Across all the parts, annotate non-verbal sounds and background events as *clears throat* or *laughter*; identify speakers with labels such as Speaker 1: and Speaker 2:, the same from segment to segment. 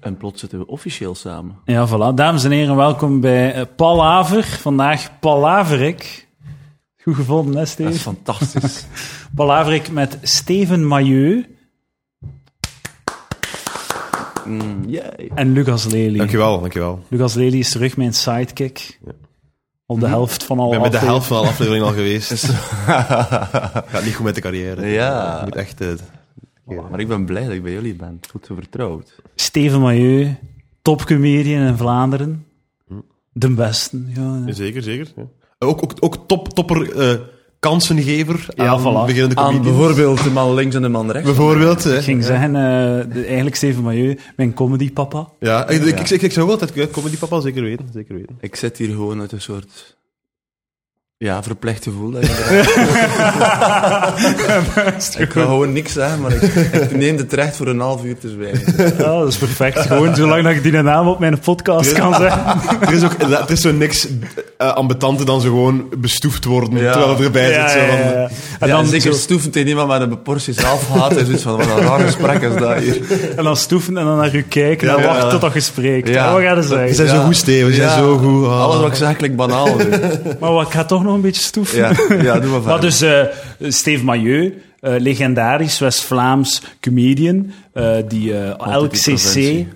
Speaker 1: En plots zitten we officieel samen.
Speaker 2: Ja, voilà. Dames en heren, welkom bij eh, Palaver. Vandaag Palaverik. Goed gevonden, hè,
Speaker 1: Dat is
Speaker 2: Steven?
Speaker 1: fantastisch.
Speaker 2: Palaverik met Steven Mailleu
Speaker 1: *laughs* Mm, yay.
Speaker 2: en Lucas Lely.
Speaker 3: Dankjewel, dankjewel. Ik
Speaker 2: Lucas Lely is terug, mijn sidekick. Op de helft van alle
Speaker 3: Mhm. ben met de
Speaker 2: afleveringen.
Speaker 3: helft van alle afleveringen al
Speaker 1: *laughs*
Speaker 3: geweest. *laughs* Gaat niet goed met de carrière.
Speaker 1: Ja.
Speaker 3: Je moet echt... eh,
Speaker 1: Maar ik ben blij dat ik bij jullie ben. Goed vertrouwd.
Speaker 2: Steven Mailleu, topcomedian in Vlaanderen.
Speaker 3: Mhm.
Speaker 2: De beste. Ja, ja.
Speaker 3: Zeker, zeker. ja. Eh, Ook, ook, ook top, topper eh, kansengever
Speaker 2: Ja,
Speaker 3: aan
Speaker 2: voilà.
Speaker 3: beginnende
Speaker 1: Aan
Speaker 3: comedians.
Speaker 1: bijvoorbeeld de man links en de man rechts.
Speaker 3: Bijvoorbeeld, hè.
Speaker 2: Ik ging zeggen, eh, de- eigenlijk Steven Mailleu, mijn comedypapa.
Speaker 3: *laughs* Ja, ik, ik, ik, ik, zou wel altijd kunnen comedy papa, zeker weten. Zeker
Speaker 1: *laughs*
Speaker 3: weten.
Speaker 1: Ik zit hier gewoon uit een soort... Ja, verplicht gevoel. *laughs* dat ik- ik wil gewoon niks zeggen, maar ik, ik neem het recht voor een half uur te zwijgen.
Speaker 2: Ja, dat is perfect. Gewoon zolang dat ik die naam op mijn podcast kan zeggen.
Speaker 3: er, is ook, er is zo niks eh ambetanter dan ze gewoon bestoefd worden
Speaker 1: Ja.
Speaker 3: terwijl het erbij zit. zo van,
Speaker 2: En,
Speaker 1: ja,
Speaker 2: dan
Speaker 1: zeker
Speaker 2: zo-
Speaker 1: stoefend in iemand met een portie zelfhaat en zoiets van, wat een raar gesprek is dat hier.
Speaker 2: en dan stoeven en dan naar u kijken en
Speaker 1: Ja,
Speaker 2: wachten
Speaker 1: ja.
Speaker 2: tot dat gesprek.
Speaker 1: Ja.
Speaker 2: Ja. Wat gaan ze
Speaker 3: We
Speaker 2: zeggen?
Speaker 3: zijn zo
Speaker 1: Ja.
Speaker 3: goed, Steven. We zijn
Speaker 1: Ja.
Speaker 3: zo goed. ah.
Speaker 1: Alles wat ik zeg klinkt banaal. nu.
Speaker 2: Maar wat, ik ga toch nog een beetje stoeven.
Speaker 1: Ja, ja, doe maar verder.
Speaker 2: Maar dus eh Steve Mailleu, eh, legendarisch West-Vlaams comedian, eh, die eh, elk
Speaker 1: die
Speaker 2: cc...
Speaker 1: provincie.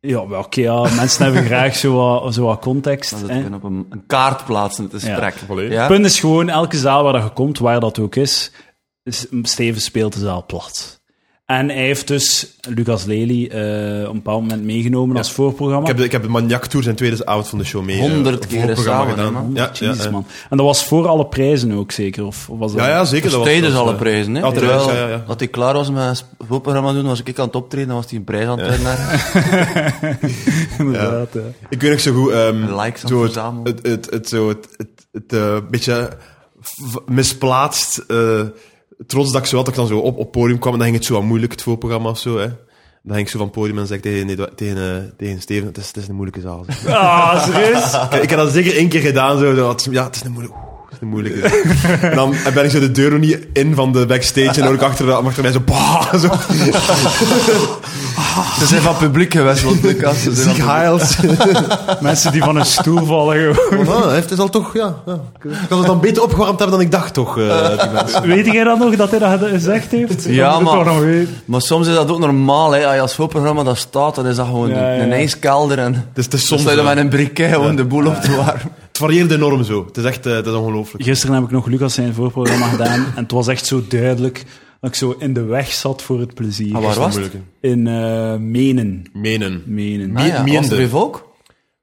Speaker 2: Ja, maar oké, ja,
Speaker 1: *laughs*
Speaker 2: mensen hebben graag zo wat, zo wat context.
Speaker 1: Dan zit
Speaker 2: hè.
Speaker 1: ik in op een, een kaart plaatsen, het is
Speaker 2: Ja.
Speaker 1: trek.
Speaker 3: Volledig.
Speaker 1: Ja?
Speaker 2: Het punt is gewoon, elke zaal waar dat je komt, waar dat ook is, is- Steven speelt de zaal plat. En hij heeft dus Lucas Lely eh, op een bepaald moment meegenomen als voorprogramma.
Speaker 3: Ik heb, de- ik heb de Maniac Tour zijn tweede avond van de show mee. eh,
Speaker 1: Honderd
Speaker 3: op
Speaker 1: keren
Speaker 3: voorprogramma
Speaker 1: samen, hè, man.
Speaker 3: Ja, eh. ja,
Speaker 2: Jezus,
Speaker 3: ja.
Speaker 2: man. En dat was voor alle prijzen ook zeker? Of, of was dat...
Speaker 3: Ja, ja, zeker. dat was-
Speaker 1: Tijdens
Speaker 3: dat was,
Speaker 1: alle
Speaker 3: eh,
Speaker 1: prijzen, hè?
Speaker 3: ja, tijdens,
Speaker 1: Terwijl
Speaker 3: ja, ja, ja.
Speaker 1: dat hij klaar was met zijn voorprogramma doen, was ik aan het optreden, dan was hij een prijs aan het
Speaker 3: *laughs*
Speaker 1: winnen.
Speaker 2: inderdaad. ja.
Speaker 3: Ik weet nog zo goed... ehm,
Speaker 1: Likes aan
Speaker 3: zo
Speaker 1: het
Speaker 3: het,
Speaker 1: verzamelen.
Speaker 3: het, het, het, zo het, het, het, eh, beetje v- misplaatst... eh, trots dat ik zo had, dat ik dan zo op, op podium kwam. En dan ging het zo wat moeilijk, het voorprogramma of zo, hè. Dan ging ik zo van het podium en zei ik tegen, Edouard- tegen, eh, tegen Steven... Het is, het is een moeilijke *laughs* zaal. zeg.
Speaker 2: Ah, serieus?
Speaker 3: ik, ik had dat zeker één keer gedaan. Zo, zo, het is- ja, het is een moeilijke... oeh, het is een moeilijke. en dan ben ik zo de deur nog niet in van de backstage. En dan hoor ik achter, achter mij zo... Bah, zo
Speaker 1: Ze zijn van publiek geweest, want Lucas. Ze
Speaker 2: *laughs*
Speaker 1: zijn
Speaker 3: ziek
Speaker 1: van
Speaker 3: heils.
Speaker 2: Mensen die van een stoel vallen gewoon.
Speaker 3: Oh, hij heeft het al toch, ja. ja. Ik had het dan beter opgewarmd hebben dan ik dacht, toch? eh, die mensen.
Speaker 2: Weet jij dat nog, dat hij dat gezegd heeft?
Speaker 1: Ja,
Speaker 2: Dat moet
Speaker 1: man.
Speaker 2: ik toch nog weten.
Speaker 1: publiek. *laughs* Maar soms is dat ook normaal, hè? Als je als voorprogramma dat staat, dan is dat gewoon
Speaker 2: Ja,
Speaker 1: een-
Speaker 2: ja.
Speaker 1: een ijskelder. En
Speaker 3: Het is, het is
Speaker 1: dan
Speaker 3: soms
Speaker 1: sta je
Speaker 3: wel.
Speaker 1: dan met een briquet gewoon de boel op te
Speaker 3: *laughs*
Speaker 1: warmen.
Speaker 3: Het varieert enorm zo. Het is echt eh, het is ongelooflijk.
Speaker 2: Gisteren heb ik nog Lucas zijn voorprogramma gedaan. En het was echt zo duidelijk dat ik zo in de weg zat voor het plezier.
Speaker 1: Ah, waar was het?
Speaker 3: Moeilijk, hè.
Speaker 2: In eh, Menen.
Speaker 3: Menen.
Speaker 2: Menen.
Speaker 1: Ah, ja, was
Speaker 3: Meende.
Speaker 1: er even ook?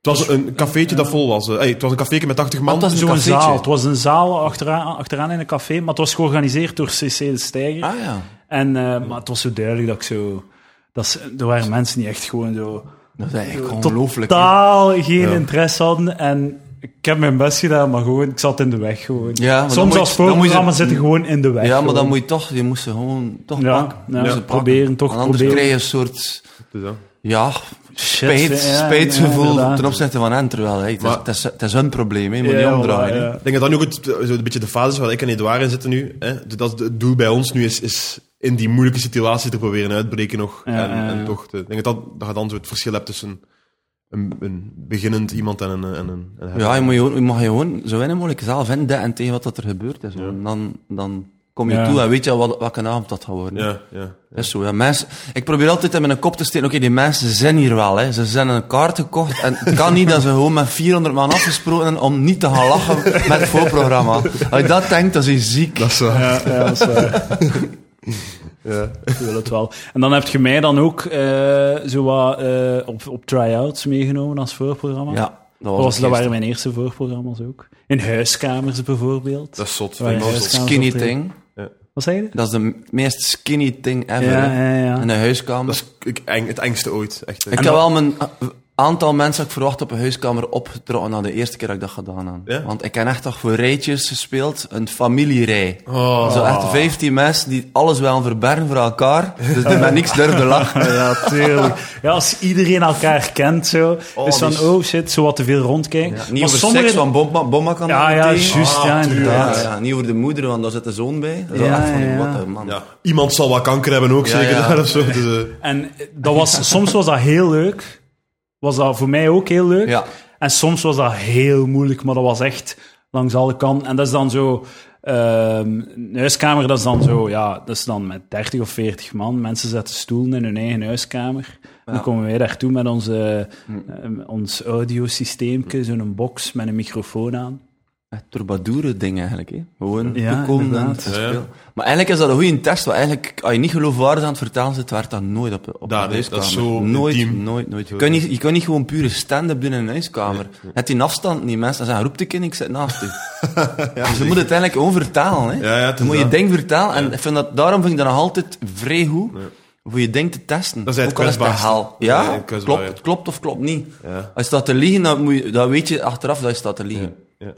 Speaker 3: Het was een cafeetje dat vol was. eh. Hey, het was een cafeetje met 80 man.
Speaker 1: Ah, het was een
Speaker 2: Zo'n
Speaker 1: cafeetje.
Speaker 2: zaal. Het was een zaal achteraan, achteraan in een café, maar het was georganiseerd door CC de Steiger.
Speaker 1: Ah ja.
Speaker 2: En, eh, maar het was zo duidelijk dat ik zo... Dat ze- er waren mensen die echt gewoon zo
Speaker 1: Dat is eigenlijk ongelooflijk. hè.
Speaker 2: totaal geen interesse hadden. En ik heb mijn best gedaan, maar gewoon, ik zat in de weg gewoon.
Speaker 1: Ja, maar dan moet
Speaker 2: Soms
Speaker 1: je-
Speaker 2: als
Speaker 1: dan moet je- Mm.
Speaker 2: voorprogramma zitten gewoon in de weg.
Speaker 1: Ja, maar
Speaker 2: gewoon.
Speaker 1: dan moet je toch, je moest ze gewoon toch
Speaker 2: Ja,
Speaker 1: pakken. Moest
Speaker 2: ja,
Speaker 1: ze
Speaker 2: ja,
Speaker 1: pakken.
Speaker 2: proberen, toch
Speaker 1: Want anders
Speaker 2: proberen.
Speaker 1: krijg je een soort,
Speaker 3: Dus, ja.
Speaker 1: ja,
Speaker 2: Shit,
Speaker 1: Spijt,
Speaker 2: ja, ja,
Speaker 1: spijtgevoel
Speaker 2: inderdaad.
Speaker 1: ten opzichte van hen, terwijl hey, het, is,
Speaker 3: Maar-
Speaker 1: het, is, het is hun probleem, hè, je moet
Speaker 2: Ja,
Speaker 1: niet omdraaien.
Speaker 2: voilà,
Speaker 1: hè.
Speaker 2: ja.
Speaker 3: Ik denk dat dan ook het, eh, zo een beetje de fase is waar ik en Edouard in zitten nu. Hè? Dus Dat is de- het doel bij ons nu is, is in die moeilijke situatie te proberen uitbreken nog.
Speaker 2: Ja,
Speaker 3: en,
Speaker 2: ja, ja.
Speaker 3: en toch te- ik denk dat, dat je dan zo het verschil hebt tussen een, een beginnend iemand en een... eh, En een, en een
Speaker 1: Ja, je, moet je, gewoon- je mag je gewoon zo weinig mogelijk zelf vinden en tegen wat dat er gebeurd is. hoor. En Dan, dan kom je
Speaker 2: Ja.
Speaker 1: toe en weet je wat, welke avond dat gaat worden.
Speaker 3: ja, ja.
Speaker 1: Dat Is zo, ja. mensen, ik probeer altijd in mijn kop te steken, oké, die mensen zijn hier wel. Hè. Ze zijn een kaart gekocht en het kan niet dat ze gewoon met 400 man afgesproken hebben om niet te gaan lachen met het voorprogramma. Als je dat denkt, dan is je ziek.
Speaker 3: Dat is waar.
Speaker 2: Ja, ja, dat is waar. *laughs*
Speaker 3: Ja.
Speaker 2: Ik wil het wel. En dan heb je mij dan ook eh, zo wat eh, op, op try-outs meegenomen als voorprogramma.
Speaker 1: Ja, dat
Speaker 2: Dat,
Speaker 1: was,
Speaker 2: was,
Speaker 1: het
Speaker 2: dat
Speaker 1: eerste.
Speaker 2: waren mijn eerste voorprogramma's ook. In huiskamers bijvoorbeeld.
Speaker 3: Dat is zot.
Speaker 2: Waar
Speaker 3: vind ik
Speaker 2: je
Speaker 3: wel
Speaker 2: juist
Speaker 3: zot.
Speaker 2: gaan
Speaker 1: skinny
Speaker 2: sorteren.
Speaker 1: thing.
Speaker 2: Wat zei je?
Speaker 1: Dat is de m- meest skinny thing ever.
Speaker 2: Ja,
Speaker 1: hè.
Speaker 2: ja, ja.
Speaker 1: In een huiskamer.
Speaker 3: Dat is ik, eng, het engste ooit. Echt.
Speaker 1: Ik
Speaker 3: En-
Speaker 1: heb wel mijn eh, aantal mensen dat ik verwacht op een huiskamer opgetrokken na de eerste keer dat ik dat gedaan heb.
Speaker 3: Ja?
Speaker 1: Want ik heb echt toch voor rijtjes gespeeld, een familierij.
Speaker 3: Oh.
Speaker 1: Zo echt 15 mensen die alles wel verbergen voor elkaar, dus die met niks durfden lachen.
Speaker 2: Ja, tuurlijk. Ja, als iedereen elkaar kent, zo.
Speaker 1: Oh,
Speaker 2: dus van,
Speaker 1: die-
Speaker 2: oh shit, zo wat te veel rondkijken.
Speaker 1: Ja,
Speaker 2: Maar
Speaker 1: niet over
Speaker 2: sommigen-
Speaker 1: seks van bomma, bomma kan
Speaker 2: Ja, ja,
Speaker 1: meteen.
Speaker 2: juist,
Speaker 3: Ah,
Speaker 2: ja,
Speaker 3: tuurlijk.
Speaker 1: Ja,
Speaker 2: inderdaad.
Speaker 1: ja, niet over de moeder, want daar zit de zoon bij. Dat is
Speaker 2: Ja,
Speaker 1: echt van,
Speaker 2: ja.
Speaker 1: wat een man.
Speaker 3: Ja, iemand zal wat kanker hebben ook,
Speaker 1: Ja,
Speaker 3: zeker
Speaker 1: ja.
Speaker 3: daar of zo. Dus, eh,
Speaker 2: En dat was, soms was dat heel leuk. Was dat voor mij ook heel leuk.
Speaker 1: Ja.
Speaker 2: En soms was dat heel moeilijk, maar dat was echt langs alle kanten. En dat is dan zo... ehm een huiskamer, dat is dan zo... Ja, dat is dan met 30 of 40 man. Mensen zetten stoelen in hun eigen huiskamer. Dan komen wij daartoe met onze,
Speaker 1: Hm.
Speaker 2: eh, ons audiosysteemke, zo'n box met een microfoon aan.
Speaker 1: Echt troubadoure ding eigenlijk. Hè? Gewoon
Speaker 2: Ja,
Speaker 1: gekomen en
Speaker 2: inderdaad.
Speaker 1: gespeeld.
Speaker 3: Ja, ja.
Speaker 1: Maar eigenlijk is dat een goede test. Want eigenlijk, als je niet geloofwaardig aan het vertalen zit, werd dat nooit op, op
Speaker 3: Daar,
Speaker 1: een
Speaker 3: dat is
Speaker 1: huiskamer.
Speaker 3: zo
Speaker 1: nooit,
Speaker 3: intiem.
Speaker 1: nooit, nooit. Je kan, niet, je kan niet gewoon pure stand-up doen in een huiskamer. Het die afstand niet, mensen. Dan zeggen, roep de kind, ik zit
Speaker 3: *laughs*
Speaker 1: naast u. dus je moet het eigenlijk gewoon vertalen. Hè?
Speaker 3: Ja, ja, het is
Speaker 1: je moet je
Speaker 3: dat.
Speaker 1: ding vertalen. En ik vind dat, daarom vind ik dat nog altijd vrij goed. Voor je ding te testen.
Speaker 3: Dat is het
Speaker 1: Ook al het
Speaker 3: kwetsbaarste.
Speaker 1: haal.
Speaker 3: Ja,
Speaker 1: Ja,
Speaker 3: het kwetsbaar,
Speaker 1: klopt,
Speaker 3: ja.
Speaker 1: het klopt of klopt niet.
Speaker 3: ja.
Speaker 1: Als je staat te liegen, dan, moet je, dan weet je achteraf dat je staat te liegen.
Speaker 3: Ja.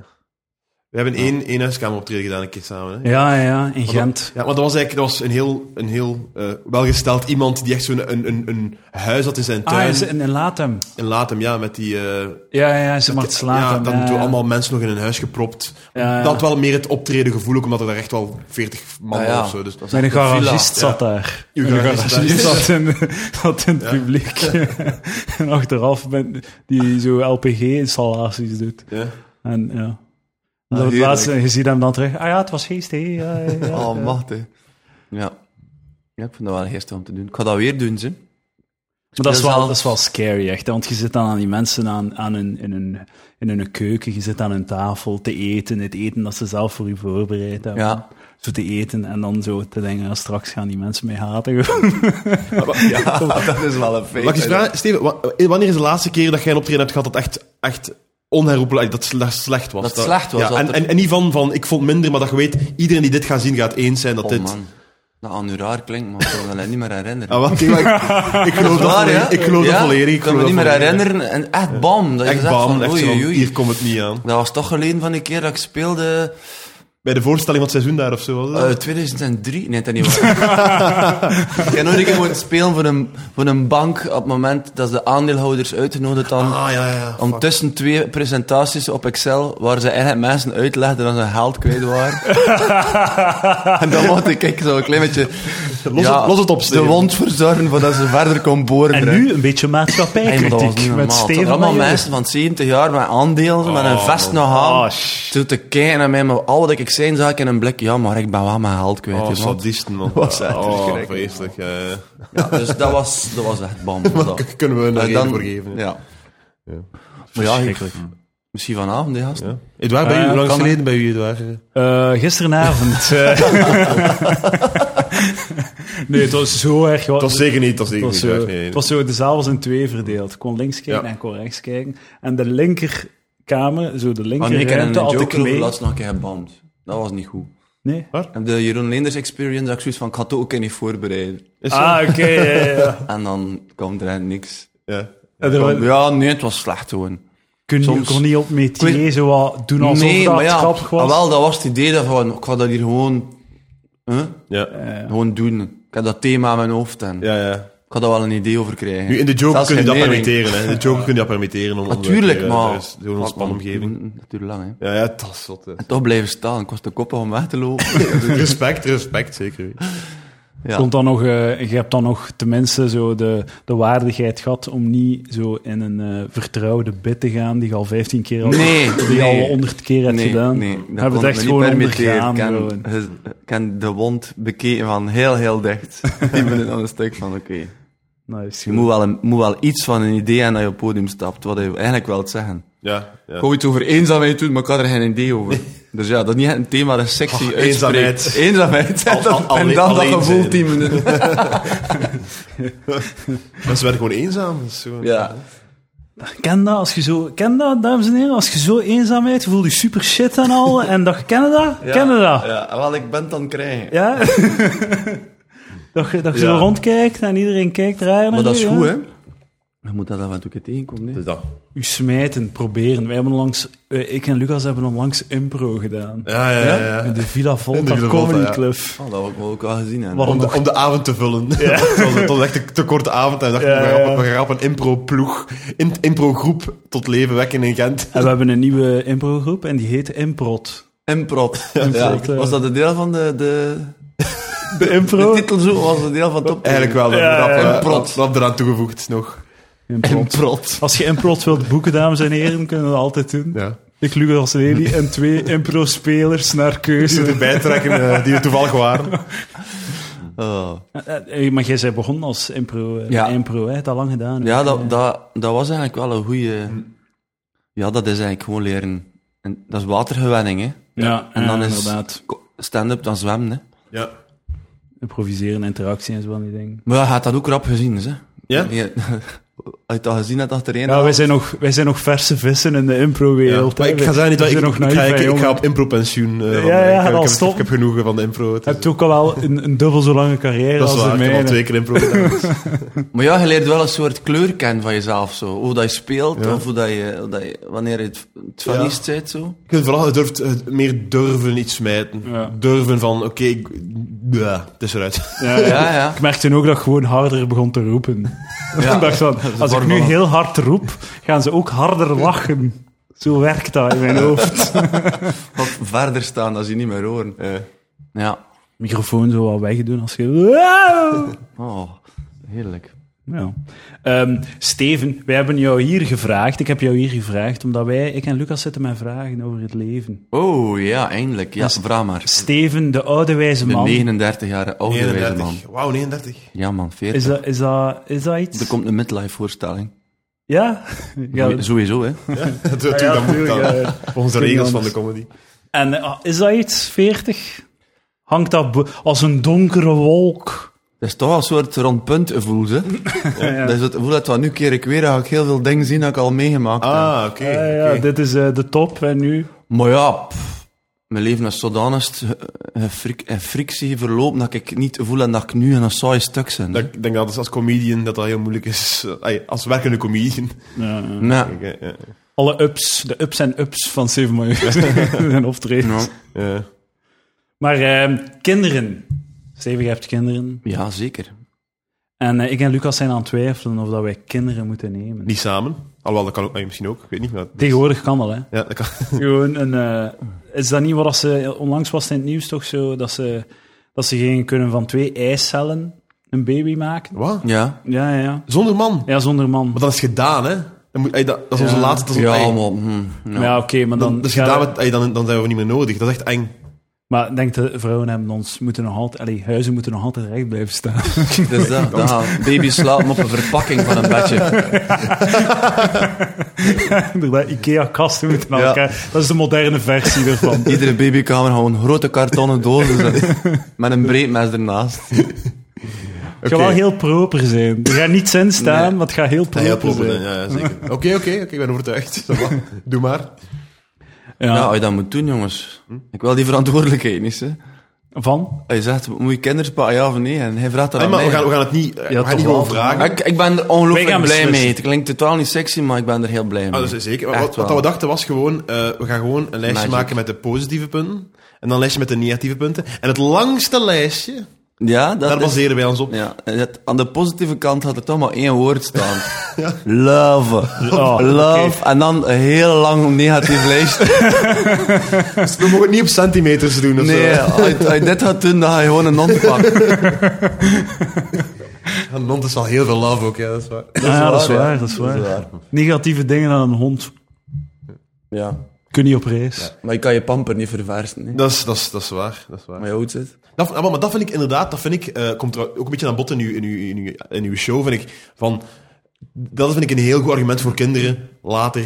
Speaker 3: We hebben één, één huiskamer optreden gedaan een keer samen. Hè?
Speaker 2: Ja, ja, in
Speaker 3: Maar
Speaker 2: Gent.
Speaker 3: dat- Ja, maar dat was eigenlijk dat was een heel, een heel eh, welgesteld iemand die echt zo'n een, een, een huis had in zijn
Speaker 2: Ah,
Speaker 3: tuin.
Speaker 2: is in, in Latem.
Speaker 3: En laat hem, ja, met die... eh,
Speaker 2: Ja, ja, ze mag
Speaker 3: ja,
Speaker 2: slapen.
Speaker 3: dan toen allemaal mensen nog in hun huis gepropt.
Speaker 2: Ja, ja.
Speaker 3: Dat had wel meer het optreden gevoel, ook omdat er daar echt wel 40 man
Speaker 1: Ah,
Speaker 3: was
Speaker 1: ja.
Speaker 3: of zo. Dus dat
Speaker 2: Mijn
Speaker 1: echt een
Speaker 2: garagist
Speaker 3: villa.
Speaker 2: zat daar.
Speaker 3: Uw
Speaker 2: Mijn
Speaker 3: garagist
Speaker 2: garagist
Speaker 3: zat-
Speaker 2: zat in, zat in het publiek. en achteraf ben, die zo LPG-installaties doet.
Speaker 3: Ja.
Speaker 2: En ja.
Speaker 1: Ah,
Speaker 2: dat was het
Speaker 1: heerlijk.
Speaker 2: laatste, en je ziet hem dan terug. Ah ja, het was geest, hè. Ja, ja, ja.
Speaker 1: Oh, machtig. Ja. ja, ik vind dat wel een geest om te doen. Ik ga dat weer doen, ze.
Speaker 2: Maar dat is, wel,
Speaker 1: Zelf-
Speaker 2: dat is wel scary, echt. hè, Want je zit dan aan die mensen aan, aan hun, in, hun, in hun keuken, je zit aan hun tafel te eten, het eten dat ze zelf voor u voorbereid
Speaker 1: *laughs*
Speaker 2: hebben.
Speaker 1: Ja.
Speaker 2: Zo te eten en dan zo te denken, ja, straks gaan die mensen mij haten. *laughs*
Speaker 1: dat is wel een feest.
Speaker 3: Mag ik eens vragen, Steven, wa- eh, wanneer is de laatste keer dat jij een optreden hebt gehad dat echt, echt onherroepelijk, dat sle- slecht was?
Speaker 1: Dat slecht was,
Speaker 3: Ja,
Speaker 1: dat
Speaker 3: en,
Speaker 1: er-
Speaker 3: en, en niet van, van, ik vond minder, maar dat je weet, iedereen die dit gaat zien gaat eens zijn dat
Speaker 1: Oh,
Speaker 3: dit...
Speaker 1: man. Dat aan uw raar klinkt, maar ik kan me dat niet meer herinneren.
Speaker 3: Ah, wat? Ik,
Speaker 1: *laughs*
Speaker 3: ik geloof dat
Speaker 1: Waar, ja?
Speaker 3: volledig. Ik geloof
Speaker 1: Ja,
Speaker 3: dat volledig. Ik
Speaker 1: kan me
Speaker 3: geloof
Speaker 1: niet
Speaker 3: dat
Speaker 1: meer
Speaker 3: volledig.
Speaker 1: herinneren. En echt bam. Dat je
Speaker 3: Echt
Speaker 1: zegt
Speaker 3: bam,
Speaker 1: van,
Speaker 3: echt
Speaker 1: oei,
Speaker 3: zo,
Speaker 1: oei, oei.
Speaker 3: hier komt het niet aan.
Speaker 1: Dat was toch geleden van die keer dat ik speelde...
Speaker 3: Bij de voorstelling van het seizoen daar of zo was dat?
Speaker 1: eh 2003? Nee, dat niet waar.
Speaker 3: *laughs*
Speaker 1: ik heb nooit een keer moeten spelen voor een, voor een bank op het moment dat ze de aandeelhouders uitgenodigd hadden.
Speaker 3: ah, ja, ja.
Speaker 1: Om tussen twee presentaties op Excel, waar ze eigenlijk mensen uitlegden dat ze hun geld kwijt
Speaker 3: *laughs*
Speaker 1: waren. en dan mocht ik ik zo een klein beetje...
Speaker 3: Los, het, los het op,
Speaker 1: De
Speaker 3: Steven.
Speaker 1: wond verzorgen, voordat ze verder kon boren.
Speaker 2: En nu een beetje maatschappijkritiek met Steven.
Speaker 1: allemaal
Speaker 2: Meijer.
Speaker 1: mensen van 70 jaar met aandelen, met
Speaker 3: Oh,
Speaker 1: een vest nog
Speaker 2: Ah,
Speaker 1: aan.
Speaker 2: sh-
Speaker 1: Toen te kijken naar mij, maar al wat ik zei, zag ik in een blik, ja, maar ik ben wel mijn geld kwijt.
Speaker 3: Oh,
Speaker 1: hè, man.
Speaker 3: sadisten, man.
Speaker 1: Was echt
Speaker 3: oh,
Speaker 1: verschrikkelijk.
Speaker 3: vreselijk. eh.
Speaker 1: ja, dus dat was, dat was echt
Speaker 3: *laughs*
Speaker 1: bam. Dat.
Speaker 3: K- Kunnen we een
Speaker 1: En
Speaker 3: reden
Speaker 1: dan-
Speaker 3: voor geven.
Speaker 1: Ja.
Speaker 3: Ja.
Speaker 1: Maar ja, ik-
Speaker 2: Verschrikkelijk.
Speaker 1: misschien vanavond, hè, gasten.
Speaker 3: Ja. Edouard, bij
Speaker 2: Eh,
Speaker 3: u, hoe lang is
Speaker 2: kan-
Speaker 3: het geleden bij u, Edouard?
Speaker 2: Eh, gisterenavond. eh. *laughs* nee, het was zo erg.
Speaker 3: Dat was zeker niet, dat was
Speaker 2: Het
Speaker 3: zeker
Speaker 2: was,
Speaker 3: niet.
Speaker 2: zo,
Speaker 3: Edouard, nee, nee.
Speaker 2: het was zo, de zaal was in twee verdeeld. Ik kon links kijken
Speaker 3: Ja.
Speaker 2: en ik kon rechts kijken. En de linkerkamer, zo de
Speaker 1: Maar nee, ik heb
Speaker 2: linkerruimte,
Speaker 1: een
Speaker 2: had ik
Speaker 1: joker
Speaker 2: mee.
Speaker 1: laatst nog een keer geband. Dat was niet goed.
Speaker 2: Nee?
Speaker 1: En de Jeroen Leenders experience, dat ik zoiets van, ik ga het ook niet voorbereiden.
Speaker 3: Is zo?
Speaker 2: Ah, oké, ja, ja,
Speaker 1: *laughs*
Speaker 2: ja.
Speaker 1: En dan kwam er eigenlijk niks.
Speaker 3: Ja. Nou,
Speaker 2: En er
Speaker 1: Kwam-
Speaker 2: was-
Speaker 1: ja, nee, het was slecht gewoon.
Speaker 2: Kun je
Speaker 1: soms-
Speaker 2: kon niet op
Speaker 1: Ik
Speaker 2: metier zo wat doen alsof
Speaker 1: nee,
Speaker 2: dat
Speaker 1: maar ja,
Speaker 2: grappig was?
Speaker 1: ah, wel, dat was het idee dat van, ik ga dat hier gewoon, hè,
Speaker 3: Ja.
Speaker 1: gewoon doen. Ik heb dat thema in mijn hoofd en
Speaker 3: Ja, ja.
Speaker 1: ik ga daar wel een idee over krijgen.
Speaker 3: Nu, in de Joker
Speaker 1: Zelfs
Speaker 3: kun je
Speaker 1: geen
Speaker 3: dat
Speaker 1: nering.
Speaker 3: permitteren. Hè. In de Joker kun je dat permitteren. Om,
Speaker 1: Natuurlijk,
Speaker 3: om-
Speaker 1: maar...
Speaker 3: dat is Zo'n ontspanomgeving.
Speaker 1: Dat duurt lang, hè.
Speaker 3: Ja, ja, dat is zot, hè.
Speaker 1: En toch blijven staan. Ik was te koppen om weg te
Speaker 3: *laughs*
Speaker 1: lopen.
Speaker 3: Respect, respect, zeker.
Speaker 1: Ja.
Speaker 2: Komt dan nog, eh, je hebt dan nog tenminste zo de, de waardigheid gehad om niet zo in een eh, vertrouwde bid te gaan die je al 15 keer had,
Speaker 1: Nee,
Speaker 2: die je
Speaker 1: nee.
Speaker 2: al honderd keer hebt
Speaker 1: nee,
Speaker 2: gedaan.
Speaker 1: Nee, dat
Speaker 2: Hebben
Speaker 1: kon
Speaker 2: het echt
Speaker 1: ik me
Speaker 2: gewoon
Speaker 1: niet permitteren.
Speaker 2: ondergaan,
Speaker 1: Ik
Speaker 2: gewoon.
Speaker 1: ken, ge- ken de wond bekeken van heel, heel
Speaker 2: *laughs*
Speaker 1: dicht. Die ben ik aan een stuk van, oké.
Speaker 2: Nice.
Speaker 1: Je moet wel, een- moet wel iets van een idee aan dat je op het podium stapt, wat je eigenlijk wilt zeggen.
Speaker 3: Ja, ja.
Speaker 1: Ik wou iets over eenzaamheid doen, maar ik had er geen idee over. *laughs* Dus ja, dat is niet echt een thema dat sexy
Speaker 3: Ach,
Speaker 1: uitspreekt. *laughs* Eenzaamheid.
Speaker 3: Al- al-
Speaker 1: en
Speaker 3: alleen-
Speaker 1: dan dat
Speaker 3: alleen
Speaker 1: gevoel
Speaker 3: zijn.
Speaker 1: tien minuten.
Speaker 3: Mensen werden gewoon eenzaam. dat is zo-
Speaker 1: *laughs* Ja.
Speaker 2: Ken dat, als je zo, ken dat, dames en heren, als je zo eenzaam bent, je voelt je super shit en
Speaker 1: *laughs*
Speaker 2: al, en dat, ken je dat?
Speaker 1: ja.
Speaker 2: Ken je dat?
Speaker 1: Ja, wel, ik ben het dan krijgen. *laughs*
Speaker 2: Ja? dat je, dat je
Speaker 3: Ja.
Speaker 2: zo rondkijkt en iedereen kijkt raar naar
Speaker 1: Maar dat is
Speaker 2: je,
Speaker 1: goed, hè? Je moet dat af en toe een keer tegenkomen. hè.
Speaker 4: Dus dat.
Speaker 2: U smijten, proberen. Wij hebben onlangs, eh, ik en Lucas hebben onlangs impro gedaan.
Speaker 3: Ja, ja, ja. ja.
Speaker 2: In de Villa
Speaker 3: Eh, In de
Speaker 2: Volta
Speaker 3: Villa
Speaker 2: Comedy
Speaker 3: Volta, ja.
Speaker 2: Club.
Speaker 1: Oh, dat heb ik wel ook al gezien. hè.
Speaker 2: Waarom?
Speaker 3: Om de, om de avond te vullen. het, was, het was echt een te korte avond. En we dachten,
Speaker 2: Ja,
Speaker 3: we, gaan,
Speaker 2: ja.
Speaker 3: we gaan een impro-ploeg, in- impro-groep tot leven wekken in Gent.
Speaker 2: En we hebben een nieuwe improgroep en die heet Improt.
Speaker 1: Improt.
Speaker 2: Improt,
Speaker 1: Ja.
Speaker 3: eh.
Speaker 2: ja.
Speaker 1: Was dat een deel van de, de,
Speaker 2: De
Speaker 1: de
Speaker 2: impro?
Speaker 1: titel zo? Was dat een deel van top?
Speaker 3: Eigenlijk wel, dat
Speaker 2: Ja,
Speaker 3: rap,
Speaker 2: ja,
Speaker 3: eh,
Speaker 1: ja. Prot.
Speaker 3: rap eraan toegevoegd nog.
Speaker 2: Improt.
Speaker 1: Improt.
Speaker 2: Als je Improt wilt boeken, dames en heren, kunnen we dat altijd doen.
Speaker 3: Ja.
Speaker 2: Ik, Lucas Lely en twee impro-spelers naar
Speaker 3: Die
Speaker 2: keuze.
Speaker 3: erbij trekken, eh, die er toevallig waren.
Speaker 1: Oh.
Speaker 2: Eh, eh, Maar jij zei begonnen als impro, eh,
Speaker 1: Ja.
Speaker 2: impro hè? dat lang gedaan. hè?
Speaker 1: Ja,
Speaker 2: Eh,
Speaker 1: dat, dat, dat was eigenlijk wel een goede. Ja, dat is eigenlijk gewoon leren. En dat is watergewenning, hè?
Speaker 2: ja,
Speaker 1: en
Speaker 2: en dan
Speaker 1: dan is-
Speaker 2: inderdaad.
Speaker 1: Ko- Stand-up, dan zwemmen, hè?
Speaker 3: Ja.
Speaker 2: Improviseren, interactie en zo van die dingen.
Speaker 1: Maar ja, je hebt dat ook rap gezien, dus, hè?
Speaker 3: Ja?
Speaker 1: *laughs* Je- Als je dat gezien hebt achtereen.
Speaker 2: Ja, wij zijn nog, wij zijn nog verse vissen in de impro-wereld.
Speaker 3: Maar
Speaker 2: hè.
Speaker 3: ik ga zeggen, niet
Speaker 2: We
Speaker 3: dat ik,
Speaker 2: zijn
Speaker 3: ik,
Speaker 2: nog
Speaker 3: ik, ga,
Speaker 2: naïef,
Speaker 3: ik,
Speaker 2: hè,
Speaker 3: ik ga
Speaker 2: jongen.
Speaker 3: op impro-pensioen. eh, want
Speaker 2: ja,
Speaker 3: ik-
Speaker 2: dat
Speaker 3: ik,
Speaker 2: is
Speaker 3: heb,
Speaker 2: top.
Speaker 3: ik heb genoegen van de impro. Het
Speaker 2: Je
Speaker 3: is-
Speaker 2: hebt ook al wel een, een dubbel zo lange carrière
Speaker 3: dat is
Speaker 2: als de
Speaker 3: waar, ik heb al
Speaker 2: mijne.
Speaker 3: twee keer impro gedaan. dus-
Speaker 2: *laughs*
Speaker 1: Maar ja, je leert wel een soort kleur kennen van jezelf, zo. Hoe dat je speelt,
Speaker 3: Ja.
Speaker 1: of hoe dat je, hoe dat je, wanneer je het, het
Speaker 3: Ja.
Speaker 1: verliest bent, zo.
Speaker 3: Ik vind vooral, het durft het meer durven iets smijten.
Speaker 2: Ja.
Speaker 3: Durven van, oké, ik- ja, het is eruit.
Speaker 2: Ja, ja.
Speaker 1: Ja, ja.
Speaker 2: Ik merkte toen ook dat ik gewoon harder begon te roepen.
Speaker 1: Ja.
Speaker 2: ik dacht van, als ik
Speaker 1: vorm
Speaker 2: nu
Speaker 1: van-
Speaker 2: heel hard roep, gaan ze ook harder lachen. Zo werkt dat in mijn hoofd.
Speaker 1: Wat verder staan, dat ze je niet meer horen. Ja.
Speaker 2: Microfoon zo wat wegdoen als je...
Speaker 1: Oh, heerlijk.
Speaker 2: Ja. Ehm, Steven, wij hebben jou hier gevraagd. Ik heb jou hier gevraagd omdat wij, ik en Lucas zitten met vragen over het leven.
Speaker 1: Oh, ja, eindelijk. Ja, vraag maar.
Speaker 2: Steven, de oude wijze
Speaker 1: De
Speaker 2: man.
Speaker 1: 39-jarige oude wijze man.
Speaker 3: 39. Wauw, 39.
Speaker 1: Ja, man, 40.
Speaker 2: Is dat, is, dat, is dat iets?
Speaker 1: Er komt een midlife-voorstelling.
Speaker 2: Ja? ja.
Speaker 1: Sowieso- Sowieso, hè.
Speaker 3: *laughs* Dat doet
Speaker 2: Ah, ja,
Speaker 3: dat moet
Speaker 2: tuurlijk,
Speaker 3: dan.
Speaker 2: ja.
Speaker 3: Volgens de
Speaker 2: Geen
Speaker 3: regels van
Speaker 2: anders.
Speaker 3: de comedy.
Speaker 2: En eh, is dat iets, 40? Hangt dat bo- als een donkere wolk?
Speaker 1: Dat is toch wel een soort rond punt gevoel, hè. *laughs*
Speaker 2: ja.
Speaker 1: Dat is het gevoel dat wat nu keer ik weer, dan ga ik heel veel dingen zien dat ik al meegemaakt heb.
Speaker 3: Ah, oké.
Speaker 2: Ja, ja,
Speaker 3: oké.
Speaker 2: dit is eh, de top en nu.
Speaker 1: Maar ja, pff, mijn leven is zodanig ge- ge- frik- in frictie verlopen dat ik niet het gevoel heb dat ik nu in een saai stuk ben.
Speaker 3: Dat, ik denk dat als comedian dat dat heel moeilijk is. Ay, als werkende comedian. *laughs*
Speaker 1: Nee.
Speaker 3: Oké, ja,
Speaker 2: Alle ups, de ups en ups van Seven *laughs* Major en optredens.
Speaker 1: Ja.
Speaker 3: ja.
Speaker 2: Maar eh, kinderen. Steven, je hebt kinderen.
Speaker 1: Ja, zeker.
Speaker 2: En eh, ik en Lucas zijn aan het twijfelen of dat wij kinderen moeten nemen.
Speaker 3: Niet samen. Alhoewel, dat kan ook, ay, misschien ook. Ik weet niet. Maar,
Speaker 2: Tegenwoordig kan dat,
Speaker 3: *laughs*
Speaker 2: hè?
Speaker 3: ja, dat kan.
Speaker 2: Gewoon een. eh, is dat niet wat dat ze. Onlangs was het in het nieuws toch zo dat ze, dat ze gingen kunnen van twee eicellen een baby maken?
Speaker 3: Wat?
Speaker 1: Ja.
Speaker 2: Ja, ja, ja.
Speaker 3: Zonder man.
Speaker 2: Ja, zonder man.
Speaker 3: Maar dan is het gedaan, hè. Dan moet, ay, dat, dat is onze
Speaker 2: Ja.
Speaker 3: laatste. Dat is,
Speaker 1: Ja,
Speaker 3: ay,
Speaker 1: man. hm, ja.
Speaker 2: Maar ja, oké, maar dan. dus
Speaker 3: dan, dat is
Speaker 2: ja,
Speaker 3: gedaan met, ay, dan, dan zijn we niet meer nodig. Dat is echt eng.
Speaker 2: Maar ik denk de vrouwen hebben ons moeten nog altijd. Allee, huizen moeten nog altijd recht blijven staan. *laughs*
Speaker 1: Dus dat, dan gaan baby's slapen op een verpakking van een bedje.
Speaker 2: Inderdaad, IKEA-kasten moeten naar
Speaker 1: Ja.
Speaker 2: elkaar. Dat is de moderne versie *laughs* ervan.
Speaker 1: Iedere babykamer gewoon grote kartonnen dozen zijn. Met een breedmes ernaast.
Speaker 2: Het gaat wel heel proper zijn. Er gaat niets in staan,
Speaker 1: Nee.
Speaker 2: maar het gaat heel proper,
Speaker 3: Ja, ja, proper
Speaker 2: zijn.
Speaker 3: zijn, ja, ja, zeker.
Speaker 1: *laughs*
Speaker 3: Oké, oké, oké, ik ben overtuigd. Dat mag. Doe
Speaker 1: Ah,
Speaker 3: maar.
Speaker 2: Ja. Nou,
Speaker 1: Ja, als je dat moet doen, jongens. Ik wil die verantwoordelijkheid niet, hè.
Speaker 2: Van?
Speaker 1: Hij zegt, moet je kinderen pakken, ja of nee? En hij vraagt dat aan
Speaker 3: Nee, maar
Speaker 1: mij.
Speaker 3: we gaan, we gaan het niet, we gaan
Speaker 2: toch
Speaker 3: niet gewoon
Speaker 2: wel.
Speaker 3: vragen.
Speaker 1: ik, ik ben er
Speaker 2: Wij
Speaker 1: ongelooflijk
Speaker 2: gaan
Speaker 1: blij mee.
Speaker 2: beslissen.
Speaker 1: Het klinkt totaal niet sexy, maar ik ben er heel blij mee.
Speaker 3: Ah, dat is zeker. Wat-
Speaker 1: Echt
Speaker 3: wat, wat
Speaker 1: wel.
Speaker 3: we dachten was gewoon, eh, we gaan gewoon een lijstje
Speaker 1: Magic.
Speaker 3: maken met de positieve punten. En dan een lijstje met de negatieve punten. En het langste lijstje,
Speaker 1: ja, dat
Speaker 3: daar
Speaker 1: is-
Speaker 3: baseren wij ons op.
Speaker 1: ja, het- aan de positieve kant had er toch maar één woord
Speaker 3: *laughs*
Speaker 1: staan. Love.
Speaker 2: Oh,
Speaker 1: Love. En dan een heel lang negatief
Speaker 3: *laughs*
Speaker 1: lijst.
Speaker 3: Dus we mogen het niet op centimeters doen of
Speaker 1: Nee,
Speaker 3: zo. *laughs*
Speaker 1: als je- als je dit gaat doen, dan ga je gewoon een non pakken.
Speaker 3: Een hond is al heel veel love ook, ja, dat is waar.
Speaker 2: Ah, Ja, dat is
Speaker 1: waar,
Speaker 2: waar,
Speaker 1: ja.
Speaker 2: dat is waar. Negatieve dingen aan een hond.
Speaker 1: Ja.
Speaker 2: Kun niet op reis.
Speaker 1: Maar je kan je pamper niet verversen, hè.
Speaker 3: Dat is, dat, is, dat is waar, dat is waar.
Speaker 1: Maar je houdt het.
Speaker 3: Dat, ah, maar dat vind ik inderdaad, dat vind ik, eh, komt er ook een beetje aan bod in uw, in, uw, in, uw, in uw show, vind ik. Van, dat vind ik een heel goed argument voor kinderen, later,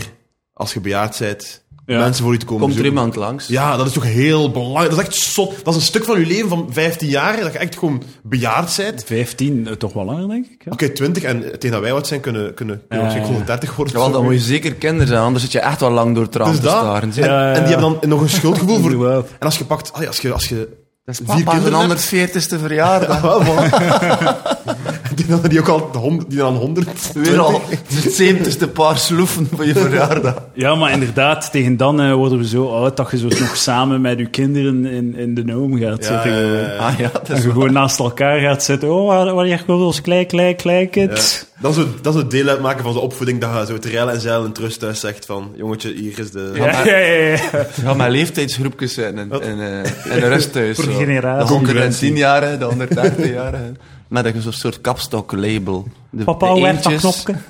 Speaker 3: als je bejaard bent,
Speaker 2: Ja.
Speaker 3: mensen voor u te komen
Speaker 1: Komt er
Speaker 3: zoeken.
Speaker 1: iemand langs?
Speaker 3: Ja, dat is toch heel belangrijk. Dat is echt zot. Dat is een stuk van je leven van 15 jaar, dat je echt gewoon bejaard bent.
Speaker 2: 15, eh, toch wel langer, denk ik. ja.
Speaker 3: Oké, 20 en tegen dat wij wat zijn, kunnen, kunnen, kunnen
Speaker 2: Ja,
Speaker 3: waarschijnlijk
Speaker 2: ja.
Speaker 3: gewoon 30 worden.
Speaker 1: Ja, want dan
Speaker 3: Zo.
Speaker 1: moet je zeker kinderen zijn, anders zit je echt wel lang door het raam
Speaker 3: Dus
Speaker 1: te
Speaker 3: dat.
Speaker 1: staren.
Speaker 3: En,
Speaker 2: Ja, ja,
Speaker 3: en die
Speaker 2: ja.
Speaker 3: hebben
Speaker 1: *laughs*
Speaker 3: dan nog een schuldgevoel voor...
Speaker 2: Inderdaad.
Speaker 3: En als je pakt... ah ja, als je, als je
Speaker 1: Dat is
Speaker 3: vier kinderen hebt,
Speaker 1: 140ste verjaardag.
Speaker 3: Ah, wel, Oh, voilà. *laughs* die, hadden die ook al de hond- die aan 100.
Speaker 1: Weer al het zeventigste paar sloeven van je verjaardag.
Speaker 2: Ja, maar inderdaad, tegen dan eh, worden we zo oud dat je zo nog samen met je kinderen in, in de noom gaat
Speaker 3: Ja,
Speaker 2: zitten.
Speaker 3: ja,
Speaker 2: gewoon.
Speaker 3: ja, ja.
Speaker 1: *laughs* Ah ja, dat
Speaker 2: Dat
Speaker 1: is
Speaker 2: je gewoon naast elkaar gaat zitten. Oh, waar, waar jij gewoon ons klein, klein, klein kind.
Speaker 3: Dat is, het, dat is het deel uitmaken van de opvoeding, dat je zo het reilen en zeilen en trust thuis zegt van, jongetje, hier is de...
Speaker 2: Ja, ja, ja. ja.
Speaker 1: Ja, mijn leeftijdsgroepjes zijn en, en, eh, en de rest thuis.
Speaker 2: Voor
Speaker 1: zo.
Speaker 2: generatie.
Speaker 1: De 110
Speaker 3: Concurrentie.
Speaker 1: jaren, de 130 jaren. Met een soort- soort kapstoklabel. De,
Speaker 2: Papa,
Speaker 1: de
Speaker 2: werkt dat
Speaker 1: eentjes.
Speaker 2: knopje.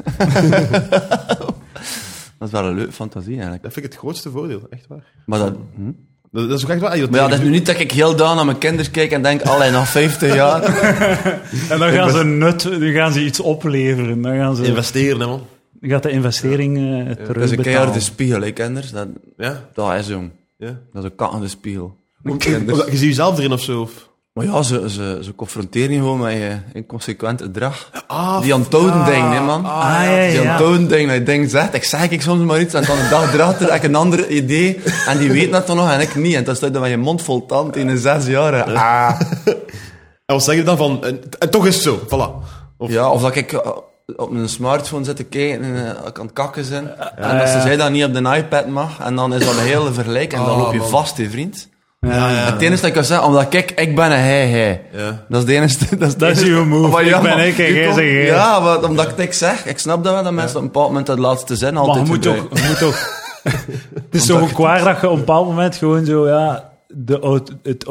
Speaker 1: Dat is wel een leuke fantasie eigenlijk.
Speaker 3: Dat vind ik het grootste voordeel, echt waar.
Speaker 1: Maar, dat, hm?
Speaker 3: Dat, dat is ook echt waar.
Speaker 1: maar ja, dat is nu niet dat ik heel daan naar mijn kinderen kijk en denk, allee, na 50 jaar.
Speaker 2: En dan gaan ze nut, dan gaan ze iets opleveren. Dan gaan ze,
Speaker 3: Investeren, hè, man.
Speaker 2: dan gaat de investering eh,
Speaker 1: Dat is een
Speaker 2: terugbetalen.
Speaker 1: keiharde spiegel, hè, kinders. Dat,
Speaker 3: Ja,
Speaker 1: dat is jong.
Speaker 3: ja.
Speaker 1: Dat is een kakkende spiegel. dus-
Speaker 3: Omdat Je ziet jezelf erin of zo. Of...
Speaker 1: Maar ja, ze, ze, ze confronteren je gewoon met je inconsequent gedrag.
Speaker 3: Ah,
Speaker 1: Die aan het tonen denken, hè, man.
Speaker 2: Ah, ja, ja,
Speaker 1: Die aan
Speaker 2: ja.
Speaker 1: het tonen denken, dat je denkt, zegt, ik zeg ik soms maar iets, en dan een dag erachter heb ik een ander idee, en die weet dat dan nog, en ik niet. En dan staat dan met je mond vol tand in een zes jaar. Ah.
Speaker 3: En wat zeg je dan van, en, en toch is het zo, voilà. Of,
Speaker 1: Ja, of dat ik eh, op mijn smartphone zit te kijken en eh, dat ik aan het kakken zijn. En dat ze zij dat niet op de iPad mag. En dan is dat een hele vergelijk. En dan
Speaker 3: Ah,
Speaker 1: loop je
Speaker 3: man.
Speaker 1: vast, hè, vriend.
Speaker 3: ja, ja.
Speaker 1: Het enige dat ik kan zeggen, omdat ik, ik ben een hij, hij.
Speaker 3: Ja.
Speaker 1: Dat is de enige... *laughs* Dat is, de
Speaker 2: Dat is
Speaker 1: enige-
Speaker 2: uw move.
Speaker 1: Maar
Speaker 2: Ik ben
Speaker 1: maar
Speaker 2: ik en
Speaker 1: je
Speaker 2: jij
Speaker 1: komt-
Speaker 2: zeg jij.
Speaker 1: Ja, wat, omdat ik het zeg. Ik snap dat wel, dat mensen op een bepaald moment dat laatste zin
Speaker 2: Maar je
Speaker 1: altijd
Speaker 2: moet
Speaker 1: gebruiken.
Speaker 2: toch... je moet toch het is toch ook waar dat je op een bepaald moment gewoon zo... Ja, de, aut- het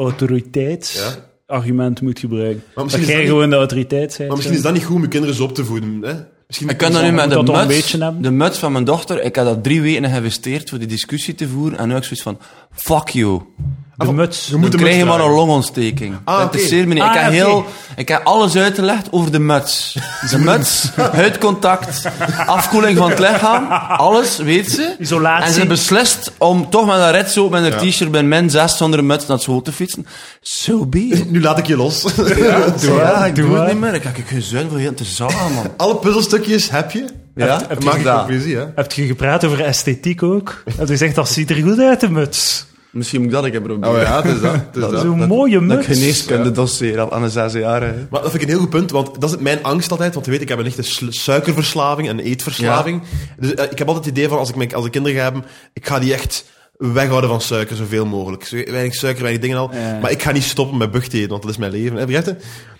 Speaker 3: Ja.
Speaker 2: autoriteitsargument moet gebruiken. Dat
Speaker 3: misschien is
Speaker 2: jij
Speaker 3: dat niet-
Speaker 2: gewoon de autoriteit bent.
Speaker 3: Maar misschien is dat niet goed om je kinderen zo op te voeden. Hè? Misschien
Speaker 1: Ik kan dat nu
Speaker 2: Moet
Speaker 1: met de
Speaker 2: dat toch een
Speaker 1: muts,
Speaker 2: beetje hebben?
Speaker 1: de muts van mijn dochter, ik had dat drie weken geïnvesteerd voor die discussie te voeren. En nu heb ik zoiets van, fuck you.
Speaker 2: De muts.
Speaker 3: Je moet
Speaker 1: Dan
Speaker 3: de
Speaker 1: krijg
Speaker 3: muts
Speaker 1: je maar een
Speaker 3: dragen.
Speaker 1: longontsteking.
Speaker 3: Ah,
Speaker 1: dat
Speaker 3: oké.
Speaker 1: interesseert me niet. ik,
Speaker 2: Ah,
Speaker 1: heb
Speaker 2: oké.
Speaker 1: heel, ik heb alles uitgelegd over de muts. *laughs* De muts, huidcontact, afkoeling van het lichaam. Alles weet ze.
Speaker 2: Isolatie.
Speaker 1: En ze beslist om toch met haar redsoap met haar
Speaker 3: Ja.
Speaker 1: t-shirt bij min 6 zonder een muts naar school te fietsen. So be it.
Speaker 3: Nu laat ik je los. *laughs*
Speaker 2: doe
Speaker 1: ja,
Speaker 2: maar,
Speaker 1: ik
Speaker 2: doe
Speaker 1: doe het
Speaker 2: maar.
Speaker 1: niet meer. Ik heb ik gezuin voor heel te zagen, man.
Speaker 3: Alle puzzelstukjes heb je.
Speaker 1: Ja,
Speaker 3: En
Speaker 1: heb
Speaker 3: maak
Speaker 1: je
Speaker 3: ik
Speaker 1: gedaan.
Speaker 3: conclusie, hè.
Speaker 2: Heb je gepraat over esthetiek ook? Heb je gezegd, dat ziet er goed uit, de muts.
Speaker 1: *laughs* Misschien moet ik dat een keer proberen.
Speaker 3: Oh ja, het is dat. Het is dat.
Speaker 2: Zo'n mooie
Speaker 1: Dat ik
Speaker 2: muts.
Speaker 1: geneeskunde dossier al aan de zes jaar.
Speaker 3: Maar dat vind ik een heel goed punt, want dat is mijn angst altijd. Want je weet, ik heb een lichte slu- suikerverslaving en eetverslaving. Dus eh, ik heb altijd het idee van, als ik, mijn, als ik kinderen ga hebben, ik ga die echt weghouden van suiker, zoveel mogelijk. Zo Weinig suiker, weinig dingen al.
Speaker 2: Ja.
Speaker 3: Maar ik ga niet stoppen met bucht eten, want dat is mijn leven. Hè, begrijp je?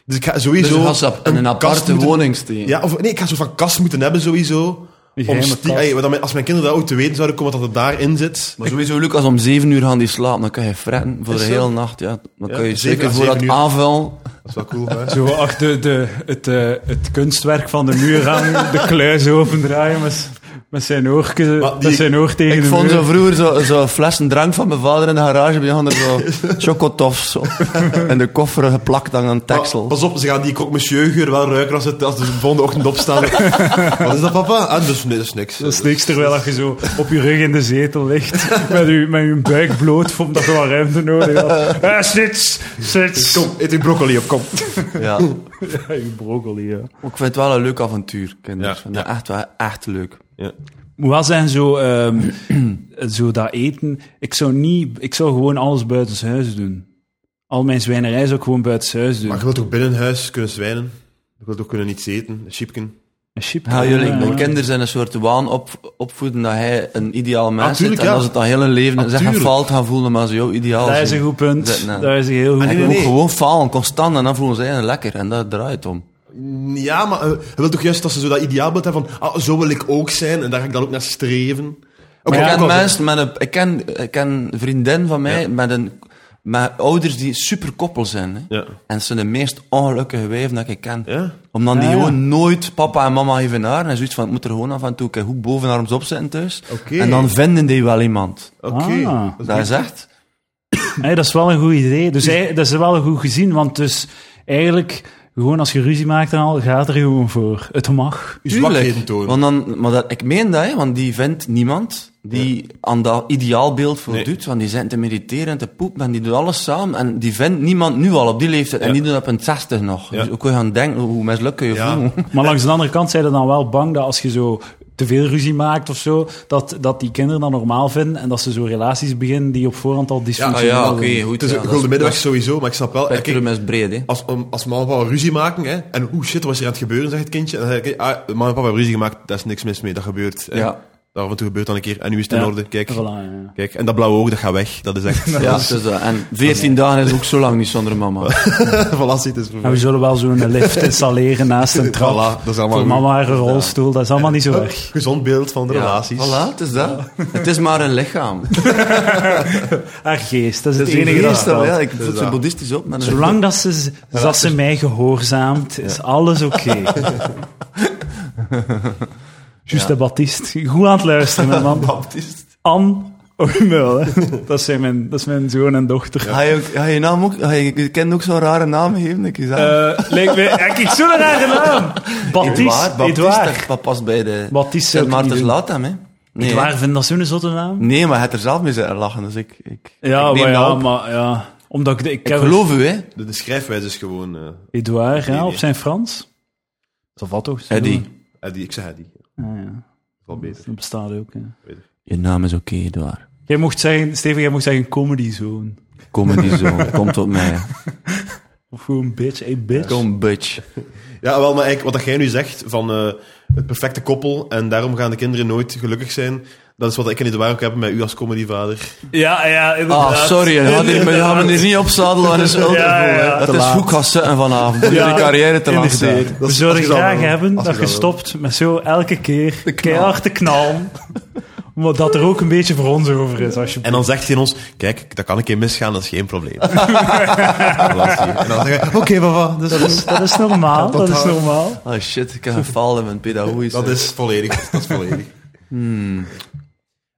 Speaker 3: Dus ik ga sowieso...
Speaker 1: Dus je was op in een
Speaker 3: kast
Speaker 1: aparte
Speaker 3: moeten-
Speaker 1: woning steken.
Speaker 3: Ja, of nee, ik ga zo van kast moeten hebben sowieso.
Speaker 2: Die
Speaker 3: Om
Speaker 2: geheime
Speaker 3: stie-
Speaker 2: kast.
Speaker 3: ey, want dat mijn- als mijn kinderen dat ook te weten zouden komen, dat het daarin zit.
Speaker 1: Maar sowieso, Lucas, om zeven uur gaan die slapen. Dan kan je fretten voor
Speaker 3: Is
Speaker 1: de
Speaker 3: zo?
Speaker 1: hele nacht. Ja. Dan
Speaker 3: Ja,
Speaker 1: kan je
Speaker 3: zeven
Speaker 1: zeker
Speaker 3: à
Speaker 1: voor dat
Speaker 3: zeven uur.
Speaker 1: aanval.
Speaker 3: Dat is wel cool, hè?
Speaker 2: Zo achter de, het, eh, het kunstwerk van de muur hangen, de kluis opendraaien met, met zijn oor,
Speaker 3: Maar die-
Speaker 2: met zijn oor tegen
Speaker 1: Ik
Speaker 2: de
Speaker 1: vond
Speaker 2: muur.
Speaker 1: zo vroeger zo'n zo flessen drank van mijn vader in de garage. Bij er zo chocotofs zo. in de koffer geplakt aan een
Speaker 3: Maar
Speaker 1: teksel.
Speaker 3: Pas op, ze gaan die croque monsieur geur wel ruiken als, het, als ze de volgende ochtend *laughs* opstaan. Wat is dat, papa? Ah, dus, nee, dat is niks.
Speaker 2: Dat is niks, terwijl dat je zo op je rug in de zetel ligt, met je, met je buik bloot, omdat je wat ruimte nodig had. Eh, snits, snits.
Speaker 3: Kom, eet die broccoli op, kom.
Speaker 1: Ja.
Speaker 2: Ja, je broccoli, ja.
Speaker 1: Maar Ik vind het wel een leuk avontuur, kinderen.
Speaker 3: Ja,
Speaker 1: Ik vind dat echt, wel echt leuk.
Speaker 2: Moet wel zijn, zo, ehm, *clears throat* zo dat eten. Ik zou, niet, ik zou gewoon alles buiten huis doen. Al mijn zwijnerij zou ik gewoon buiten huis doen.
Speaker 3: Maar je wilt toch binnen huis kunnen zwijnen? Je wilt ook kunnen iets eten, een chipken.
Speaker 2: Een chip.
Speaker 1: Ja, jullie,
Speaker 2: Ja.
Speaker 1: mijn kinderen zijn een soort waan op, opvoeden dat hij een ideaal mens is.
Speaker 3: tuurlijk,
Speaker 1: En
Speaker 3: ja.
Speaker 1: als het dan hele leven zeg,
Speaker 3: tuurlijk.
Speaker 1: faalt gaan voelen, maar ze jouw ideaal
Speaker 2: Dat is
Speaker 1: zien.
Speaker 2: een goed punt.
Speaker 1: Dat-
Speaker 3: nou.
Speaker 1: nee.
Speaker 2: Dat is een heel goed
Speaker 1: En
Speaker 2: punt.
Speaker 1: je
Speaker 3: nee,
Speaker 1: moet
Speaker 3: nee.
Speaker 1: gewoon falen, constant, en dan voelen ze je lekker. En dat draait het om.
Speaker 3: Ja, maar eh, je wilt toch juist dat ze zo dat ideaalbeeld hebben van ah, zo wil ik ook zijn en daar ga ik dan ook naar streven. Ook
Speaker 1: ik,
Speaker 3: ook
Speaker 1: ken
Speaker 3: al-
Speaker 1: mensen met een, ik, ken, ik ken een vriendin van mij met, een, met ouders die super koppel zijn. Hè.
Speaker 3: Ja.
Speaker 1: En ze zijn de meest ongelukkige wijven dat ik ken.
Speaker 3: Ja?
Speaker 1: Omdat die
Speaker 2: Ah, ja.
Speaker 1: gewoon nooit papa en mama even naar. En zoiets van, het moet er gewoon af en toe een keer goed boven arms op zitten thuis.
Speaker 3: Oké.
Speaker 1: En dan vinden die wel iemand.
Speaker 3: Oké.
Speaker 2: Ah.
Speaker 1: Dat is echt...
Speaker 2: Hey, dat is wel een goed idee. Dus hey, dat is wel een goed gezien, want dus eigenlijk, gewoon als je ruzie maakt en al, gaat er gewoon voor. Het mag.
Speaker 3: Je zwakheden tonen.
Speaker 1: Want dan, maar dat, ik meen dat, hè, want die vindt niemand die aan dat ideaalbeeld voldoet. Want die zijn te mediteren en te poepen en die doen alles samen. En die vindt niemand nu al op die leeftijd. En
Speaker 3: Ja.
Speaker 1: die doen dat op een 60 nog.
Speaker 3: Ja.
Speaker 1: Dus hoe kun je gaan denken, hoe mislukt kun je
Speaker 3: Ja.
Speaker 1: voelen?
Speaker 2: Maar langs de andere kant zijn ze dan wel bang dat als je zo te veel ruzie maakt of zo, dat, dat die kinderen dat normaal vinden en dat ze zo relaties beginnen die op voorhand al
Speaker 1: Ah
Speaker 2: dysfunctioneel
Speaker 1: *laughs* ja, oké,
Speaker 2: zijn.
Speaker 1: goed.
Speaker 3: Het is
Speaker 1: ja,
Speaker 3: een
Speaker 1: dat
Speaker 3: gulden middenweg
Speaker 1: dat
Speaker 3: sowieso, maar ik snap wel... kijk,
Speaker 1: Spectrum is breed, hè.
Speaker 3: als, om- als mama en papa ruzie maken, hè, en oeh shit, wat is er aan het gebeuren, zegt het kindje. En dan zeg ik, ah, mama en papa hebben ruzie gemaakt, daar is niks mis mee, dat gebeurt. hè.
Speaker 1: Ja.
Speaker 3: Daar af en toe gebeurt dan een keer, en nu is het in
Speaker 2: Ja.
Speaker 3: orde, kijk.
Speaker 2: Voilà, ja.
Speaker 3: Kijk, en dat blauwe oog, dat gaat weg. Dat is
Speaker 2: *laughs*
Speaker 3: echt...
Speaker 1: Ja, Dus het is dat. En 14 dagen is ook zo lang niet zonder mama.
Speaker 3: *laughs* voilà, ziet het is
Speaker 2: En we
Speaker 3: voorbij.
Speaker 2: zullen wel zo'n
Speaker 3: *laughs*
Speaker 2: lift installeren naast een trap.
Speaker 3: Voilà, dat is allemaal
Speaker 2: voor
Speaker 3: goed.
Speaker 2: mama haar rolstoel, dat is allemaal niet zo
Speaker 3: *laughs*
Speaker 2: erg.
Speaker 3: Gezond beeld van de relaties.
Speaker 1: Voilà, het is dat. Het is maar een lichaam.
Speaker 2: Haar geest, dat is het
Speaker 3: Dat is
Speaker 2: enige dat
Speaker 3: een
Speaker 1: Hier
Speaker 3: geest,
Speaker 1: staan,
Speaker 2: telt.
Speaker 1: ja, ik
Speaker 3: Dus
Speaker 1: voed ze
Speaker 3: dat.
Speaker 1: boeddhistisch op. Met een... *laughs*
Speaker 2: Zolang dat ze, dat ze mij gehoorzaamt, is
Speaker 1: *laughs*
Speaker 2: alles oké. Juste Baptiste, goed aan het luisteren,
Speaker 1: *laughs*
Speaker 2: hè, man.
Speaker 3: Baptist.
Speaker 2: Anne Oemel, hè. dat, zijn mijn, dat is mijn zoon en dochter.
Speaker 1: Ga je, ook- ga je naam ook... Ga je, je kent ook zo'n rare naam geven, ik zeg.
Speaker 2: Eh, lijkt me, ja, kijk, zo'n rare naam. Baptiste,
Speaker 1: Edouard, Baptiste,
Speaker 2: Edouard.
Speaker 1: dat- dat past bij de...
Speaker 2: Baptiste zou
Speaker 1: Sint
Speaker 2: ik niet
Speaker 1: Maartens
Speaker 2: doen.
Speaker 1: Latam, hè. Nee,
Speaker 2: Edouard vindt dat zo'n zotte naam?
Speaker 1: hè. nee, maar hij had er zelf mee zitten lachen, dus ik... ik
Speaker 2: Ja,
Speaker 1: ik neem
Speaker 2: maar
Speaker 1: dat
Speaker 2: ja,
Speaker 1: op.
Speaker 2: maar ja. Omdat ik, de- ik,
Speaker 1: Ik
Speaker 2: heb
Speaker 1: geloof u, hè.
Speaker 3: De, de schrijfwijze is gewoon... eh
Speaker 2: Edouard,
Speaker 3: Nee,
Speaker 2: ja,
Speaker 3: nee.
Speaker 2: op zijn Frans. Dat valt toch? zo?
Speaker 1: Eddie.
Speaker 3: Eddie, ik zeg Eddie.
Speaker 2: Ah, ja.
Speaker 3: Wel beter.
Speaker 2: Dat bestaat ook, ja.
Speaker 1: Je naam is oké, Edouard.
Speaker 2: Jij mocht zeggen, Steven, jij mocht zeggen comedy zone.
Speaker 1: Comedy *laughs* Zone, kom tot mij.
Speaker 2: Of gewoon bitch, hey bitch.
Speaker 1: Kom, bitch.
Speaker 3: Ja, wel, maar eigenlijk wat dat jij nu zegt van eh, het perfecte koppel en daarom gaan de kinderen nooit gelukkig zijn, dat is wat ik en Edouard ook hebben met u als comedyvader.
Speaker 2: Ja, ja,
Speaker 1: Ah,
Speaker 2: inderdaad.
Speaker 1: sorry, je gaat hier- je gaat me hier niet opzadelen aan een schuld ervoor.
Speaker 2: Ja, ja,
Speaker 1: hè.
Speaker 2: te
Speaker 1: Dat is
Speaker 2: laat.
Speaker 1: goed gaan zitten vanavond, om
Speaker 2: Ja,
Speaker 1: jullie carrière te lang
Speaker 2: inderdaad.
Speaker 1: staan.
Speaker 3: Dat
Speaker 2: We
Speaker 3: is-
Speaker 2: zouden
Speaker 3: als je dat
Speaker 2: graag
Speaker 3: wil.
Speaker 2: hebben
Speaker 3: Als
Speaker 2: dat
Speaker 3: je
Speaker 2: je
Speaker 3: dat wil.
Speaker 2: stopt met zo elke keer keihard te
Speaker 1: *laughs*
Speaker 2: knallen. Maar dat er ook een beetje voor ons over is, alsjeblieft.
Speaker 3: En dan zegt hij ons, kijk, dat kan een keer misgaan, dat is geen
Speaker 2: *laughs*
Speaker 3: probleem. Voilà, zie je. en dan zeggen we, oké papa, dat is,
Speaker 2: Dat is normaal, dat is
Speaker 3: houdt-
Speaker 2: normaal.
Speaker 1: Ah shit, ik heb gefaald in mijn pedagogisch.
Speaker 3: dat is volledig. Dat is volledig.
Speaker 2: Hmm.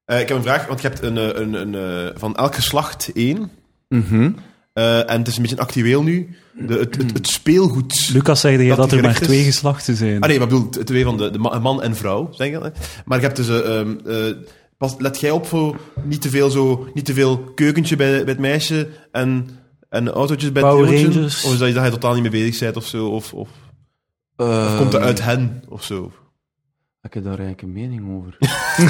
Speaker 3: Eh, ik heb een vraag, want je hebt een, eh, een, een, eh, van elk geslacht één.
Speaker 1: Mhm.
Speaker 3: Eh, en het is een beetje actueel nu. De, het, het, het speelgoed.
Speaker 2: Lucas zei dat,
Speaker 3: Dat
Speaker 2: dat
Speaker 3: die
Speaker 2: er maar
Speaker 3: gericht is?
Speaker 2: twee geslachten zijn.
Speaker 3: Ah nee, maar ik bedoel, t- twee van de, de ma- man en vrouw, zeg ik dat. hè. Maar je hebt dus... eh, ehm, eh, pas, let jij op voor niet te veel, zo, niet te veel keukentje bij, bij het meisje en, en autootjes bij
Speaker 2: Power
Speaker 3: het jongetje?
Speaker 2: Rangers.
Speaker 3: Of is dat je daar totaal niet mee bezig bent of zo? Of, of
Speaker 1: Eh,
Speaker 3: komt dat uit hen of zo?
Speaker 1: Ik heb daar eigenlijk een mening over.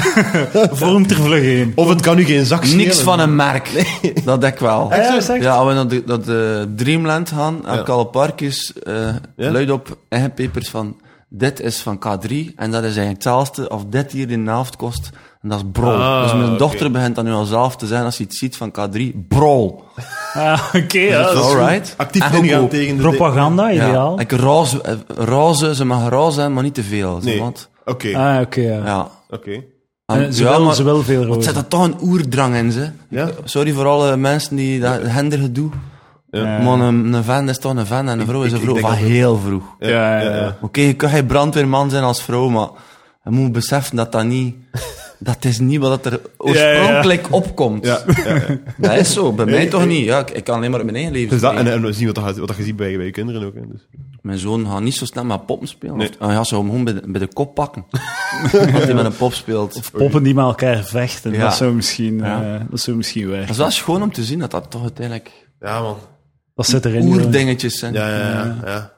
Speaker 2: *laughs* Vormt er vlug in.
Speaker 3: Of het kan nu geen zak schelen.
Speaker 1: Niks van een merk. Dat denk ik wel.
Speaker 2: Ah, ja, dat is echt-
Speaker 1: Ja, als we naar de, naar de Dreamland gaan, aan
Speaker 3: Ja.
Speaker 1: Kalle Parkjes, eh
Speaker 3: Ja.
Speaker 1: luid op eigen papers van dit is van K3 en dat is eigenlijk hetzelfde of dit hier in de helft kost. En dat is brol.
Speaker 3: Ah,
Speaker 1: dus mijn
Speaker 3: oké.
Speaker 1: dochter begint dan nu al zelf te zijn als ze iets ziet van K3. Brol.
Speaker 2: Ah, Oké, ja, dat is
Speaker 3: goed.
Speaker 1: Alright.
Speaker 3: Actief
Speaker 1: En
Speaker 3: ingaan
Speaker 1: goedkoop.
Speaker 3: tegen de...
Speaker 2: propaganda, ideaal.
Speaker 1: Ja, ik roze, eh, roze, ze mag roze zijn, maar niet te veel. zo,
Speaker 3: Nee, oké.
Speaker 1: want-
Speaker 2: Ah, oké, ja.
Speaker 1: ja.
Speaker 3: Oké.
Speaker 2: En
Speaker 1: En-
Speaker 2: Eh, ze,
Speaker 1: ja,
Speaker 2: wil,
Speaker 1: maar-
Speaker 2: ze wil veel
Speaker 1: Wat
Speaker 2: rozen.
Speaker 1: zit er toch een oerdrang in, ze?
Speaker 3: Ja?
Speaker 1: Sorry voor alle mensen die dat hender gedoe.
Speaker 2: Ja.
Speaker 1: Maar een, een vent is toch een vent en een vrouw is
Speaker 3: ik-
Speaker 1: een
Speaker 3: ik
Speaker 1: vrouw
Speaker 3: denk
Speaker 1: van
Speaker 3: dat-
Speaker 1: heel vroeg.
Speaker 3: Ja,
Speaker 2: Ja, ja, ja.
Speaker 1: Oké, je kan geen brandweerman zijn als vrouw, maar je moet beseffen dat dat niet... Dat is niet wat
Speaker 3: *laughs*
Speaker 1: er oorspronkelijk opkomt.
Speaker 3: Ja, ja, ja.
Speaker 1: *laughs* Dat is zo, bij mij toch niet. Ja, ik, ik kan alleen maar op mijn eigen leven
Speaker 3: Dus dat, en,
Speaker 1: spelen.
Speaker 3: en we zien wat, dat, gaat- wat dat je ziet bij, bij je kinderen ook. Hè. Dus.
Speaker 1: Mijn zoon gaat niet zo snel met poppen spelen.
Speaker 3: Nee.
Speaker 1: Of- Hij gaat ze gewoon bij de, bij de kop
Speaker 3: *laughs*
Speaker 1: pakken. Als hij met een pop speelt.
Speaker 2: Poppen die met elkaar vechten,
Speaker 1: Ja.
Speaker 2: dat, zou misschien,
Speaker 1: Ja.
Speaker 2: eh, dat zou misschien
Speaker 1: Dat
Speaker 2: werken.
Speaker 1: is wel schoon om te zien dat dat toch uiteindelijk
Speaker 3: Ja, man.
Speaker 2: Dat zit erin. jongen.
Speaker 1: oerdingetjes zijn.
Speaker 3: Ja, ja, ja. ja.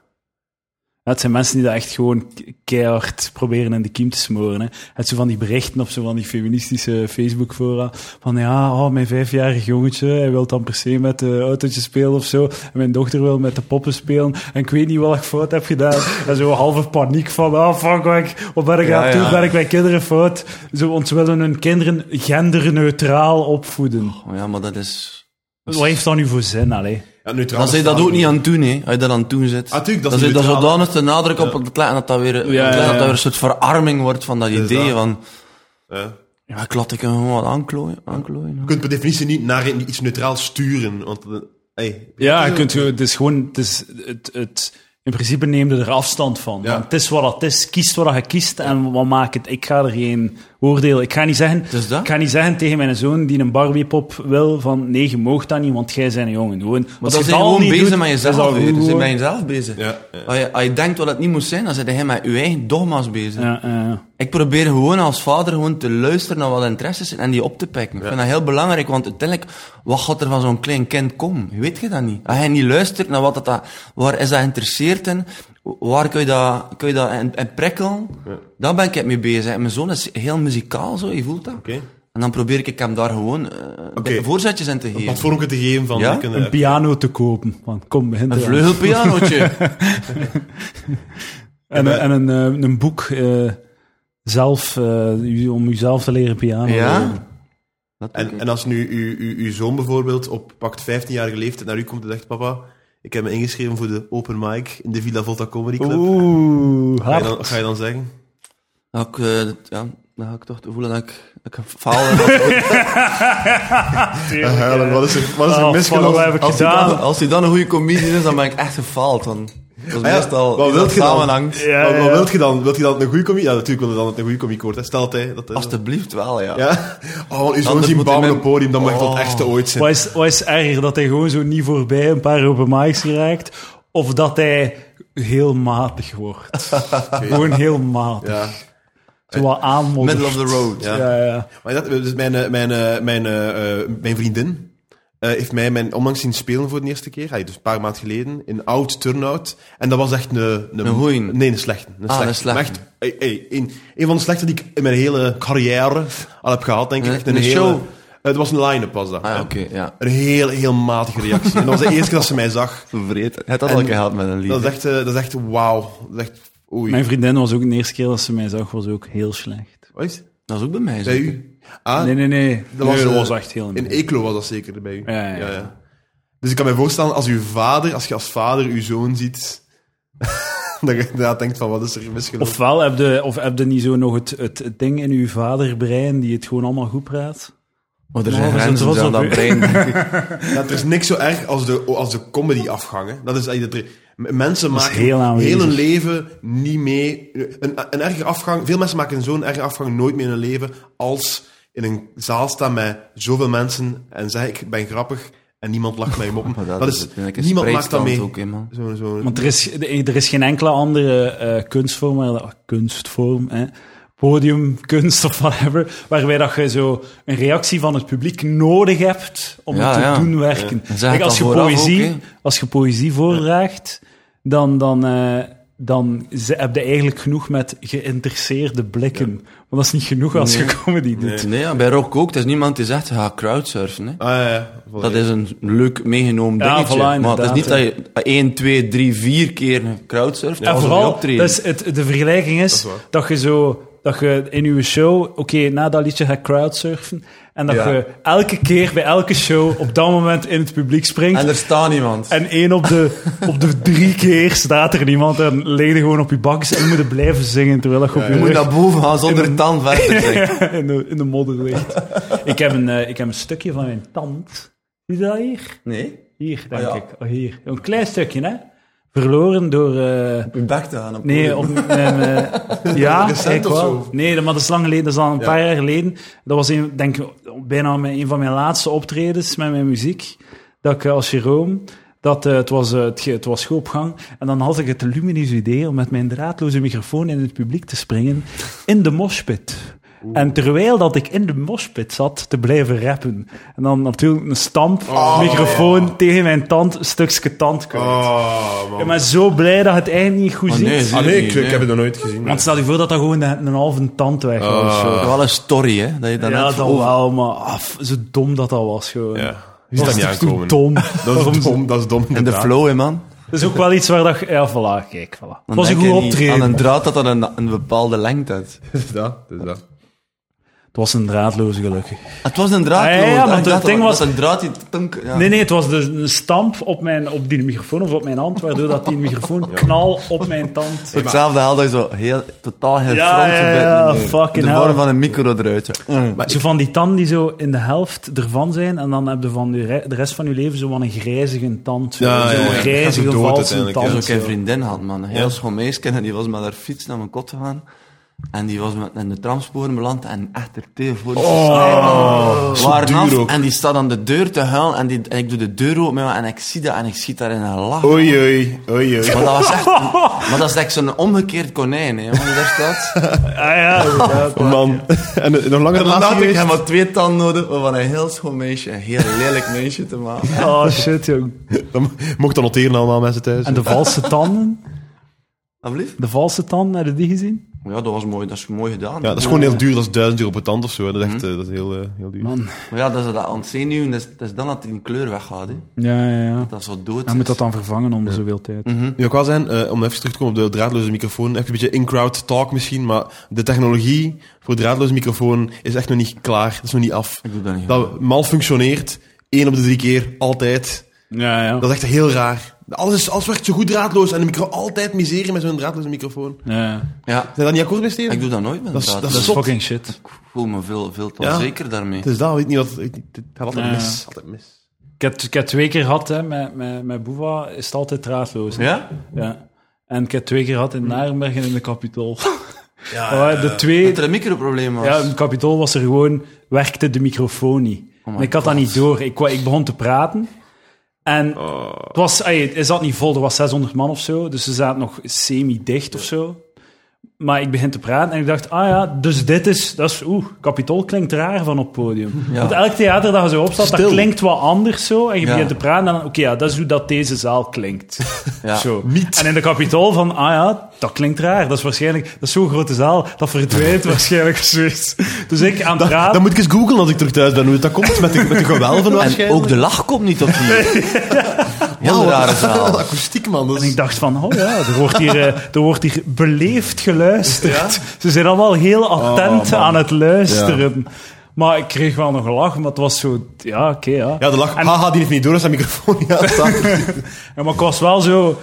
Speaker 2: Ja, het zijn mensen die dat echt gewoon ke- keihard proberen in de kiem te smoren. Hè. Het zo van die berichten op zo van die feministische Facebook-fora. Van ja, oh, mijn vijfjarig jongetje, hij wil dan per se met de autootje spelen of zo. En mijn dochter wil met de poppen spelen. En ik weet niet wat ik fout heb gedaan. En zo halve paniek van, ah, fuck, wat ik- wat ben ik
Speaker 1: Ja,
Speaker 2: aan het doen?
Speaker 1: ja.
Speaker 2: Ben ik mijn kinderen fout? Zo, ons willen hun kinderen genderneutraal opvoeden.
Speaker 1: Oh dus- ja, maar dat is...
Speaker 2: Wat heeft dat nu voor zin, allee?
Speaker 3: ja neutraal
Speaker 1: Dan zit je dat
Speaker 3: bestaan.
Speaker 1: ook niet aan het doen, hè. Als je dat aan het doen zit.
Speaker 3: Ah, tuurlijk, dat is
Speaker 1: dan zit dat
Speaker 3: neutraal.
Speaker 1: zodanig de nadruk op het klein dat dat weer, het
Speaker 2: ja,
Speaker 1: klein dat
Speaker 2: ja.
Speaker 1: dat weer een soort verarming wordt van dat
Speaker 3: is
Speaker 1: idee
Speaker 3: dat.
Speaker 1: van...
Speaker 3: Ja.
Speaker 1: Ja, klot ik hem gewoon wat aanklooien. aanklooien hoor.
Speaker 3: Je kunt per definitie niet naar iets neutraal sturen. Want, eh, hey,
Speaker 2: Ja, je kunt, gewoon- het is gewoon, het is, het, het, in principe neem je er afstand van.
Speaker 3: Ja.
Speaker 2: Want het is wat het is, kies wat je kiest en wat maakt het. Ik ga er geen oordeel. Ik ga niet zeggen,
Speaker 1: Dus dat?
Speaker 2: ik ga niet zeggen tegen mijn zoon die een Barbiepop wil van nee, je mag dat niet, want jij bent een jongen. Gewoon,
Speaker 1: Maar
Speaker 2: als
Speaker 1: dan zijn
Speaker 2: je het al
Speaker 1: gewoon
Speaker 2: niet
Speaker 1: bezig
Speaker 2: doet,
Speaker 1: met
Speaker 2: is dat
Speaker 1: jezelf dus weer.
Speaker 2: goed,
Speaker 1: Dan zijn
Speaker 2: gewoon.
Speaker 1: met jezelf bezig.
Speaker 3: Ja, ja.
Speaker 1: Als, je, als je denkt wat het niet moet zijn, dan zit je met je eigen dogma's bezig.
Speaker 2: Ja, ja, ja.
Speaker 1: Ik probeer gewoon als vader gewoon te luisteren naar wat interesses zijn en die op te pikken. Ik vind dat heel belangrijk, want uiteindelijk, wat gaat er van zo'n klein kind komen? Weet je dat niet? Als hij niet luistert naar wat dat, waar is dat geïnteresseerd in? Waar kun je dat, kun je dat in, in prikkelen? Daar ben ik mee bezig. En mijn zoon is heel muzikaal, zo, je voelt dat.
Speaker 3: Oké.
Speaker 1: En dan probeer ik hem daar gewoon eh,
Speaker 3: Oké.
Speaker 1: voorzetjes in te geven.
Speaker 3: Platform te geven van...
Speaker 1: Ja?
Speaker 3: je kunt, eh,
Speaker 2: Een piano te kopen. Van, kom, begin
Speaker 1: Een
Speaker 2: eraan.
Speaker 1: vleugelpianootje.
Speaker 2: En, een- en een, eh, een boek eh, zelf, eh, om jezelf te leren piano.
Speaker 1: *laughs* ja? Dat doe ik.
Speaker 3: En, en als nu uw, uw, uw zoon bijvoorbeeld op pakt 15-jarige leeftijd naar u komt en zegt: Papa, ik heb me ingeschreven voor de open mic in de Villa Volta Comedy Club.
Speaker 2: Oeh,
Speaker 3: Ga je,
Speaker 2: hard.
Speaker 3: dan, ga je dan zeggen?
Speaker 1: Nou, ik, eh, dat- ja, dan ga ik toch voelen dat ik, dat ik faal. en dat-
Speaker 2: Tuurlijk, eh.
Speaker 3: wat is er, wat
Speaker 2: is er Oh, misgelopen? fuck, wat heb ik
Speaker 1: als, die
Speaker 2: gedaan?
Speaker 1: dan, als die dan een goede comedian is, dan ben ik echt gefaald. Dan, dat is
Speaker 3: ja,
Speaker 1: meestal
Speaker 3: wat
Speaker 1: is
Speaker 3: wilt
Speaker 1: dat
Speaker 3: je dan?
Speaker 1: samenhangt.
Speaker 2: Ja,
Speaker 3: wat, wat
Speaker 2: ja.
Speaker 3: wilt je dan? Wilt je dan een goede comedy? Ja, natuurlijk wil je dan dat het een goede comedy wordt. hè. Stel dat hij... Dat hij
Speaker 1: Alsjeblieft wel, ja.
Speaker 3: ja? *laughs* Oh, want uw zoon
Speaker 1: Anders
Speaker 3: zien
Speaker 1: moet
Speaker 3: bouwen
Speaker 1: hij
Speaker 3: op het podium, dan mag dat
Speaker 1: Oh.
Speaker 3: echte ooit zijn.
Speaker 2: Wat is, wat is erger, dat hij gewoon zo niet voorbij een paar open mics geraakt, of dat hij heel matig
Speaker 3: *laughs*
Speaker 2: wordt? gewoon heel matig.
Speaker 3: Ja.
Speaker 2: Zo wat aanmoedigd.
Speaker 1: Middle of the road.
Speaker 3: Ja.
Speaker 2: Ja, ja.
Speaker 3: Maar dat, dus mijn, eh, mijn, eh, mijn, eh, eh, mijn vriendin eh, heeft mij mijn onlangs zien spelen voor de eerste keer. Allee, dus een paar maanden geleden. In oud turnout. En dat was echt een... Een,
Speaker 1: goeie.
Speaker 3: Nee, een slechte. Een
Speaker 1: Ah,
Speaker 3: slechte.
Speaker 1: een slechte.
Speaker 3: Maar echt, ey, ey, een, een van de slechte die ik in mijn hele carrière al heb gehad, denk ik.
Speaker 1: Een-
Speaker 3: Echt een,
Speaker 1: een
Speaker 3: hele, Eh,
Speaker 1: show?
Speaker 3: Het was een line-up, was dat.
Speaker 1: Ah, ja,
Speaker 3: Ja.
Speaker 1: oké, ja.
Speaker 3: Een heel, heel matige reactie. en dat was de eerste keer dat ze mij zag.
Speaker 1: Vervreten. Het had al
Speaker 3: En-
Speaker 1: een keer gehad met een lied.
Speaker 3: Dat is echt, eh, dat is echt wauw. Dat is echt... Oei.
Speaker 2: Mijn vriendin was ook de eerste keer dat ze mij zag, was ook heel slecht.
Speaker 3: Wat?
Speaker 1: Dat is ook bij mij zo.
Speaker 3: Bij u? Ah,
Speaker 2: Nee, nee, nee.
Speaker 3: Dat
Speaker 2: Dat
Speaker 3: was,
Speaker 2: was,
Speaker 3: eh,
Speaker 2: echt heel
Speaker 3: In Eeklo was dat zeker bij u.
Speaker 2: Ja, ja, ja.
Speaker 3: Dus ik kan me voorstellen, als uw vader, als je als vader uw zoon ziet, *laughs* dat je inderdaad denkt van, wat is er misgelopen?
Speaker 2: Ofwel heb je, of heb je niet zo nog het, het, het ding in uw vaderbrein die het gewoon allemaal goed praat?
Speaker 1: Oh, er
Speaker 2: Maar
Speaker 1: zijn
Speaker 2: we zijn
Speaker 1: grenzen
Speaker 2: trots
Speaker 1: aan
Speaker 2: op
Speaker 1: dat
Speaker 2: u. *laughs*
Speaker 1: brein.
Speaker 3: Ja, er is niks zo erg als de, als de comedy afgangen. Dat is, dat je- m- mensen
Speaker 2: is
Speaker 3: maken
Speaker 2: heel
Speaker 3: heel,
Speaker 2: aanwezig.
Speaker 3: hun leven niet mee. Een, een erge afgang, veel mensen maken zo'n erge afgang nooit meer in hun leven als in een zaal staan met zoveel mensen en zeggen, ik ben grappig en niemand lacht mij
Speaker 1: *laughs*
Speaker 3: op.
Speaker 1: Maar
Speaker 3: Dat is,
Speaker 1: het. Ik denk een
Speaker 3: niemand maakt dat
Speaker 1: spreidstand
Speaker 3: mee.
Speaker 1: Ook, hè, man.
Speaker 3: Zo, zo.
Speaker 2: Want er is, er is geen enkele andere eh, kunstvorm, waar dat- kunstvorm, hè? podium, kunst of whatever, waarbij dat je zo een reactie van het publiek nodig hebt om
Speaker 1: Ja,
Speaker 2: het te
Speaker 1: ja.
Speaker 2: doen werken.
Speaker 1: Dan zeg
Speaker 2: Kijk,
Speaker 1: het
Speaker 2: als,
Speaker 1: al
Speaker 2: je
Speaker 1: vooraf
Speaker 2: poëzie,
Speaker 1: ook, hè.
Speaker 2: als je poëzie voordraagt, dan, dan, eh, dan ze- heb je eigenlijk genoeg met geïnteresseerde blikken. Want dat is niet genoeg als je comedy doet.
Speaker 1: Nee, ja, bij rock ook. Er is niemand die zegt, ga crowdsurfen. Hè.
Speaker 3: Ah, ja, ja. Voilà.
Speaker 1: Dat is een leuk meegenomen
Speaker 2: Ja,
Speaker 1: dingetje.
Speaker 2: voilà,
Speaker 1: maar het is
Speaker 2: inderdaad,
Speaker 1: niet
Speaker 2: hè.
Speaker 1: dat je 1, 2, 3, 4 keer crowdsurft.
Speaker 2: en
Speaker 1: als er
Speaker 2: vooral,
Speaker 1: een optreden.
Speaker 2: dat is het, de vergelijking is
Speaker 3: Dat
Speaker 2: dat,
Speaker 3: is waar.
Speaker 2: je zo, dat je in je show, oké, na dat liedje gaat crowdsurfen. En dat
Speaker 1: Ja.
Speaker 2: je elke keer bij elke show op dat moment in het publiek springt.
Speaker 1: En
Speaker 2: En,
Speaker 1: er staat niemand.
Speaker 2: één op de, op de drie keer staat er niemand en leg je gewoon op je bakjes en moet je blijven zingen terwijl dat je op je
Speaker 1: Je moet
Speaker 2: rug
Speaker 1: naar boven gaan zonder tand
Speaker 2: *laughs*
Speaker 1: verder. zeg.
Speaker 2: in, de, in de modder ligt. ik, heb een, eh, ik heb een stukje van mijn tand. Zie je dat hier?
Speaker 1: Nee?
Speaker 2: Hier, denk
Speaker 1: Ah, ja.
Speaker 2: ik. Oh, hier. Een klein stukje, hè? Verloren door... eh,
Speaker 1: Op je bek te gaan. op-
Speaker 2: Nee, op, eh,
Speaker 3: *laughs*
Speaker 2: eh, ja,
Speaker 3: Recent
Speaker 2: ik
Speaker 3: of
Speaker 2: wel.
Speaker 3: zo?
Speaker 2: Nee, dat- maar dat is lang geleden. Dat is al een
Speaker 3: Ja.
Speaker 2: paar jaar geleden. Dat was een, denk ik, bijna mijn, een van mijn laatste optredens met mijn muziek. Dat ik eh, als Jeroen... Dat, eh, het, was, eh, het, ge- het was schoopgang. En dan had ik het lumineuze idee om met mijn draadloze microfoon in het publiek te springen. In de moshpit. En terwijl dat ik in de moshpit zat, te blijven rappen. En dan natuurlijk een stamp, microfoon tegen mijn tand, stukje tand kwijt.
Speaker 3: Oh, man.
Speaker 2: Ik ben zo blij dat je het eigenlijk niet goed
Speaker 1: Maar
Speaker 2: ziet.
Speaker 1: nee, zie
Speaker 3: Ah,
Speaker 1: je
Speaker 3: nee, ik,
Speaker 1: niet,
Speaker 3: ik heb het nog nooit gezien.
Speaker 2: Want stel je voor dat dat gewoon een, een halve tand weg
Speaker 3: Oh.
Speaker 2: was. of zo.
Speaker 1: Dat is wel een story, hè? Dat je dan
Speaker 2: ja,
Speaker 1: net
Speaker 2: dat
Speaker 1: over-
Speaker 2: wel, maar af, zo dom dat dat was gewoon.
Speaker 3: Ja. Je
Speaker 2: Dat
Speaker 3: ziet dat
Speaker 2: is
Speaker 3: niet
Speaker 2: toch zo
Speaker 3: aankomen.
Speaker 2: dom.
Speaker 3: Dat
Speaker 2: Waarom
Speaker 3: is
Speaker 2: zo-
Speaker 3: dom, dat is dom.
Speaker 1: In de
Speaker 3: *laughs* inderdaad.
Speaker 1: flow, hè, man.
Speaker 2: Dat is ook wel iets waar dat... je- Ja, voilà, kijk, voilà. Het
Speaker 1: Dan
Speaker 2: was
Speaker 1: denk
Speaker 2: een goed
Speaker 1: je niet Aan
Speaker 2: optreden.
Speaker 1: een draad dat dat een, een bepaalde lengte had.
Speaker 3: Dat is dat, dat is dat.
Speaker 2: Het was een draadloze, gelukkig.
Speaker 1: Het was een draad.
Speaker 2: Ah, ja, ja,
Speaker 1: hoor.
Speaker 2: want
Speaker 1: Ik
Speaker 2: het
Speaker 1: dacht dat-
Speaker 2: ding was-
Speaker 1: dat een draad die... tunk- ja.
Speaker 2: Nee, nee, het was dus een stamp op, mijn, op die microfoon of op mijn hand, waardoor dat die
Speaker 3: *laughs*
Speaker 2: microfoon knal op mijn tand...
Speaker 1: Hetzelfde haal dat je zo heel, totaal heel
Speaker 2: Ja,
Speaker 1: front
Speaker 2: ja,
Speaker 1: gebeten
Speaker 2: ja,
Speaker 1: hebt.
Speaker 2: fucking
Speaker 1: De vorm
Speaker 2: hell.
Speaker 1: van een micro eruit. ja.
Speaker 2: zo van die tanden die zo in de helft ervan zijn, en dan heb je van de, re- de rest van je leven zo van een grijzige tand. Zo'n
Speaker 3: Ja,
Speaker 2: zo
Speaker 3: ja, ja. Gaat zo
Speaker 2: grijzige,
Speaker 3: dood
Speaker 2: valse
Speaker 3: uiteindelijk, ja.
Speaker 2: tand.
Speaker 1: Als ik een
Speaker 2: zo.
Speaker 1: vriendin had, man. Een heel
Speaker 3: Ja.
Speaker 1: schoon meisje en die was met haar fiets naar mijn kot gegaan. En die was met in de tramsporen beland en echt er tegen voor de snijden. Waren
Speaker 3: Oh, duur
Speaker 1: af,
Speaker 3: ook.
Speaker 1: en die staat aan de deur te huilen en, die, en ik doe de deur open en ik zie dat en ik schiet daar in een lach.
Speaker 3: Oei, oei, oei, oei.
Speaker 1: Maar dat was echt...
Speaker 3: *laughs*
Speaker 1: maar dat is echt zo'n omgekeerd konijn, hè. jongen, daar
Speaker 3: *laughs*
Speaker 1: staat.
Speaker 2: Ah ja, inderdaad.
Speaker 3: Oh, man. En eh, nog langer
Speaker 1: En dan
Speaker 3: laat
Speaker 1: had ik
Speaker 3: geweest?
Speaker 1: hem maar twee tanden nodig om van een heel schoon meisje, een heel lelijk meisje te maken.
Speaker 3: *laughs*
Speaker 2: Oh shit, jong.
Speaker 3: Dan mocht dat noteren allemaal mensen thuis.
Speaker 2: En de valse tanden?
Speaker 1: Alsjeblieft.
Speaker 2: De valse tanden, heb je die gezien?
Speaker 1: Ja, dat was mooi, dat is mooi gedaan.
Speaker 3: Ja, dat is gewoon heel duur. Dat is duizend euro per tand of zo. hè. Dat is echt eh, dat is heel, eh, heel duur.
Speaker 2: Man.
Speaker 1: Maar ja, dat is dat ontzenuwen, dat is, dat is dan dat die kleur weggaat, hè.
Speaker 2: Ja, ja, ja.
Speaker 1: Dat is zo dood.
Speaker 2: Hij
Speaker 1: is.
Speaker 2: moet dat dan vervangen om zoveel tijd.
Speaker 3: Nu, ik wou zeggen, eh, om even terug te komen op de draadloze microfoon, even een beetje in-crowd talk misschien, maar de technologie voor draadloze microfoon is echt nog niet klaar, dat is nog niet af.
Speaker 1: Ik doe dat niet.
Speaker 3: Dat malfunctioneert, één op de drie keer, altijd.
Speaker 2: Ja, ja.
Speaker 3: Dat is echt heel raar. Alles, is, alles werkt zo goed draadloos en de micro altijd miserie met zo'n draadloze microfoon. Zijn
Speaker 2: ja.
Speaker 1: Ja,
Speaker 3: je daar niet akkoord mee, Steven?
Speaker 1: ik doe dat nooit met
Speaker 3: Dat is-
Speaker 1: draad.
Speaker 3: dat
Speaker 2: Dat is
Speaker 3: Zot.
Speaker 2: fucking shit.
Speaker 1: Ik voel me veel, veel te
Speaker 3: Ja.
Speaker 1: zeker daarmee.
Speaker 3: Het is dat, weet niet wat... ik- Het gaat altijd
Speaker 2: Ja.
Speaker 3: mis. Altijd mis.
Speaker 2: Ik heb, ik heb twee keer gehad hè, met, met, met Boeva, is het altijd draadloos. hè.
Speaker 1: Ja?
Speaker 2: Ja. En ik heb twee keer gehad in Narenberg en in de Capitool.
Speaker 3: Ja,
Speaker 2: *laughs* Oh, de twee,
Speaker 1: Dat er een microprobleem was.
Speaker 2: ja, in de Capitool was er gewoon, werkte de microfoon niet.
Speaker 1: Oh my
Speaker 2: En ik had dat niet door. Ik, kwa- ik begon te praten. En
Speaker 1: Oh.
Speaker 2: het, was, ey, het zat niet vol, er was 600 man of zo. Dus ze zaten nog semi-dicht of zo. Maar ik begin te praten en ik dacht, ah ja, dus dit is... Dat is oeh, Capitool klinkt raar van op het podium.
Speaker 1: Ja.
Speaker 2: Want elk theater dat je zo opstaat, dat
Speaker 3: Stil.
Speaker 2: klinkt wat anders zo. En je
Speaker 1: Ja.
Speaker 2: begint te praten en dan, oké, ja, dat is hoe dat deze zaal klinkt.
Speaker 1: Ja.
Speaker 2: Zo.
Speaker 3: Niet.
Speaker 2: En in de kapitool van, ah ja, dat klinkt raar. Dat is waarschijnlijk, dat is zo'n grote zaal, dat verdwijnt waarschijnlijk of zoiets. Dus ik aan het praten.
Speaker 3: Dan moet ik eens googlen als ik terug thuis ben, hoe dat komt met de, met de gewelven
Speaker 1: En
Speaker 3: waarschijnlijk.
Speaker 1: ook de lach komt niet op
Speaker 2: *laughs*
Speaker 1: hier. Heel
Speaker 3: Ja, wat- *laughs*
Speaker 1: rare verhaal.
Speaker 3: Akoestiek, man. Dat
Speaker 2: En
Speaker 3: is...
Speaker 2: ik dacht van, oh ja, er wordt hier, eh, er wordt hier beleefd geluisterd. Ze zijn allemaal heel attent aan het luisteren. Maar ik kreeg wel nog een lach, maar het was zo, ja, oké, ja.
Speaker 3: Ja, de lach.
Speaker 2: En-
Speaker 3: Haha, die heeft niet door dat zijn microfoon ja, staat.
Speaker 1: Ah,
Speaker 2: Ja, maar ik was wel zo,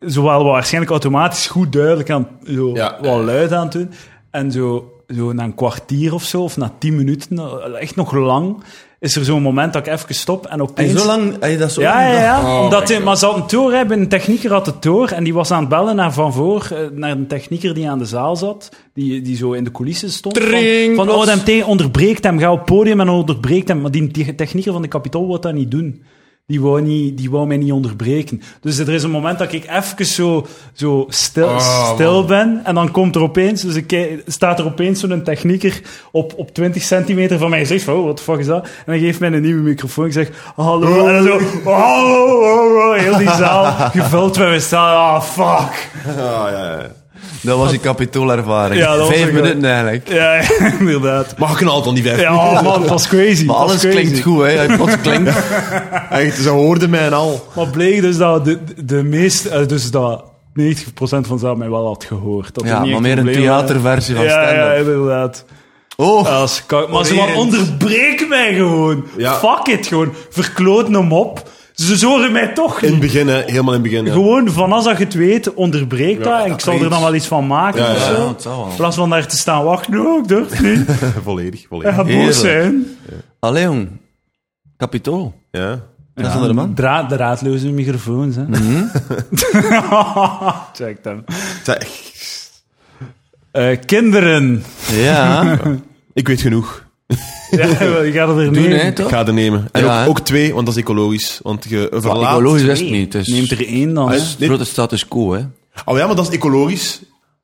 Speaker 2: zowel waarschijnlijk automatisch goed duidelijk aan, zo,
Speaker 3: Ja.
Speaker 2: wat luid aan het doen. En zo, zo na een kwartier of zo, of na tien minuten, echt nog lang, is er zo'n moment dat ik even stop en
Speaker 1: En
Speaker 2: opeens...
Speaker 1: zo lang... Heb je dat zo
Speaker 2: Ja, ja, ja.
Speaker 1: Oh
Speaker 2: Omdat
Speaker 1: my
Speaker 2: hij,
Speaker 1: God.
Speaker 2: maar ze hadden door hebben, een technieker had het door en die was aan het bellen naar van voor, eh, naar een technieker die aan de zaal zat, die, die zo in de coulissen stond. van-
Speaker 1: Tring,
Speaker 2: van,
Speaker 1: plots.
Speaker 2: OMT onderbreekt hem, ga op het podium en onderbreekt hem. Maar die te- technieker van de Capitool wil dat niet doen. Die wou, niet, die wou mij niet onderbreken. Dus er is een moment dat ik even zo, zo stil,
Speaker 1: Ah,
Speaker 3: Oh,
Speaker 2: stil ben. En dan komt er opeens, dus ik, kijk- staat er opeens zo'n technieker op, op 20 centimeter van mijn gezicht. Van, oh, wat de fuck is dat? En hij geeft mij een nieuwe microfoon. Ik zeg, hallo. En dan zo, hallo, oh, oh, heel die zaal gevuld met mijn staan. Ah, fuck.
Speaker 1: Dat was je kapitoolervaring.
Speaker 2: Ja, dat was
Speaker 1: Vijf
Speaker 2: ook wel.
Speaker 1: minuten eigenlijk.
Speaker 2: Ja, *laughs* inderdaad.
Speaker 3: Maar je knalt dan die vijf.
Speaker 2: Ja,
Speaker 1: *laughs*
Speaker 2: man, het was crazy.
Speaker 1: Maar
Speaker 2: het was
Speaker 1: alles
Speaker 2: crazy.
Speaker 1: klinkt goed, hè. Hij plots klinkt...
Speaker 3: Echt, ze hoorden mij en al.
Speaker 2: Maar bleek dus dat de, de meeste, eh, dus dat 90% van de zaal mij wel had gehoord. Dat er
Speaker 1: Ja,
Speaker 2: niet
Speaker 1: maar
Speaker 2: echt
Speaker 1: meer een
Speaker 2: probleem was.
Speaker 1: theaterversie van
Speaker 2: Ja, ja,
Speaker 1: stand-up.
Speaker 2: inderdaad.
Speaker 1: Oh,
Speaker 2: Ja, dat is kak. Maar ze van,
Speaker 1: Horrerend.
Speaker 2: onderbreek mij gewoon.
Speaker 3: Ja.
Speaker 2: Fuck it, gewoon. Verkloot hem op. Ze zoren mij toch
Speaker 3: In
Speaker 2: niet.
Speaker 3: het begin, hè. helemaal in het begin. hè.
Speaker 2: Gewoon, van als dat je het weet, onderbreek dat. En ik zal er
Speaker 1: weet.
Speaker 2: dan wel iets van maken
Speaker 3: Ja,
Speaker 2: of
Speaker 3: ja,
Speaker 1: ja,
Speaker 2: zo.
Speaker 1: dat zal wel.
Speaker 2: In plaats van daar te staan wachten, oh, ik durf het niet.
Speaker 3: *laughs*
Speaker 2: *laughs*
Speaker 3: volledig,
Speaker 2: Ik
Speaker 3: volledig.
Speaker 2: ga
Speaker 3: Ja.
Speaker 1: Heerlijk.
Speaker 2: boos zijn.
Speaker 1: Allee, jong. Kapitool. Dat is
Speaker 2: Ja,
Speaker 1: onder de man. Mhm.
Speaker 2: Draad, de raadloze microfoons, hè. *laughs* Check dan.
Speaker 3: Zeg,
Speaker 2: Eh,
Speaker 1: *laughs*
Speaker 2: kinderen.
Speaker 1: Ja,
Speaker 3: ik weet genoeg.
Speaker 2: Ja, je gaat het er
Speaker 1: doen,
Speaker 2: nemen.
Speaker 1: hè,
Speaker 3: Ik
Speaker 1: toch?
Speaker 3: ga er nemen. En
Speaker 1: Ja, hè.
Speaker 3: ook, ook twee, want dat is ecologisch. Want je verlaat...
Speaker 1: Ecologisch is het
Speaker 2: Nee,
Speaker 1: niet. Dus...
Speaker 2: Neemt er één dan. hè.
Speaker 3: is-
Speaker 1: Het grote status quo, hè.
Speaker 3: Oh ja, maar dat is ecologisch.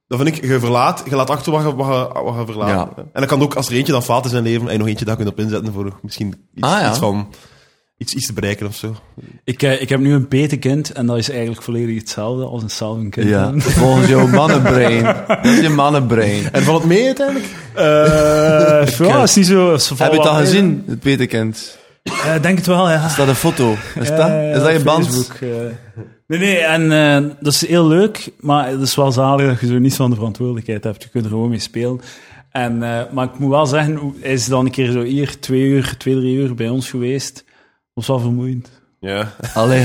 Speaker 3: Dat vind ik, je verlaat, je laat achter wat je, wat je, wat je verlaat.
Speaker 1: Ja.
Speaker 3: En dan kan het ook, als er eentje dan faalt in zijn leven, en nog eentje daar kunt op inzetten voor misschien iets,
Speaker 1: Ah, ja.
Speaker 3: iets van... Iets, iets te bereiken of zo.
Speaker 2: Ik, eh, ik heb nu een petekind en dat is eigenlijk volledig hetzelfde als een salvenkind.
Speaker 1: Ja, volgens jouw mannenbrein. Dat is je mannenbrein.
Speaker 3: En valt het mee uiteindelijk?
Speaker 1: *laughs*
Speaker 2: Eh, ja, is niet zo... ze
Speaker 1: Heb
Speaker 2: vallen
Speaker 1: je het
Speaker 2: wel
Speaker 1: al
Speaker 2: mee.
Speaker 1: gezien, het Peterkind?
Speaker 2: Eh, denk het wel, ja.
Speaker 1: Is dat een foto? Is dat,
Speaker 2: Eh,
Speaker 1: is dat je
Speaker 2: op
Speaker 1: band?
Speaker 2: Facebook, eh. Nee, nee, en eh, dat is heel leuk, maar het is wel zalig dat je zo niet van de verantwoordelijkheid hebt. Je kunt er gewoon mee spelen. En, eh, maar ik moet wel zeggen, hoe- hij is dan een keer zo hier twee uur, twee, drie uur bij ons geweest. Dat was wel vermoeiend.
Speaker 3: Ja.
Speaker 1: Allee.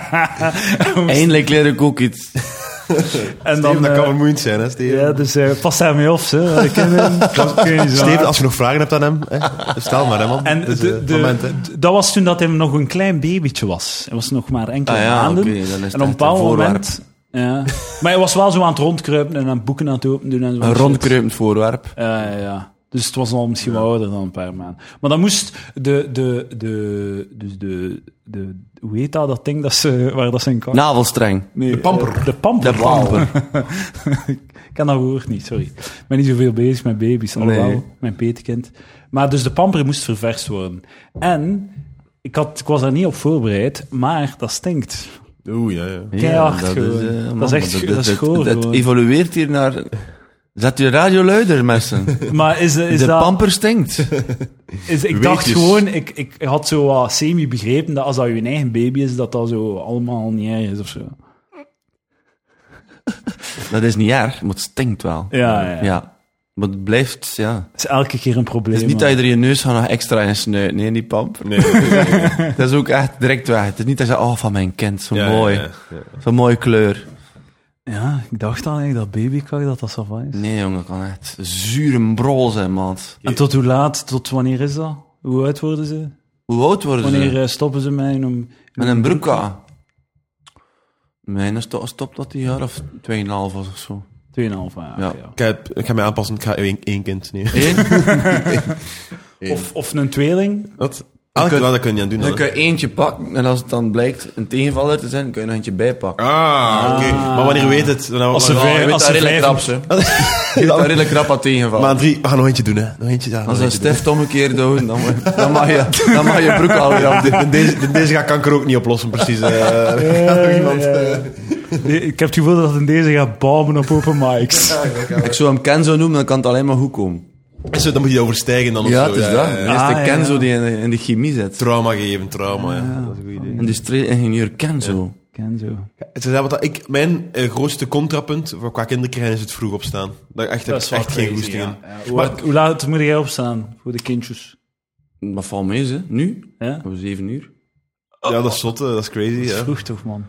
Speaker 2: *laughs*
Speaker 1: Eindelijk leer ik ook iets.
Speaker 2: En
Speaker 3: Steven, dat kan
Speaker 2: eh,
Speaker 3: vermoeiend zijn, hè, Steven?
Speaker 2: ja, dus eh pas daarmee op, ze. Ik ken
Speaker 1: *laughs*
Speaker 2: hem. Ik weet niet zo.
Speaker 3: Steven, als je nog vragen hebt aan hem, hè, stel maar, hè, man.
Speaker 2: En
Speaker 3: Het is,
Speaker 2: de-
Speaker 3: eh, het
Speaker 2: de-
Speaker 3: moment, hè.
Speaker 2: d- dat was toen dat hij nog een klein babytje was. Hij was nog maar enkele
Speaker 1: Ah ja,
Speaker 2: maanden.
Speaker 1: oké, dan is het
Speaker 2: en op een
Speaker 1: echt een
Speaker 2: bepaald
Speaker 1: voorwerp.
Speaker 2: moment... Ja. maar hij was wel zo aan het rondkruipen en aan boeken aan het opendoen. En zo
Speaker 1: Een rondkreupend voorwerp.
Speaker 2: Ja, ja, ja. Dus het was al misschien wel ouder dan een paar maanden. Maar dan moest de, de, de, dus de, de, hoe heet dat, dat ding dat ze, waar dat ze in kwam?
Speaker 1: Navelstreng.
Speaker 2: Nee,
Speaker 3: de pamper.
Speaker 2: eh, De pamper.
Speaker 1: De pamper.
Speaker 2: ik kan dat woord niet, sorry. Ik ben niet zoveel bezig met baby's, alhoewel,
Speaker 1: Nee.
Speaker 2: mijn petekind. Maar dus de pamper moest ververst worden. En ik, had, ik was daar niet op voorbereid, maar dat stinkt.
Speaker 1: *laughs*
Speaker 3: Oeh, ja, ja.
Speaker 2: Keihard
Speaker 1: dat
Speaker 2: gewoon.
Speaker 1: eh,
Speaker 2: Dat is
Speaker 1: man,
Speaker 2: echt- dat is
Speaker 1: het-
Speaker 2: goor
Speaker 1: het
Speaker 2: gewoon.
Speaker 1: evolueert hier naar... Zet je radio luider, mensen.
Speaker 2: Maar is, *laughs* is
Speaker 1: de
Speaker 2: dat...
Speaker 1: pamper stinkt.
Speaker 2: Is, ik
Speaker 3: Weetjes.
Speaker 2: dacht gewoon, ik, ik had zo wat semi-begrepen dat als dat je eigen baby is, dat dat zo allemaal niet erg is of zo.
Speaker 1: Dat is niet erg, maar het stinkt wel.
Speaker 2: Ja, ja.
Speaker 1: ja. Maar het blijft, ja.
Speaker 2: Dat is elke keer een probleem.
Speaker 1: Het is niet
Speaker 2: man.
Speaker 1: dat je er je neus gaat nog extra in snuit. Nee, die pamper.
Speaker 3: Nee, ja,
Speaker 1: Dat is ook echt direct weg. Het is niet dat je zegt, oh, van mijn kind, zo
Speaker 3: ja,
Speaker 1: mooi.
Speaker 3: ja, ja.
Speaker 1: Zo'n mooie kleur.
Speaker 2: Ja, ik dacht al eigenlijk dat babykaak dat dat zo is.
Speaker 1: Nee, jongen, kan echt zure brol zijn, man.
Speaker 2: En tot hoe laat, tot wanneer is dat? Hoe oud worden ze?
Speaker 1: Hoe oud worden
Speaker 2: Wanneer
Speaker 1: ze?
Speaker 2: eh, stoppen ze mij om...
Speaker 1: Met een broek aan. Mijn sto- stopt dat die jaar of 2,5 was of zo.
Speaker 2: Tweeënhalf jaar.
Speaker 1: Ja.
Speaker 2: oké, ja.
Speaker 3: Ik, heb- ik ga mij aanpassen, ik ga één, één kind nemen.
Speaker 1: Eén?
Speaker 2: Of, of een
Speaker 3: *laughs*
Speaker 2: tweeling.
Speaker 3: Wat? Ah,
Speaker 1: kunt-
Speaker 3: ja, dat kun je aan doen.
Speaker 1: Dan
Speaker 3: dan, hè.
Speaker 1: kun je eentje pakken en als het dan blijkt een tegenvaller te zijn, kun je er eentje bijpakken. Oh,
Speaker 3: Ah, oké. Maar wanneer weet het? Nou,
Speaker 2: Als ze
Speaker 3: maar-
Speaker 2: vijf-
Speaker 1: je weet
Speaker 2: als
Speaker 1: dat
Speaker 2: ze
Speaker 1: redelijk
Speaker 2: vijf-
Speaker 1: krap, hè. Je weet dat redelijk krap aan tegenvallen.
Speaker 3: maar drie, we gaan nog eentje doen, hè. Nog eentje, ja, nog
Speaker 1: Als een
Speaker 3: eentje doen.
Speaker 1: stift omgekeerd doen, dan, mag- dan, mag je, dan mag je broek alweer af doen.
Speaker 3: De- *laughs* Deze, de- deze gaat kanker ook niet oplossen, precies. eh. Gaat nog iemand, eh,
Speaker 2: Nee, ik heb het gevoel dat in deze gaat balmen op open mics.
Speaker 1: Ik zou hem Kenzo noemen, dan kan het alleen maar goed komen.
Speaker 3: zo, dan moet je overstijgen dan of
Speaker 1: Ja,
Speaker 3: zo,
Speaker 1: het is dat. Dan is
Speaker 2: Ah,
Speaker 1: de
Speaker 2: ja,
Speaker 1: Kenzo
Speaker 2: ja.
Speaker 1: die in de, in de chemie zit.
Speaker 3: Trauma geven, trauma, ja. Dat is een goed idee.
Speaker 1: Industrie-ingenieur Kenzo.
Speaker 2: Ken zo.
Speaker 3: Ze zei wat dat- ik, mijn eh, grootste contrapunt voor qua kinderkrijgen is het vroeg opstaan. Daar echt, heb ik
Speaker 2: wel
Speaker 3: echt geen
Speaker 2: crazy,
Speaker 3: goesting in.
Speaker 2: ja. Ja, Hoe, hoe laat moet jij opstaan voor de kindjes?
Speaker 1: Maar valt mee, hè? Nu?
Speaker 2: Ja?
Speaker 1: Om zeven uur.
Speaker 3: Ja, dat is zot, eh, dat is crazy.
Speaker 2: Dat is
Speaker 3: Ja.
Speaker 2: vroeg toch, man?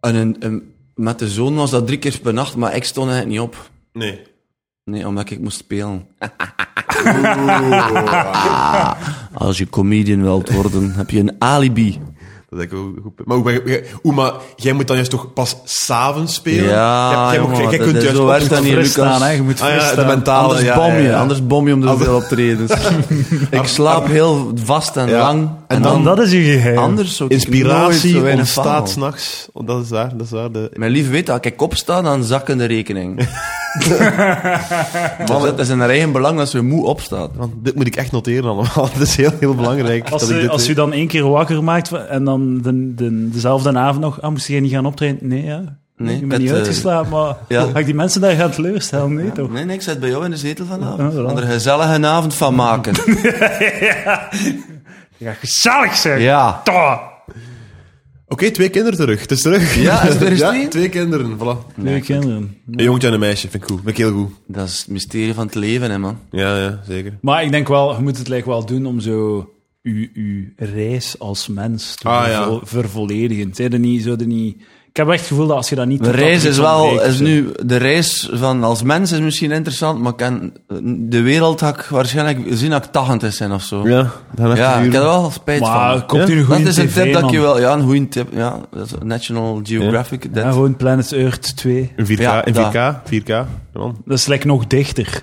Speaker 1: En een- een- met de zoon was dat drie keer per nacht, maar ik stond eigenlijk niet op.
Speaker 3: Nee.
Speaker 1: Nee, omdat ik moest spelen. *laughs* Als je comedian wilt worden, heb je een alibi.
Speaker 3: Dat denk ik ook goed. Maar hoe- hoe- hoe, maar jij moet dan juist toch pas s'avonds spelen?
Speaker 1: Ja,
Speaker 3: jij, jij,
Speaker 1: jongen,
Speaker 3: jij,
Speaker 1: dat
Speaker 3: kunt
Speaker 1: is
Speaker 3: juist
Speaker 1: zo
Speaker 3: op-
Speaker 1: werkt dat niet,
Speaker 2: Fris
Speaker 1: Lucas.
Speaker 2: staan, hè? Je moet
Speaker 3: Ah, ja,
Speaker 2: fris
Speaker 3: de
Speaker 2: staan.
Speaker 3: mentale-
Speaker 1: Anders
Speaker 3: ja,
Speaker 1: bom je,
Speaker 3: ja, ja.
Speaker 1: anders bom je om de veel
Speaker 3: *laughs*
Speaker 1: optredens. ik slaap heel vast en lang. En, dan,
Speaker 2: Dan, dat is je geheim.
Speaker 1: anders zou ik nooit zo
Speaker 3: Inspiratie
Speaker 1: weinig van
Speaker 3: ontstaat
Speaker 1: houden.
Speaker 3: s'nachts. Oh, dat is waar, dat is waar. De...
Speaker 1: Mijn lief weet dat als ik opsta, dan zakken de
Speaker 3: *laughs*
Speaker 1: rekening. Want het is in haar eigen belang dat ze moe opstaat.
Speaker 3: Want dit moet ik echt noteren allemaal. *laughs* Dat is heel, heel belangrijk.
Speaker 2: Als,
Speaker 3: dat ik
Speaker 2: je,
Speaker 3: dit
Speaker 2: als je
Speaker 3: weet.
Speaker 2: dan één keer wakker maakt en dan de, de, dezelfde avond nog, ah, moest je niet gaan optreden? Nee, ja.
Speaker 1: Nee,
Speaker 2: ik ben
Speaker 1: dat,
Speaker 2: niet
Speaker 1: eh,
Speaker 2: uitgeslapen, maar
Speaker 1: ja.
Speaker 2: ga ik die mensen daar gaan teleurstellen? Nee, toch?
Speaker 1: Nee, nee, ik zit bij jou in de zetel
Speaker 2: Ja,
Speaker 1: vanavond.
Speaker 2: voilà.
Speaker 1: En er gezellige avond van maken.
Speaker 3: *laughs*
Speaker 2: Je gaat gezellig zijn.
Speaker 1: ja.
Speaker 2: Toh.
Speaker 3: Oké, twee kinderen terug. Het is terug.
Speaker 1: Ja,
Speaker 3: *laughs*
Speaker 1: is het er eens twee?
Speaker 3: twee kinderen, voilà.
Speaker 2: Leuke kinderen.
Speaker 3: Een jongetje en een meisje, vind ik goed. Vind ik heel goed.
Speaker 1: Dat is het mysterie van het leven, hè, man.
Speaker 3: Ja, ja, zeker.
Speaker 2: Maar ik denk wel, je moet het lijkt wel doen om zo je, je reis als mens te
Speaker 3: Ah, ja.
Speaker 2: vervo- vervolledigen. Zij er niet, zo er niet... Ik heb echt het gevoel dat als je dat niet...
Speaker 1: De
Speaker 2: doet, dat
Speaker 1: reis is
Speaker 2: er iets
Speaker 1: wel,
Speaker 2: ontbreekt.
Speaker 1: is nu, de reis van als mens is misschien interessant, maar kan, de wereld had ik waarschijnlijk zien dat ik 80 zijn of zo.
Speaker 3: Ja, dan
Speaker 1: Ja, ik heb er wel spijt
Speaker 2: Maar
Speaker 1: van.
Speaker 2: komt u een
Speaker 1: Dat
Speaker 2: goede
Speaker 1: is een
Speaker 2: TV,
Speaker 1: tip dat
Speaker 2: man.
Speaker 1: je wel, ja, een goede tip. Ja, dat is National Geographic. dat-
Speaker 2: Ja, gewoon Planet Earth 2.
Speaker 3: In 4K,
Speaker 1: Ja,
Speaker 3: in
Speaker 1: dat.
Speaker 3: 4K, 4K. Ja, man.
Speaker 2: Dat is like nog dichter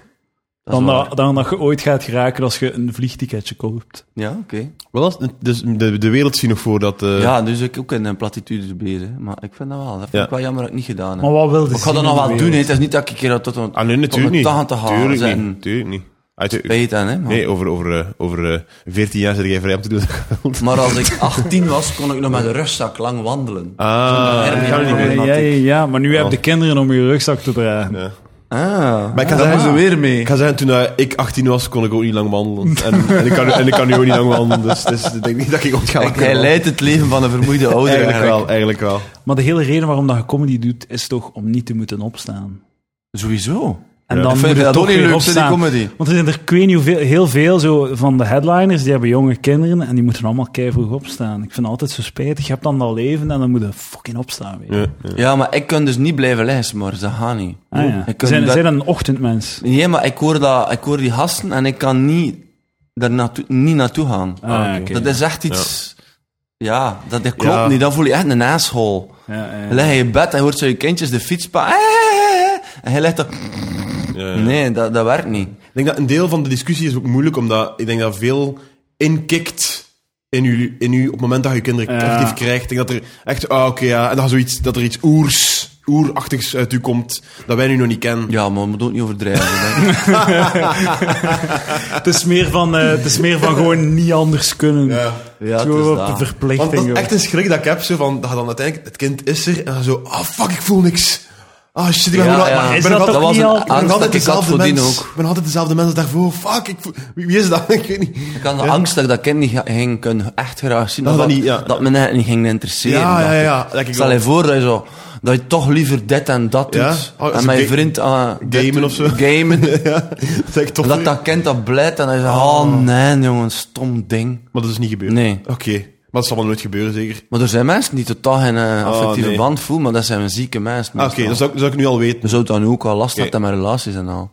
Speaker 1: dat is
Speaker 2: dan,
Speaker 1: wel
Speaker 2: dat, dan dat je ooit gaat geraken als je een vliegticketje koopt.
Speaker 1: Ja, oké.
Speaker 3: Wel, dat is- dus de, de wereld zien nog voor dat... eh,
Speaker 1: Ja, dus ik ook in een platitudes bezig. Maar ik vind dat wel. Dat vind
Speaker 3: Ja.
Speaker 1: ik wel jammer dat ik niet gedaan heb.
Speaker 2: Maar wat wilde
Speaker 1: ik ga dat nog nou wel doen. hè. Het is niet dat ik een keer tot een,
Speaker 3: Ah, nee,
Speaker 1: tot een
Speaker 3: natuurlijk niet.
Speaker 1: 80 ga
Speaker 3: Tuurlijk
Speaker 1: zijn.
Speaker 3: niet. Tuurlijk niet. Uit,
Speaker 1: Spijt aan, hè. man.
Speaker 3: nee, over, over, eh, over eh, 14 jaar zit jij vrij om te doen *laughs* Ah, wat je wilt.
Speaker 1: Maar als ik 18 was, kon ik nog met een rugzak lang wandelen.
Speaker 3: Ah, dat gaan we niet doen.
Speaker 2: Ja, ja, ja, maar nu heb
Speaker 3: Ja.
Speaker 2: je de kinderen om je rugzak te dragen.
Speaker 3: Ja.
Speaker 1: Ah,
Speaker 3: Maar ik
Speaker 1: daar
Speaker 3: had
Speaker 1: gaan
Speaker 3: dat-
Speaker 1: ze weer mee.
Speaker 3: Ik ga zeggen, toen eh, ik 18 was, kon ik ook niet lang wandelen. En, en, ik, kan, en ik kan nu ook niet lang wandelen, dus, dus ik denk niet dat ik ooit ga
Speaker 1: Kijk, *laughs* hij leidt het leven van een vermoeide ouder
Speaker 3: Eigenlijk
Speaker 1: Oh, eigenlijk.
Speaker 3: wel, eigenlijk wel.
Speaker 2: Maar de hele reden waarom dat je comedy doet, is toch om niet te moeten opstaan.
Speaker 1: Sowieso.
Speaker 2: En
Speaker 3: Ja.
Speaker 2: dan
Speaker 1: Ik
Speaker 2: moet
Speaker 1: vind
Speaker 2: je
Speaker 1: dat
Speaker 2: toch
Speaker 1: ook niet
Speaker 2: weer
Speaker 1: leuk, zo, die
Speaker 2: opstaan.
Speaker 1: comedy.
Speaker 2: Want er zijn er, ik weet niet hoeveel, heel veel zo van de headliners, die hebben jonge kinderen en die moeten allemaal keivroeg opstaan. Ik vind het altijd zo spijtig. Je hebt dan dat leven en dan moet je fucking opstaan weer.
Speaker 3: Ja,
Speaker 1: Ja, maar ik kan dus niet blijven lezen, maar dat gaat niet.
Speaker 2: Ah, ja.
Speaker 1: Ik kan
Speaker 2: Zijn,
Speaker 1: dat-
Speaker 2: zijn dat een ochtendmens?
Speaker 1: Nee, maar ik hoor, dat, ik hoor die gasten en ik kan niet, daar naartoe, niet naartoe gaan.
Speaker 2: Ah, oké.
Speaker 1: Dat is echt iets... Ja, dat, dat klopt
Speaker 3: Ja.
Speaker 1: niet. Dan voel je echt een asshole.
Speaker 2: Ja, ja.
Speaker 1: Dan lig je in bed en hoort zo je kindjes de fiets... pa- eh, eh, eh. En hij ligt dan... Nee, dat, dat werkt niet.
Speaker 3: Ik denk dat een deel van de discussie is ook moeilijk, omdat ik denk dat veel inkikt in u, in u op het moment dat je kinderen
Speaker 2: Ja.
Speaker 3: actief krijgt. Ik denk dat er echt, ah oké, ja, en dan zoiets, dat er iets oers, oerachtigs uit u komt, dat wij nu nog niet kennen.
Speaker 1: Ja, maar we moeten ook niet overdrijven. denk ik.
Speaker 2: *laughs* *laughs* Het, is meer van, eh, het is meer van gewoon niet anders kunnen.
Speaker 1: Ja, het is
Speaker 2: Zo op
Speaker 1: dat.
Speaker 2: de verplichting.
Speaker 3: Want dat is
Speaker 2: hoor.
Speaker 3: echt een schrik dat ik heb, zo van, dat je dan uiteindelijk, het kind is er, en dan zo, ah fuck, ik voel niks. Ah shit, ik ben
Speaker 1: Ja,
Speaker 3: gewoon-
Speaker 1: ja.
Speaker 3: maar ik
Speaker 2: Is
Speaker 3: ben
Speaker 2: dat
Speaker 3: nog
Speaker 2: toch
Speaker 3: altijd-
Speaker 2: niet
Speaker 1: een
Speaker 2: al-
Speaker 3: ik ben nog
Speaker 1: angst dat
Speaker 3: altijd
Speaker 1: ik had
Speaker 3: dezelfde
Speaker 1: voordien
Speaker 3: mens.
Speaker 1: ook.
Speaker 3: Ik ben nog altijd dezelfde mens als daarvoor. Fuck, ik voel- wie, wie is dat? *laughs* Ik weet niet.
Speaker 1: Ik had de angst dat ik dat kind niet ga- ging kunnen echt graag zien.
Speaker 3: Dat
Speaker 1: Dat, dat,
Speaker 3: dat niet, ja.
Speaker 1: dat me net niet ging interesseren.
Speaker 3: Ja, ja,
Speaker 1: dacht ik.
Speaker 3: ja, dat ik
Speaker 1: Stel
Speaker 3: ook.
Speaker 1: je voor dat je, zo, dat je toch liever dit en dat
Speaker 3: Ja?
Speaker 1: doet.
Speaker 3: Oh, als
Speaker 1: en mijn
Speaker 3: ga-
Speaker 1: vriend... aan
Speaker 3: gamen of zo. *laughs*
Speaker 1: Gamen.
Speaker 3: Dat ik toch
Speaker 1: dat dat kind dat blijft en hij zegt... Oh nee, jongen, stom ding.
Speaker 3: Maar dat is niet gebeurd.
Speaker 1: Nee.
Speaker 3: Oké. Maar dat zal wel nooit gebeuren, zeker.
Speaker 1: Maar er zijn mensen die totaal geen eh, affectieve
Speaker 3: Oh, nee.
Speaker 1: band voelen, maar dat zijn zieke mensen.
Speaker 3: Ah, Oké,
Speaker 1: meestal.
Speaker 3: dat zou, ik- zou ik nu al weten.
Speaker 1: Je zou dan ook al last
Speaker 3: Oké.
Speaker 1: hebben met relaties en al.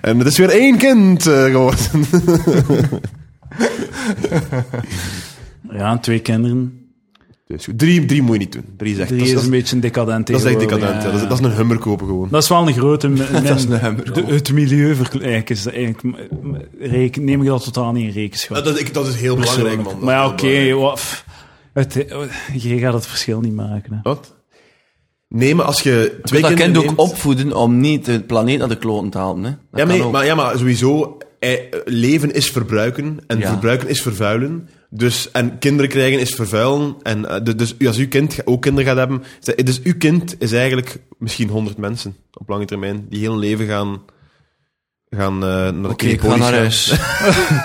Speaker 3: En Ehm, het is weer één kind eh, geworden. *laughs*
Speaker 2: Ja, twee kinderen.
Speaker 3: Dus goed. Drie, drie moet je niet doen. Drie is echt...
Speaker 2: Die
Speaker 3: dat,
Speaker 2: is
Speaker 3: is, dat,
Speaker 2: een
Speaker 3: is-
Speaker 2: beetje een decadent
Speaker 3: dat is echt
Speaker 2: tegenwoordig,
Speaker 3: decadent.
Speaker 2: ja.
Speaker 3: ja. Dat, is, dat is een hummer kopen gewoon.
Speaker 2: Dat is wel een grote... dat
Speaker 1: is een hummer.
Speaker 2: het milieu verkle- eigenlijk is dat eigenlijk... reken- neem ik dat totaal niet in rekenschap.
Speaker 3: Dat, Eh, dat, ik- dat is heel belangrijk, man. Dat
Speaker 2: Nou, Maar
Speaker 3: is
Speaker 2: ja,
Speaker 3: heel
Speaker 2: oké.
Speaker 3: belangrijk.
Speaker 2: wat- pff, het- je gaat het verschil niet maken. hè.
Speaker 3: Wat? Nee, maar als je twee
Speaker 1: dat
Speaker 3: kinderen
Speaker 1: kind ook
Speaker 3: neemt-
Speaker 1: opvoeden om niet de planeet naar de kloten te halen. Hè. Dat
Speaker 3: Ja
Speaker 1: kan
Speaker 3: maar, nee,
Speaker 1: ook.
Speaker 3: maar, ja, maar sowieso, eh, leven is verbruiken en
Speaker 1: Ja.
Speaker 3: verbruiken is vervuilen. Dus, en kinderen krijgen is vervuilen. En, eh, de- dus als uw kind ook kinderen gaat hebben... Dus uw kind is eigenlijk misschien 100 mensen op lange termijn die heel hun leven gaan... gaan eh, naar de
Speaker 1: Oké, ik ga
Speaker 3: knipolis
Speaker 1: naar
Speaker 3: gaan. *laughs*
Speaker 1: huis.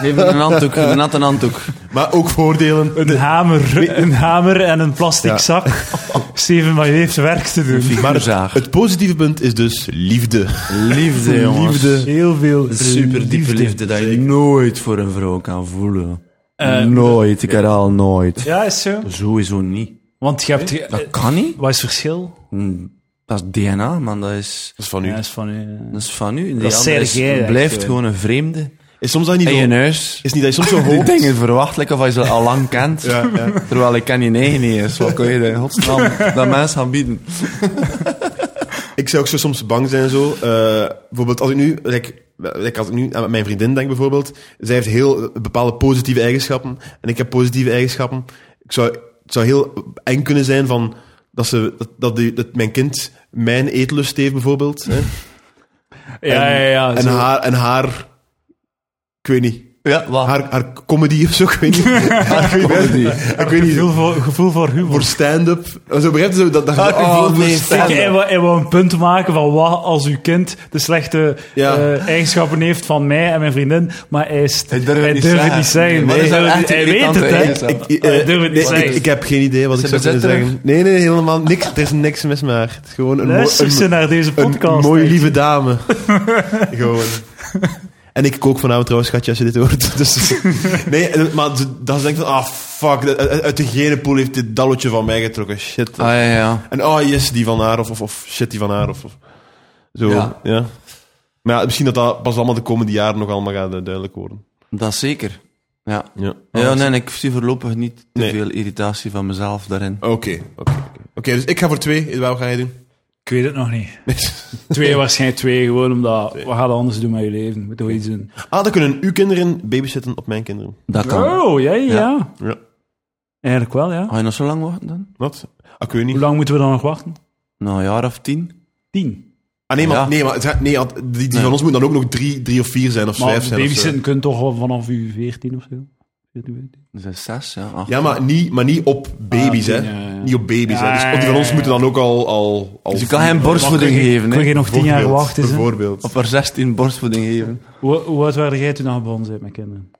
Speaker 1: Even een handdoek, een natte handdoek.
Speaker 3: Maar ook voordelen.
Speaker 2: Een hamer, een hamer en een plastic
Speaker 3: Ja.
Speaker 2: *laughs* zak. Steven, maar je heeft werk te doen.
Speaker 1: Figuurzaag.
Speaker 3: Het positieve punt is dus liefde.
Speaker 1: Liefde, jongens.
Speaker 3: Liefde.
Speaker 2: Heel veel
Speaker 1: Super diepe liefde dat je nooit voor een vrouw kan voelen.
Speaker 2: Eh,
Speaker 1: nooit, ik herhaal nooit.
Speaker 2: Ja, is zo.
Speaker 1: Sowieso niet.
Speaker 2: Want je hebt... ge-
Speaker 1: Dat kan niet.
Speaker 2: Wat is het verschil?
Speaker 1: Hm, Dat is DNA, man. Dat is,
Speaker 3: Dat is van u.
Speaker 2: Ja, is van... eh,
Speaker 1: dat is van u. Die
Speaker 2: Dat is
Speaker 1: andere is-
Speaker 2: Sergej, echt,
Speaker 1: blijft
Speaker 2: eh.
Speaker 1: gewoon een vreemde.
Speaker 3: Is soms dat je niet
Speaker 1: In
Speaker 3: zo,
Speaker 1: je huis.
Speaker 3: is niet dat je soms
Speaker 1: *laughs*
Speaker 3: zo
Speaker 1: Die
Speaker 3: hoopt...
Speaker 1: dingen verwacht, lekker of je ze al lang kent.
Speaker 3: Ja, ja.
Speaker 1: Terwijl ik ken je negen niet eens. Wat kun je de godsnaam dat mensen gaan bieden?
Speaker 3: Ik zou ook zo soms bang zijn zo. Eh, bijvoorbeeld als ik nu, like, like als ik nu aan mijn vriendin denk bijvoorbeeld, zij heeft heel eh, bepaalde positieve eigenschappen en ik heb positieve eigenschappen. Ik zou, het zou heel eng kunnen zijn van dat ze dat, dat, die, dat mijn kind mijn eetlust heeft bijvoorbeeld hè,
Speaker 2: Ja, ja, ja.
Speaker 3: en
Speaker 2: Ah, zo.
Speaker 3: haar en haar, ik weet niet,
Speaker 1: Ja, wat?
Speaker 3: haar, haar comedy of zo, ik weet niet, ik weet niet, ik weet niet
Speaker 2: Gevoel voor, gevoel voor humor.
Speaker 3: voor stand-up. En Zo begrijp je zo dat dat
Speaker 1: Haar gevoel voor
Speaker 2: Ik,
Speaker 1: stand-up.
Speaker 2: hij wou- hij wou een punt maken van wat als uw kind de slechte
Speaker 3: Ja.
Speaker 2: eh, eigenschappen heeft van mij en mijn vriendin, maar hij, is,
Speaker 1: Hij durft het niet
Speaker 2: het
Speaker 1: zeggen.
Speaker 2: niet zeggen.
Speaker 1: Maar dat
Speaker 2: hij
Speaker 1: zou
Speaker 2: durft-
Speaker 1: echt
Speaker 2: hij
Speaker 1: irritant
Speaker 2: weet het,
Speaker 1: zijn.
Speaker 2: hè?
Speaker 1: Ik-
Speaker 3: Ik,
Speaker 2: ik- eh, durf het niet
Speaker 3: nee,
Speaker 2: zeggen.
Speaker 3: ik, ik heb geen idee wat ik
Speaker 1: Ze
Speaker 3: zou kunnen
Speaker 1: bezet terug?
Speaker 3: zeggen. Nee, nee, helemaal niks. Er is niks mis met haar. Het is gewoon een, mo-
Speaker 2: Luister
Speaker 3: een,
Speaker 2: ze naar deze
Speaker 3: een
Speaker 2: podcast.
Speaker 3: mooie,
Speaker 2: hè.
Speaker 3: lieve
Speaker 2: *laughs*
Speaker 3: dame. gewoon. En ik kook vanavond trouwens, schatje, als je dit hoort. *laughs* Dus, nee, en- maar ze- dat ze denkt van, ah, fuck, dat- uit uit de genenpool heeft dit dalletje van mij getrokken. Shit.
Speaker 1: Ah, ja, ja.
Speaker 3: En oh, yes, die van haar, of, of, of shit, die van haar, of, of zo.
Speaker 1: Ja.
Speaker 3: Ja. Maar ja, misschien dat dat pas allemaal de komende jaren nog allemaal gaat eh, duidelijk worden.
Speaker 1: Dat zeker. Ja.
Speaker 3: Ja.
Speaker 1: Ja, nee, en ik zie voorlopig niet te
Speaker 3: Nee.
Speaker 1: veel irritatie van mezelf daarin.
Speaker 3: Oké, oké. oké. Oké, dus ik ga voor twee. Waarom ga jij doen?
Speaker 2: Ik weet het nog niet. Twee, waarschijnlijk twee, gewoon omdat, we gaan anders doen met je leven? Moet toch iets doen?
Speaker 3: Ah, dan kunnen uw kinderen babysitten op mijn kinderen.
Speaker 1: Dat kan. Oh.
Speaker 2: Oh, ja, ja, ja.
Speaker 3: Ja.
Speaker 2: Eigenlijk wel, ja.
Speaker 1: Ga je nog zo lang wachten dan?
Speaker 3: Wat? Ah, ik weet
Speaker 2: Hoe
Speaker 3: niet.
Speaker 2: lang moeten we dan nog wachten?
Speaker 1: Nou, een jaar of tien?
Speaker 2: Tien.
Speaker 3: Ah, nee, maar,
Speaker 1: Ja.
Speaker 3: nee, maar het gaat- nee, want die, die van
Speaker 1: Nee.
Speaker 3: ons moeten dan ook nog drie, drie of vier zijn of
Speaker 2: Maar
Speaker 3: vijf zijn. of zo.
Speaker 2: babysitten kunt toch al vanaf u veertien of zo? 14, 15.
Speaker 1: Dus Dat is zes, ja. acht.
Speaker 3: Ja, maar niet, maar niet op baby's,
Speaker 2: Ah,
Speaker 3: hè.
Speaker 2: tien, ja, ja.
Speaker 3: Niet op baby's,
Speaker 2: Ja,
Speaker 3: hè. Dus
Speaker 2: ja,
Speaker 3: op die van
Speaker 2: ja,
Speaker 3: ons
Speaker 2: ja.
Speaker 3: moeten dan ook al... al, al
Speaker 1: Dus je kan geen borstvoeding
Speaker 2: Maar kun je-
Speaker 1: geven,
Speaker 2: Kun
Speaker 1: hè?
Speaker 2: je nog tien jaar wachten? hè?
Speaker 3: Bijvoorbeeld.
Speaker 1: Of er zestien borstvoeding geven.
Speaker 2: Hoe, hoe oud waren jij toen aan gebonden bent met kinderen?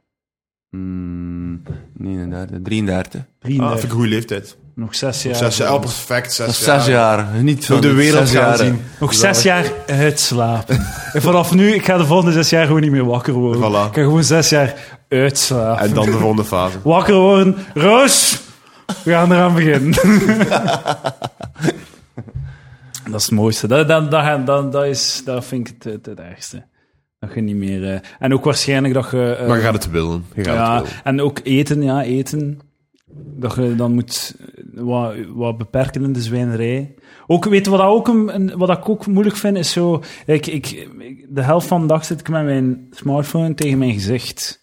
Speaker 1: Hmm, 39, 33.
Speaker 2: 33.
Speaker 3: Ah, vind ik een goede leeftijd.
Speaker 2: nog zes jaar.
Speaker 3: Zes jaar, oh, perfect, zes,
Speaker 1: Dat is zes jaar. Niet
Speaker 3: Door
Speaker 1: van
Speaker 3: de
Speaker 1: het
Speaker 3: wereld
Speaker 1: zes
Speaker 3: gaan
Speaker 1: jaren.
Speaker 3: zien.
Speaker 2: Nog zes jaar
Speaker 3: *laughs*
Speaker 2: uitslapen. en vanaf nu, ik ga de volgende zes jaar gewoon niet meer wakker worden.
Speaker 3: Voilà.
Speaker 2: Ik ga gewoon zes jaar uitslapen.
Speaker 3: En dan de volgende
Speaker 1: *laughs*
Speaker 3: fase.
Speaker 2: Wakker worden. Roos! We gaan eraan
Speaker 3: *laughs*
Speaker 2: beginnen. dat is het mooiste. Dat, dat, dat, dat, dat is, dat vind ik het, het, het ergste. Dat je niet meer... eh, en ook waarschijnlijk dat je... eh,
Speaker 3: Maar je gaat het willen. Je gaat
Speaker 2: ja,
Speaker 3: het willen.
Speaker 2: en ook eten, ja, eten. Dat je dan moet eh, wat, wat beperken in de zwijnerij. Ook, weet je wat, dat ook een, een- wat ik ook moeilijk vind, is zo... Ik, ik, ik- de helft van de dag zit ik met mijn smartphone tegen mijn gezicht.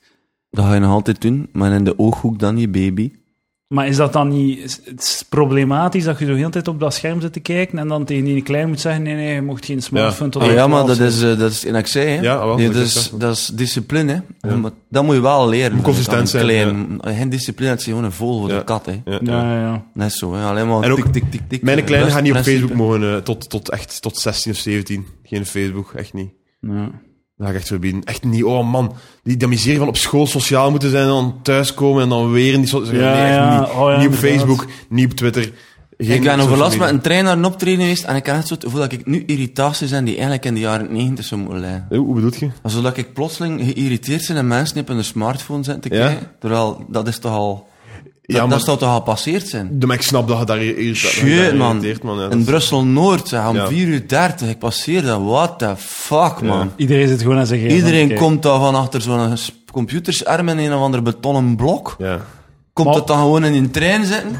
Speaker 1: Dat ga je nog altijd doen, maar in de ooghoek dan je baby.
Speaker 2: Maar is dat dan niet is- het is problematisch dat je zo heel de tijd op dat scherm zit te kijken en dan tegen die klein moet zeggen, nee, nee, je mocht geen smartphone tot
Speaker 1: Ah,
Speaker 2: aan
Speaker 1: ja, maar
Speaker 2: 12
Speaker 1: dat is, eh, dat is en ik zei, hè.
Speaker 3: Ja, ah, wel,
Speaker 1: Ja,
Speaker 3: dat
Speaker 1: dat,
Speaker 3: is
Speaker 1: is,
Speaker 3: echt wel.
Speaker 1: dat is discipline. hè. Maar Dat moet je wel leren.
Speaker 3: Moet consistent
Speaker 1: Aan een
Speaker 3: zijn,
Speaker 1: Klein, Geen discipline, dat is gewoon een vogel voor
Speaker 3: Ja.
Speaker 1: de kat. Hè.
Speaker 3: Ja, ja.
Speaker 2: Ja, ja, ja.
Speaker 1: Net zo, hè. alleen maar
Speaker 3: En ook,
Speaker 1: tik, tik, tik, eh, tik.
Speaker 3: Mijn kleine
Speaker 1: Dat
Speaker 3: gaat
Speaker 1: is
Speaker 3: niet op
Speaker 1: het principe.
Speaker 3: Facebook mogen eh, tot, tot, echt, tot 16 of 17. Geen Facebook, echt niet.
Speaker 2: Ja.
Speaker 3: Dat ga ik echt verbieden. Echt niet. Oh man, die, die miserie van op school sociaal moeten zijn en dan thuiskomen en dan weer in die so- Nee,
Speaker 2: Ja,
Speaker 3: echt
Speaker 2: ja.
Speaker 3: niet.
Speaker 2: Oh, ja,
Speaker 3: niet op
Speaker 2: inderdaad.
Speaker 3: Facebook, niet op Twitter. Geen
Speaker 1: Ik ben
Speaker 3: social
Speaker 1: overlast
Speaker 3: media.
Speaker 1: met een trein naar een optreden geweest en ik heb echt zo het gevoel dat ik nu irritaties zijn die eigenlijk in de jaren 90 zo moeten lijden.
Speaker 3: Eh, Hoe hoe bedoel je?
Speaker 1: Zodat ik plotseling geïrriteerd ben en mensen niet op hun smartphone zijn te
Speaker 3: Ja?
Speaker 1: kijken. Terwijl, dat is toch al... Dat,
Speaker 3: Ja, maar-
Speaker 1: dat zou toch al gepasseerd zijn?
Speaker 3: De, maar ik snap dat je daar irriteert.
Speaker 1: Shit, man.
Speaker 3: man ja, dat
Speaker 1: in
Speaker 3: is-
Speaker 1: Brussel-Noord, zeg, om
Speaker 3: Ja.
Speaker 1: 4 uur 30, ik passeer dat. What the fuck, man.
Speaker 2: Iedereen zit gewoon aan zijn gsm te
Speaker 1: Iedereen
Speaker 2: kijken.
Speaker 1: komt daar van achter zo'n s- computersarm in een of ander betonnen blok.
Speaker 3: ja.
Speaker 1: Komt
Speaker 2: Maar-
Speaker 1: het dan gewoon in een trein zitten.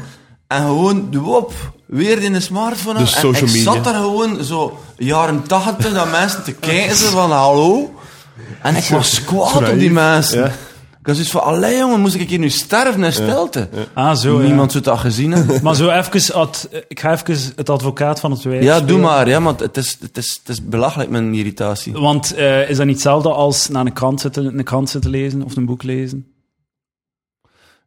Speaker 1: En gewoon, wop, weer in de smartphone.
Speaker 3: De
Speaker 1: aan. en
Speaker 3: social
Speaker 1: ik
Speaker 3: media.
Speaker 1: zat daar gewoon zo, jaren tachtig, dat mensen te kijken zijn van, hallo? En ik was kwaad op die
Speaker 3: naïef,
Speaker 1: mensen.
Speaker 3: ja.
Speaker 1: Ik was dus van, allee jongen, moest ik hier nu sterven in stilte?
Speaker 2: Ah, zo, ja.
Speaker 1: Niemand zou dat gezien hebben.
Speaker 2: *laughs* Maar zo even, ad- ik ga even het advocaat van het wijs.
Speaker 1: Ja, doe
Speaker 2: spelen.
Speaker 1: maar. Ja, maar het is, het is, het is belachelijk, mijn irritatie.
Speaker 2: Want eh, is dat niet hetzelfde als naar een krant zitten, een krant zitten lezen of een boek lezen?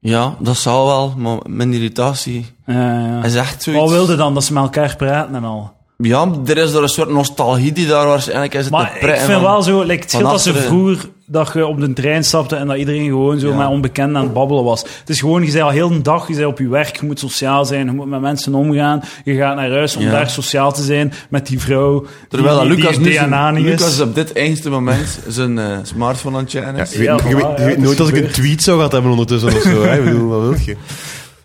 Speaker 1: Ja, dat zal wel, maar mijn irritatie
Speaker 2: Eh, ja.
Speaker 1: is echt zoiets...
Speaker 2: Wat wilde dan dat ze met elkaar praten en al?
Speaker 1: Ja, er is er een soort nostalgie die daar waarschijnlijk is.
Speaker 2: Maar ik vind wel zo, like, het
Speaker 1: van
Speaker 2: scheelt dat ze
Speaker 1: achteren.
Speaker 2: vroeger dat je op de trein stapte en dat iedereen gewoon zo
Speaker 1: Ja.
Speaker 2: met onbekenden aan het babbelen was. Het is gewoon, je bent al heel een dag, je bent op je werk, je moet sociaal zijn, je moet met mensen omgaan, je gaat naar huis om
Speaker 1: Ja.
Speaker 2: daar sociaal te zijn met die vrouw.
Speaker 1: Terwijl dat
Speaker 2: die-
Speaker 1: Lucas
Speaker 2: die
Speaker 1: nu zijn-
Speaker 2: DNA niet
Speaker 1: Lucas
Speaker 2: is.
Speaker 1: is op dit enigste moment zijn eh, smartphone aan het checken
Speaker 3: Ja,
Speaker 1: is.
Speaker 3: je weet,
Speaker 2: Ja,
Speaker 3: je
Speaker 2: voilà,
Speaker 3: weet- je
Speaker 2: ja,
Speaker 3: weet
Speaker 2: het is
Speaker 3: nooit als ik een
Speaker 2: gebeurd.
Speaker 3: tweet zou gehad hebben ondertussen of zo. Hè? Ik bedoel, wat wil je?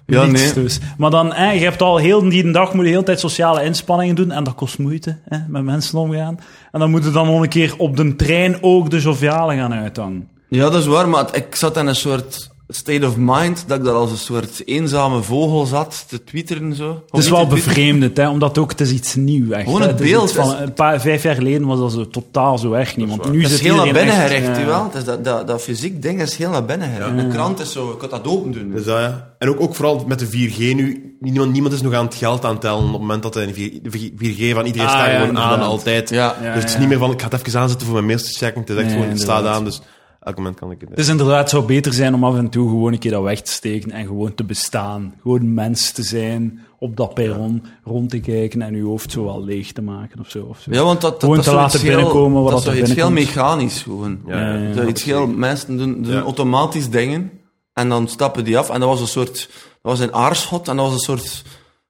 Speaker 1: Ja,
Speaker 2: Niets
Speaker 1: nee.
Speaker 2: dus. Maar dan, hè, je hebt al heel die dag moet je heel de tijd sociale inspanningen doen en dat kost moeite, hè, met mensen omgaan. En dan moet je dan nog een keer op de trein ook de joviale gaan uithangen.
Speaker 1: Ja, dat is waar, maar het- ik zat in een soort state of mind dat ik daar als een soort eenzame vogel zat te twitteren zo. Of
Speaker 2: Het is
Speaker 1: niet
Speaker 2: wel
Speaker 1: te twitteren.
Speaker 2: bevreemdend, hè, omdat ook het is iets nieuw. Echt,
Speaker 1: Gewoon
Speaker 2: hè.
Speaker 1: het
Speaker 2: is
Speaker 1: beeld
Speaker 2: iets van,
Speaker 1: is-
Speaker 2: een paar, vijf jaar geleden was dat zo totaal zo erg niet. Want nu
Speaker 1: Het
Speaker 2: zit
Speaker 1: is heel naar
Speaker 2: iedereen
Speaker 1: binnen
Speaker 2: echt,
Speaker 1: gericht,
Speaker 2: ja.
Speaker 1: ja. Het is dat, dat, dat fysiek ding is heel naar binnen gericht. De krant is zo, ik kan dat open doen.
Speaker 3: Dus dat, ja. En ook, ook vooral met de 4G nu. Niemand, niemand is nog aan het geld aan het tellen op het moment dat hij een 4- de 4G van iedereen
Speaker 2: Ah,
Speaker 3: staat
Speaker 2: ja,
Speaker 3: gewoon aan,
Speaker 2: inderdaad.
Speaker 3: altijd.
Speaker 1: Ja.
Speaker 2: Ja,
Speaker 3: dus het is
Speaker 2: ja.
Speaker 3: niet meer van, ik ga het even aanzetten voor mijn mails te checken. Het is echt
Speaker 2: Nee,
Speaker 3: gewoon, het staat
Speaker 2: inderdaad. Dus-
Speaker 3: aan, dus elk moment kan ik het.
Speaker 2: Het is inderdaad, het zou beter zijn om af en toe gewoon een keer dat weg te steken en gewoon te bestaan. Gewoon mens te zijn, op dat perron rond te kijken en je hoofd zo wel leeg te maken of zo. Of zo.
Speaker 1: Ja, want dat, dat,
Speaker 2: Gewoon
Speaker 1: dat
Speaker 2: te
Speaker 1: is
Speaker 2: laten
Speaker 1: zoiets heel-
Speaker 2: binnenkomen wat
Speaker 1: dat
Speaker 2: er
Speaker 1: is zoiets heel
Speaker 2: binnenkomt.
Speaker 1: mechanisch gewoon.
Speaker 3: Ja, ja,
Speaker 2: ja.
Speaker 1: Zoiets heel, mensen doen, doen
Speaker 3: Ja.
Speaker 1: automatisch dingen en dan stappen die af. En dat was een soort, dat was een aarschot en dat was een soort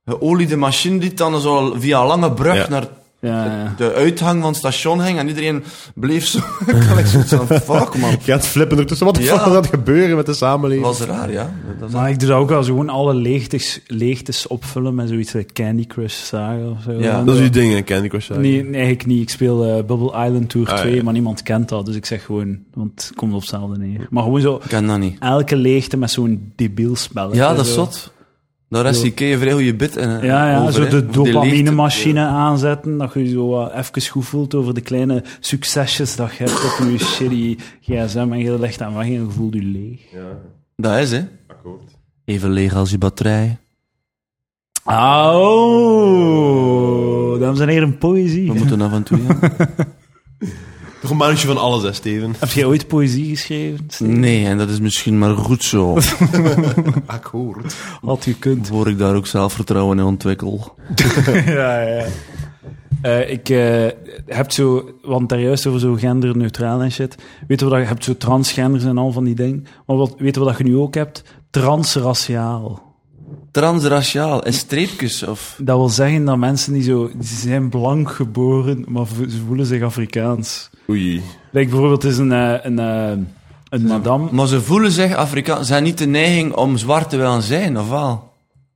Speaker 1: geoliede machine die dan zo via een lange brug
Speaker 3: Ja.
Speaker 1: naar
Speaker 2: Ja, ja.
Speaker 1: de uitgang van het station ging. En iedereen bleef zo, *laughs* kan ik zoiets van, fuck man.
Speaker 3: Je gaat flippen ertussen. Wat de
Speaker 1: Ja.
Speaker 3: fuck gaat er gebeuren met de
Speaker 1: Dat
Speaker 3: samenleving?
Speaker 1: was raar, ja. Dat is-
Speaker 2: Maar ik doe dat ook wel zo gewoon alle leegtes, leegtes opvullen met zoiets als Candy Crush Saga of zo.
Speaker 1: Ja.
Speaker 3: Dat is uw ding, hè, Candy Crush. eigenlijk.
Speaker 2: Nee, nee, eigenlijk niet. Ik speel eh, Bubble Island Tour
Speaker 3: Ah,
Speaker 2: 2,
Speaker 3: ja.
Speaker 2: maar niemand kent dat. Dus ik zeg gewoon, want het komt op hetzelfde neer. Maar gewoon zo,
Speaker 1: Ik ken dat niet.
Speaker 2: elke leegte met zo'n debiel spelletje.
Speaker 1: Ja, dat is
Speaker 2: zo.
Speaker 1: zot. Daar is die keer vrij hoe je bit in. hè,
Speaker 2: Ja, ja
Speaker 1: over,
Speaker 2: zo
Speaker 1: hè.
Speaker 2: de
Speaker 1: Of die
Speaker 2: dopamine-machine aanzetten, dat je zo wat even goed voelt over de kleine succesjes dat je hebt op
Speaker 1: *laughs*
Speaker 2: je shitty gsm en je legt aan weg en je voelt je leeg.
Speaker 3: Ja,
Speaker 1: leegte. Dat is, hè.
Speaker 3: akkoord.
Speaker 1: Even leeg als je batterij.
Speaker 2: Auw, dames en heren, poëzie.
Speaker 1: We moeten af en toe, ja.
Speaker 3: Toch een mannetje van alles, hè, Steven.
Speaker 2: Heb jij ooit poëzie geschreven? Steve?
Speaker 1: Nee, en dat is misschien maar goed zo. *laughs*
Speaker 3: Akkoord.
Speaker 2: Had je kunt.
Speaker 1: Voor ik daar ook zelfvertrouwen in ontwikkel.
Speaker 2: *laughs* ja, ja. Eh, ik eh, heb zo, want daar juist over zo genderneutraal en shit. Weet je wat dat- je hebt zo transgenders en al van die dingen. Maar wat, weet je wat dat je nu ook hebt? Transraciaal.
Speaker 1: Transraciaal en streepjes of...
Speaker 2: Dat wil zeggen dat mensen die zo, die zijn blank geboren, maar vo- ze voelen zich Afrikaans.
Speaker 3: Oei.
Speaker 2: Like bijvoorbeeld is een, eh, een, eh, een madame.
Speaker 1: Maar ze voelen zich Afrikaans. Ze hebben niet de neiging om zwart te willen zijn, of wel?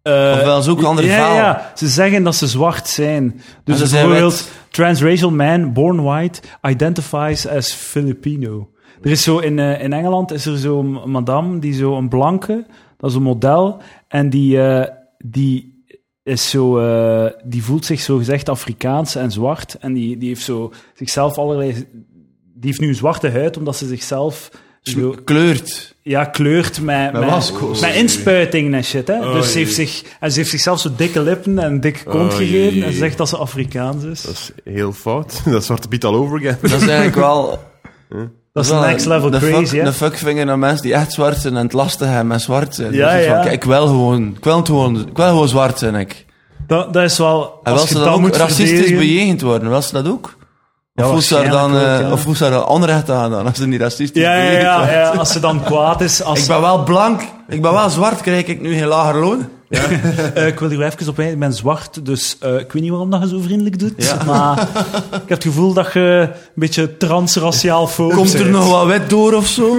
Speaker 2: eh,
Speaker 1: Ofwel, zoek een ander
Speaker 2: ja,
Speaker 1: verhaal.
Speaker 2: Ja, ze zeggen dat ze zwart zijn. Dus
Speaker 1: ze zijn
Speaker 2: bijvoorbeeld, transracial man born white identifies as Filipino. Er is zo in, eh, in Engeland is er zo'n madame die zo een blanke, dat is een model, en die, eh, die is zo, eh, die voelt zich zo gezegd Afrikaans en zwart. En die, die heeft zo zichzelf allerlei. Die heeft nu een zwarte huid omdat ze zichzelf zo,
Speaker 1: Kleurt.
Speaker 2: ja, kleurt met, met,
Speaker 3: waskoos.
Speaker 2: met inspuitingen en shit. Hè?
Speaker 3: Oh,
Speaker 2: dus ze heeft,
Speaker 3: jee.
Speaker 2: zich, en ze heeft zichzelf zo dikke lippen en een dikke kont
Speaker 3: Oh,
Speaker 2: gegeven
Speaker 3: jee.
Speaker 2: en ze zegt dat ze Afrikaans is.
Speaker 3: Dat is heel fout. *laughs* Dat is Zwarte Piet all over again.
Speaker 1: Dat is eigenlijk wel...
Speaker 2: *laughs* Dat is next level
Speaker 1: de
Speaker 2: crazy,
Speaker 1: fuck,
Speaker 2: hè?
Speaker 1: De fuckvinger naar mensen die echt zwart zijn en het lastig hebben en zwart zijn.
Speaker 2: Ja,
Speaker 1: Dat is
Speaker 2: ja.
Speaker 1: van, kijk, ik wil gewoon, ik wil het gewoon, ik wil gewoon zwart zijn, ik.
Speaker 2: Dat, dat is wel...
Speaker 1: En
Speaker 2: Als
Speaker 1: wil
Speaker 2: je
Speaker 1: ze
Speaker 2: dat,
Speaker 1: dan ook
Speaker 2: moet
Speaker 1: racistisch
Speaker 2: verdedigen-
Speaker 1: bejegend worden? Wil ze dat ook?
Speaker 2: Ja,
Speaker 1: Of voelt ze daar dan,
Speaker 2: waarschijnlijk
Speaker 1: eh,
Speaker 2: ook, ja.
Speaker 1: of voelt ze daar dan onrecht aan dan, als ze niet racistisch
Speaker 2: Ja, ja,
Speaker 1: bejegend
Speaker 2: ja,
Speaker 1: wordt?
Speaker 2: ja, als ze dan kwaad is. Als,
Speaker 1: Ik ben wel blank, ik ben wel zwart, krijg ik nu geen lager loon?
Speaker 2: Eh, ik wil hier even op wijzen, ik ben zwart, dus eh, ik weet niet waarom dat je zo vriendelijk doet.
Speaker 1: Ja.
Speaker 2: Maar ik heb het gevoel dat je een beetje transraciaal foob
Speaker 1: Komt er
Speaker 2: bent.
Speaker 1: nog wat wet door of zo?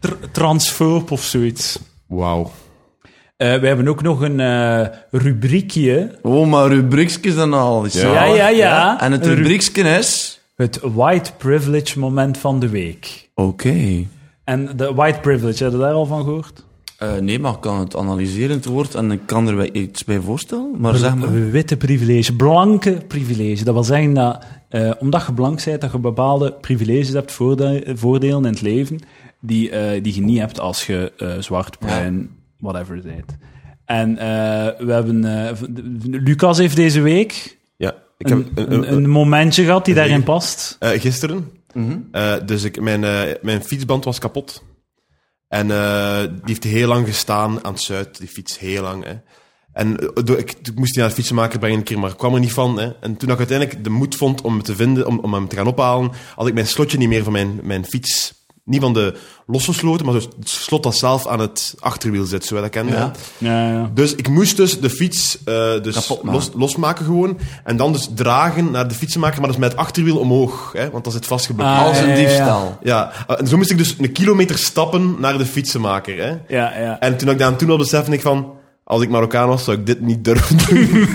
Speaker 2: Tr- transfoob of zoiets.
Speaker 3: Wauw.
Speaker 2: Eh we hebben ook nog een eh, rubriekje.
Speaker 1: Oh, maar rubriekjes dan al. is
Speaker 2: Ja,
Speaker 1: zalig.
Speaker 2: ja, ja.
Speaker 1: En het
Speaker 2: Een ru-
Speaker 1: rubriekje is...
Speaker 2: Het white privilege moment van de week.
Speaker 1: Oké.
Speaker 2: En de white privilege, heb je daar al van gehoord?
Speaker 1: Eh, nee, maar ik kan het analyseren, het woord, en ik kan er wel iets bij voorstellen. Maar zeg maar...
Speaker 2: Witte privilege, blanke privilege. Dat wil zeggen dat eh, omdat je blank bent, dat je bepaalde privileges hebt, voorde- voordelen in het leven, die, eh, die je niet hebt als je eh, zwart, bruin, whatever bent. En eh, we hebben... eh, v- d- Lucas heeft deze week
Speaker 3: Ja, ik heb
Speaker 2: een,
Speaker 3: een,
Speaker 2: een-
Speaker 3: een-
Speaker 2: een momentje gehad die
Speaker 3: een
Speaker 2: daarin
Speaker 3: regen-
Speaker 2: past.
Speaker 3: eh, gisteren.
Speaker 1: Mhm.
Speaker 3: eh, dus ik, mijn, eh, mijn fietsband was kapot. En eh, die heeft heel lang gestaan aan het zuid, die fiets, heel lang. Hè. En eh, door- ik, ik moest die naar de fietsenmaker brengen een keer, maar ik kwam er niet van. Hè. En toen ik uiteindelijk de moed vond om hem te vinden, om, om hem te gaan ophalen, had ik mijn slotje niet meer van mijn, mijn fiets. Niet van de losse sloten, maar zo het slot dat zelf aan het achterwiel zit, zo hè, dat kende.
Speaker 1: Ja.
Speaker 3: hè.
Speaker 2: Ja, ja.
Speaker 3: Dus ik moest dus de fiets eh, dus
Speaker 1: Kapot maken.
Speaker 3: los, losmaken gewoon. En dan dus dragen naar de fietsenmaker, maar dus met het achterwiel omhoog. Hè, want dat zit vastgeblokkeerd.
Speaker 2: Ah,
Speaker 1: Als
Speaker 2: ja,
Speaker 1: een
Speaker 2: ja, ja.
Speaker 1: diefstal.
Speaker 3: Ja, eh, en zo moest ik dus een kilometer stappen naar de fietsenmaker. Hè.
Speaker 2: Ja, ja.
Speaker 3: En toen ik dat toen al besefte, ik van... Als ik Marokkaan was, zou ik dit niet durven
Speaker 1: *laughs*
Speaker 3: doen.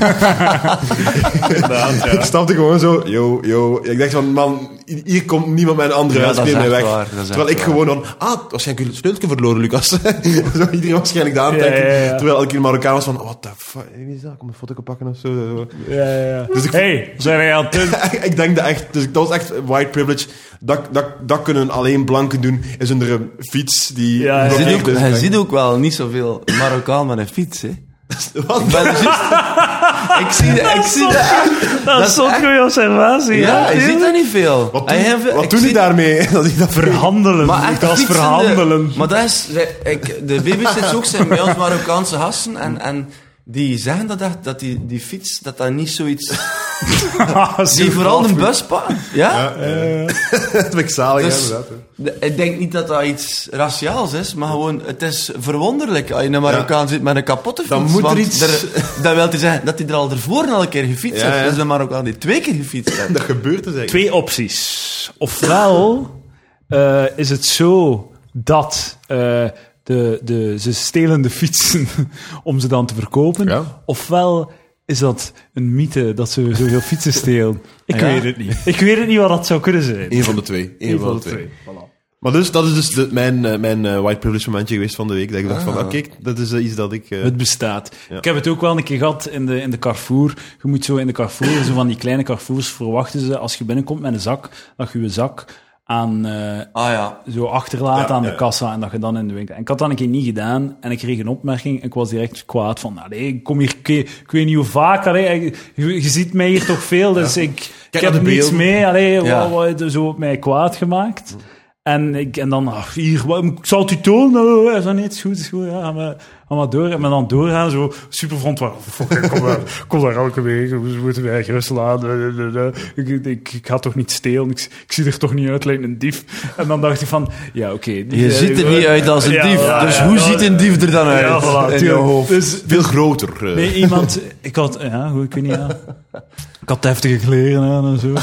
Speaker 3: Ik stapte gewoon zo, yo, yo. Ik dacht van, man, hier komt niemand mijn andere
Speaker 1: Ja,
Speaker 3: huis
Speaker 1: dat is
Speaker 3: meer mee
Speaker 1: echt
Speaker 3: weg.
Speaker 1: waar, dat is echt
Speaker 3: terwijl ik
Speaker 1: waar.
Speaker 3: gewoon dan, ah, waarschijnlijk een sleutelje verloren, Lucas. *laughs* zou iedereen waarschijnlijk daar aan
Speaker 2: Ja,
Speaker 3: denken.
Speaker 2: ja, ja.
Speaker 3: Terwijl ik in Marokkaan was van, what the fuck, wie is dat? Kom een foto pakken of zo.
Speaker 2: Ja, ja, ja.
Speaker 3: Dus ik-
Speaker 2: hey, zijn wij aan het doen?
Speaker 3: *laughs* ik denk dat echt, dus dat was echt white privilege. Dat, dat, dat kunnen alleen blanken doen, is onder een fiets die...
Speaker 2: Ja,
Speaker 1: Hij
Speaker 2: ja.
Speaker 1: ziet,
Speaker 3: blokkeert.
Speaker 1: ook,
Speaker 3: Dus
Speaker 1: hij
Speaker 3: ik-
Speaker 1: ziet ook wel niet zoveel Marokkaan met een fiets, *laughs* hè.
Speaker 3: Dus *laughs* Wat?
Speaker 1: Ik ben er juist- Ik zie dat, ik zie dat.
Speaker 2: Dat is zo'n
Speaker 1: echt-
Speaker 2: goede observatie.
Speaker 1: Ja, hij
Speaker 2: tuurlijk.
Speaker 1: ziet dat niet veel.
Speaker 3: Wat
Speaker 1: Hij
Speaker 3: doe,
Speaker 1: heeft-
Speaker 3: wat
Speaker 1: ik
Speaker 3: doe je
Speaker 1: zie-
Speaker 3: daarmee? *laughs* Dat ik dat verhaal.
Speaker 2: Verhandelen.
Speaker 1: Maar echt
Speaker 2: dat is
Speaker 1: fietsende-
Speaker 2: verhandelen. *laughs*
Speaker 1: Maar dat is, eh, ik, de babysits ook zijn bij ons Marokkaanse gasten en, en die zeggen dat, echt, dat die, die fiets, dat dat niet
Speaker 2: *laughs*
Speaker 1: zoiets... Die vooral de bus pakken. Ja?
Speaker 3: Dat vind ik zalig,
Speaker 1: Dus-
Speaker 3: hè, inderdaad.
Speaker 1: De- Ik denk niet dat dat iets raciaals is, maar gewoon, het is verwonderlijk als je een Marokkaan zit met een kapotte fiets.
Speaker 3: Dan moet er
Speaker 1: want
Speaker 3: iets-
Speaker 1: er- dat wil te zeggen dat hij er al ervoor al een keer gefietst
Speaker 3: Ja,
Speaker 1: heeft.
Speaker 3: ja.
Speaker 1: Dus een Marokkaan die twee keer gefietst heeft.
Speaker 2: *laughs*
Speaker 3: Dat gebeurt dus eigenlijk.
Speaker 2: Twee opties. Ofwel eh, is het zo dat eh, de, de, ze stelen de fietsen *laughs* om ze dan te verkopen.
Speaker 3: Ja.
Speaker 2: Ofwel is dat een mythe dat ze zoveel fietsen stelen. Ik
Speaker 1: Ja.
Speaker 2: weet het niet. Ik weet het niet wat dat zou kunnen zijn.
Speaker 3: Eén van de twee. Eén
Speaker 2: Eén
Speaker 3: van de twee. Maar dus, dat is dus de- mijn, eh, mijn eh, white privilege momentje geweest van de week. Dat ik dacht van, ah, kijk, dat is eh, iets dat ik... eh,
Speaker 2: Het bestaat.
Speaker 3: Ja.
Speaker 2: Ik heb het ook wel een keer gehad in de, in de Carrefour. Je moet zo in de Carrefour, zo van die kleine Carrefours, verwachten ze als je binnenkomt met een zak, dat je je zak aan, eh,
Speaker 1: Ah ja.
Speaker 2: zo achterlaat
Speaker 3: Ja,
Speaker 2: aan de
Speaker 3: ja.
Speaker 2: kassa en dat je dan in de winkel... En ik had dat een keer niet gedaan en ik kreeg een opmerking en ik was direct kwaad van, allee, ik kom hier, ik, ik weet niet hoe vaak, allee, ik- je, je ziet mij hier toch veel, dus ik, ik
Speaker 3: naar
Speaker 2: heb
Speaker 3: de
Speaker 2: niets
Speaker 3: beelden.
Speaker 2: mee, allee,
Speaker 1: Ja.
Speaker 2: wat, wat, zo op mij kwaad gemaakt. En, ik, en dan, ach, hier, wat, ik zal het u tonen. Oh, is dat niet? Is goed, is goed. Ja, ga maar, ga maar door. En maar dan doorgaan, zo super verontwaardigd. Fuck, Kom, daar- kom daar elke week, we moeten mij gerust laten. Ik, ik, ik, ik ga toch niet stelen, ik, ik zie er toch niet uit, lijkt een dief. En dan dacht ik van, ja, oké.
Speaker 1: Je ziet er niet uit als een
Speaker 2: Ja,
Speaker 1: dief.
Speaker 2: ja,
Speaker 1: dus
Speaker 2: ja,
Speaker 1: hoe
Speaker 2: ja.
Speaker 1: ziet een dief er dan uit?
Speaker 2: Ja, voilà,
Speaker 1: in jouw
Speaker 2: tuurlijk.
Speaker 1: hoofd.
Speaker 2: Dus
Speaker 3: Veel groter. eh.
Speaker 2: Nee, iemand... *laughs* Ik had... Ja, goed, ik weet niet, *laughs* ja. Ik had heftige kleren aan *laughs* en zo.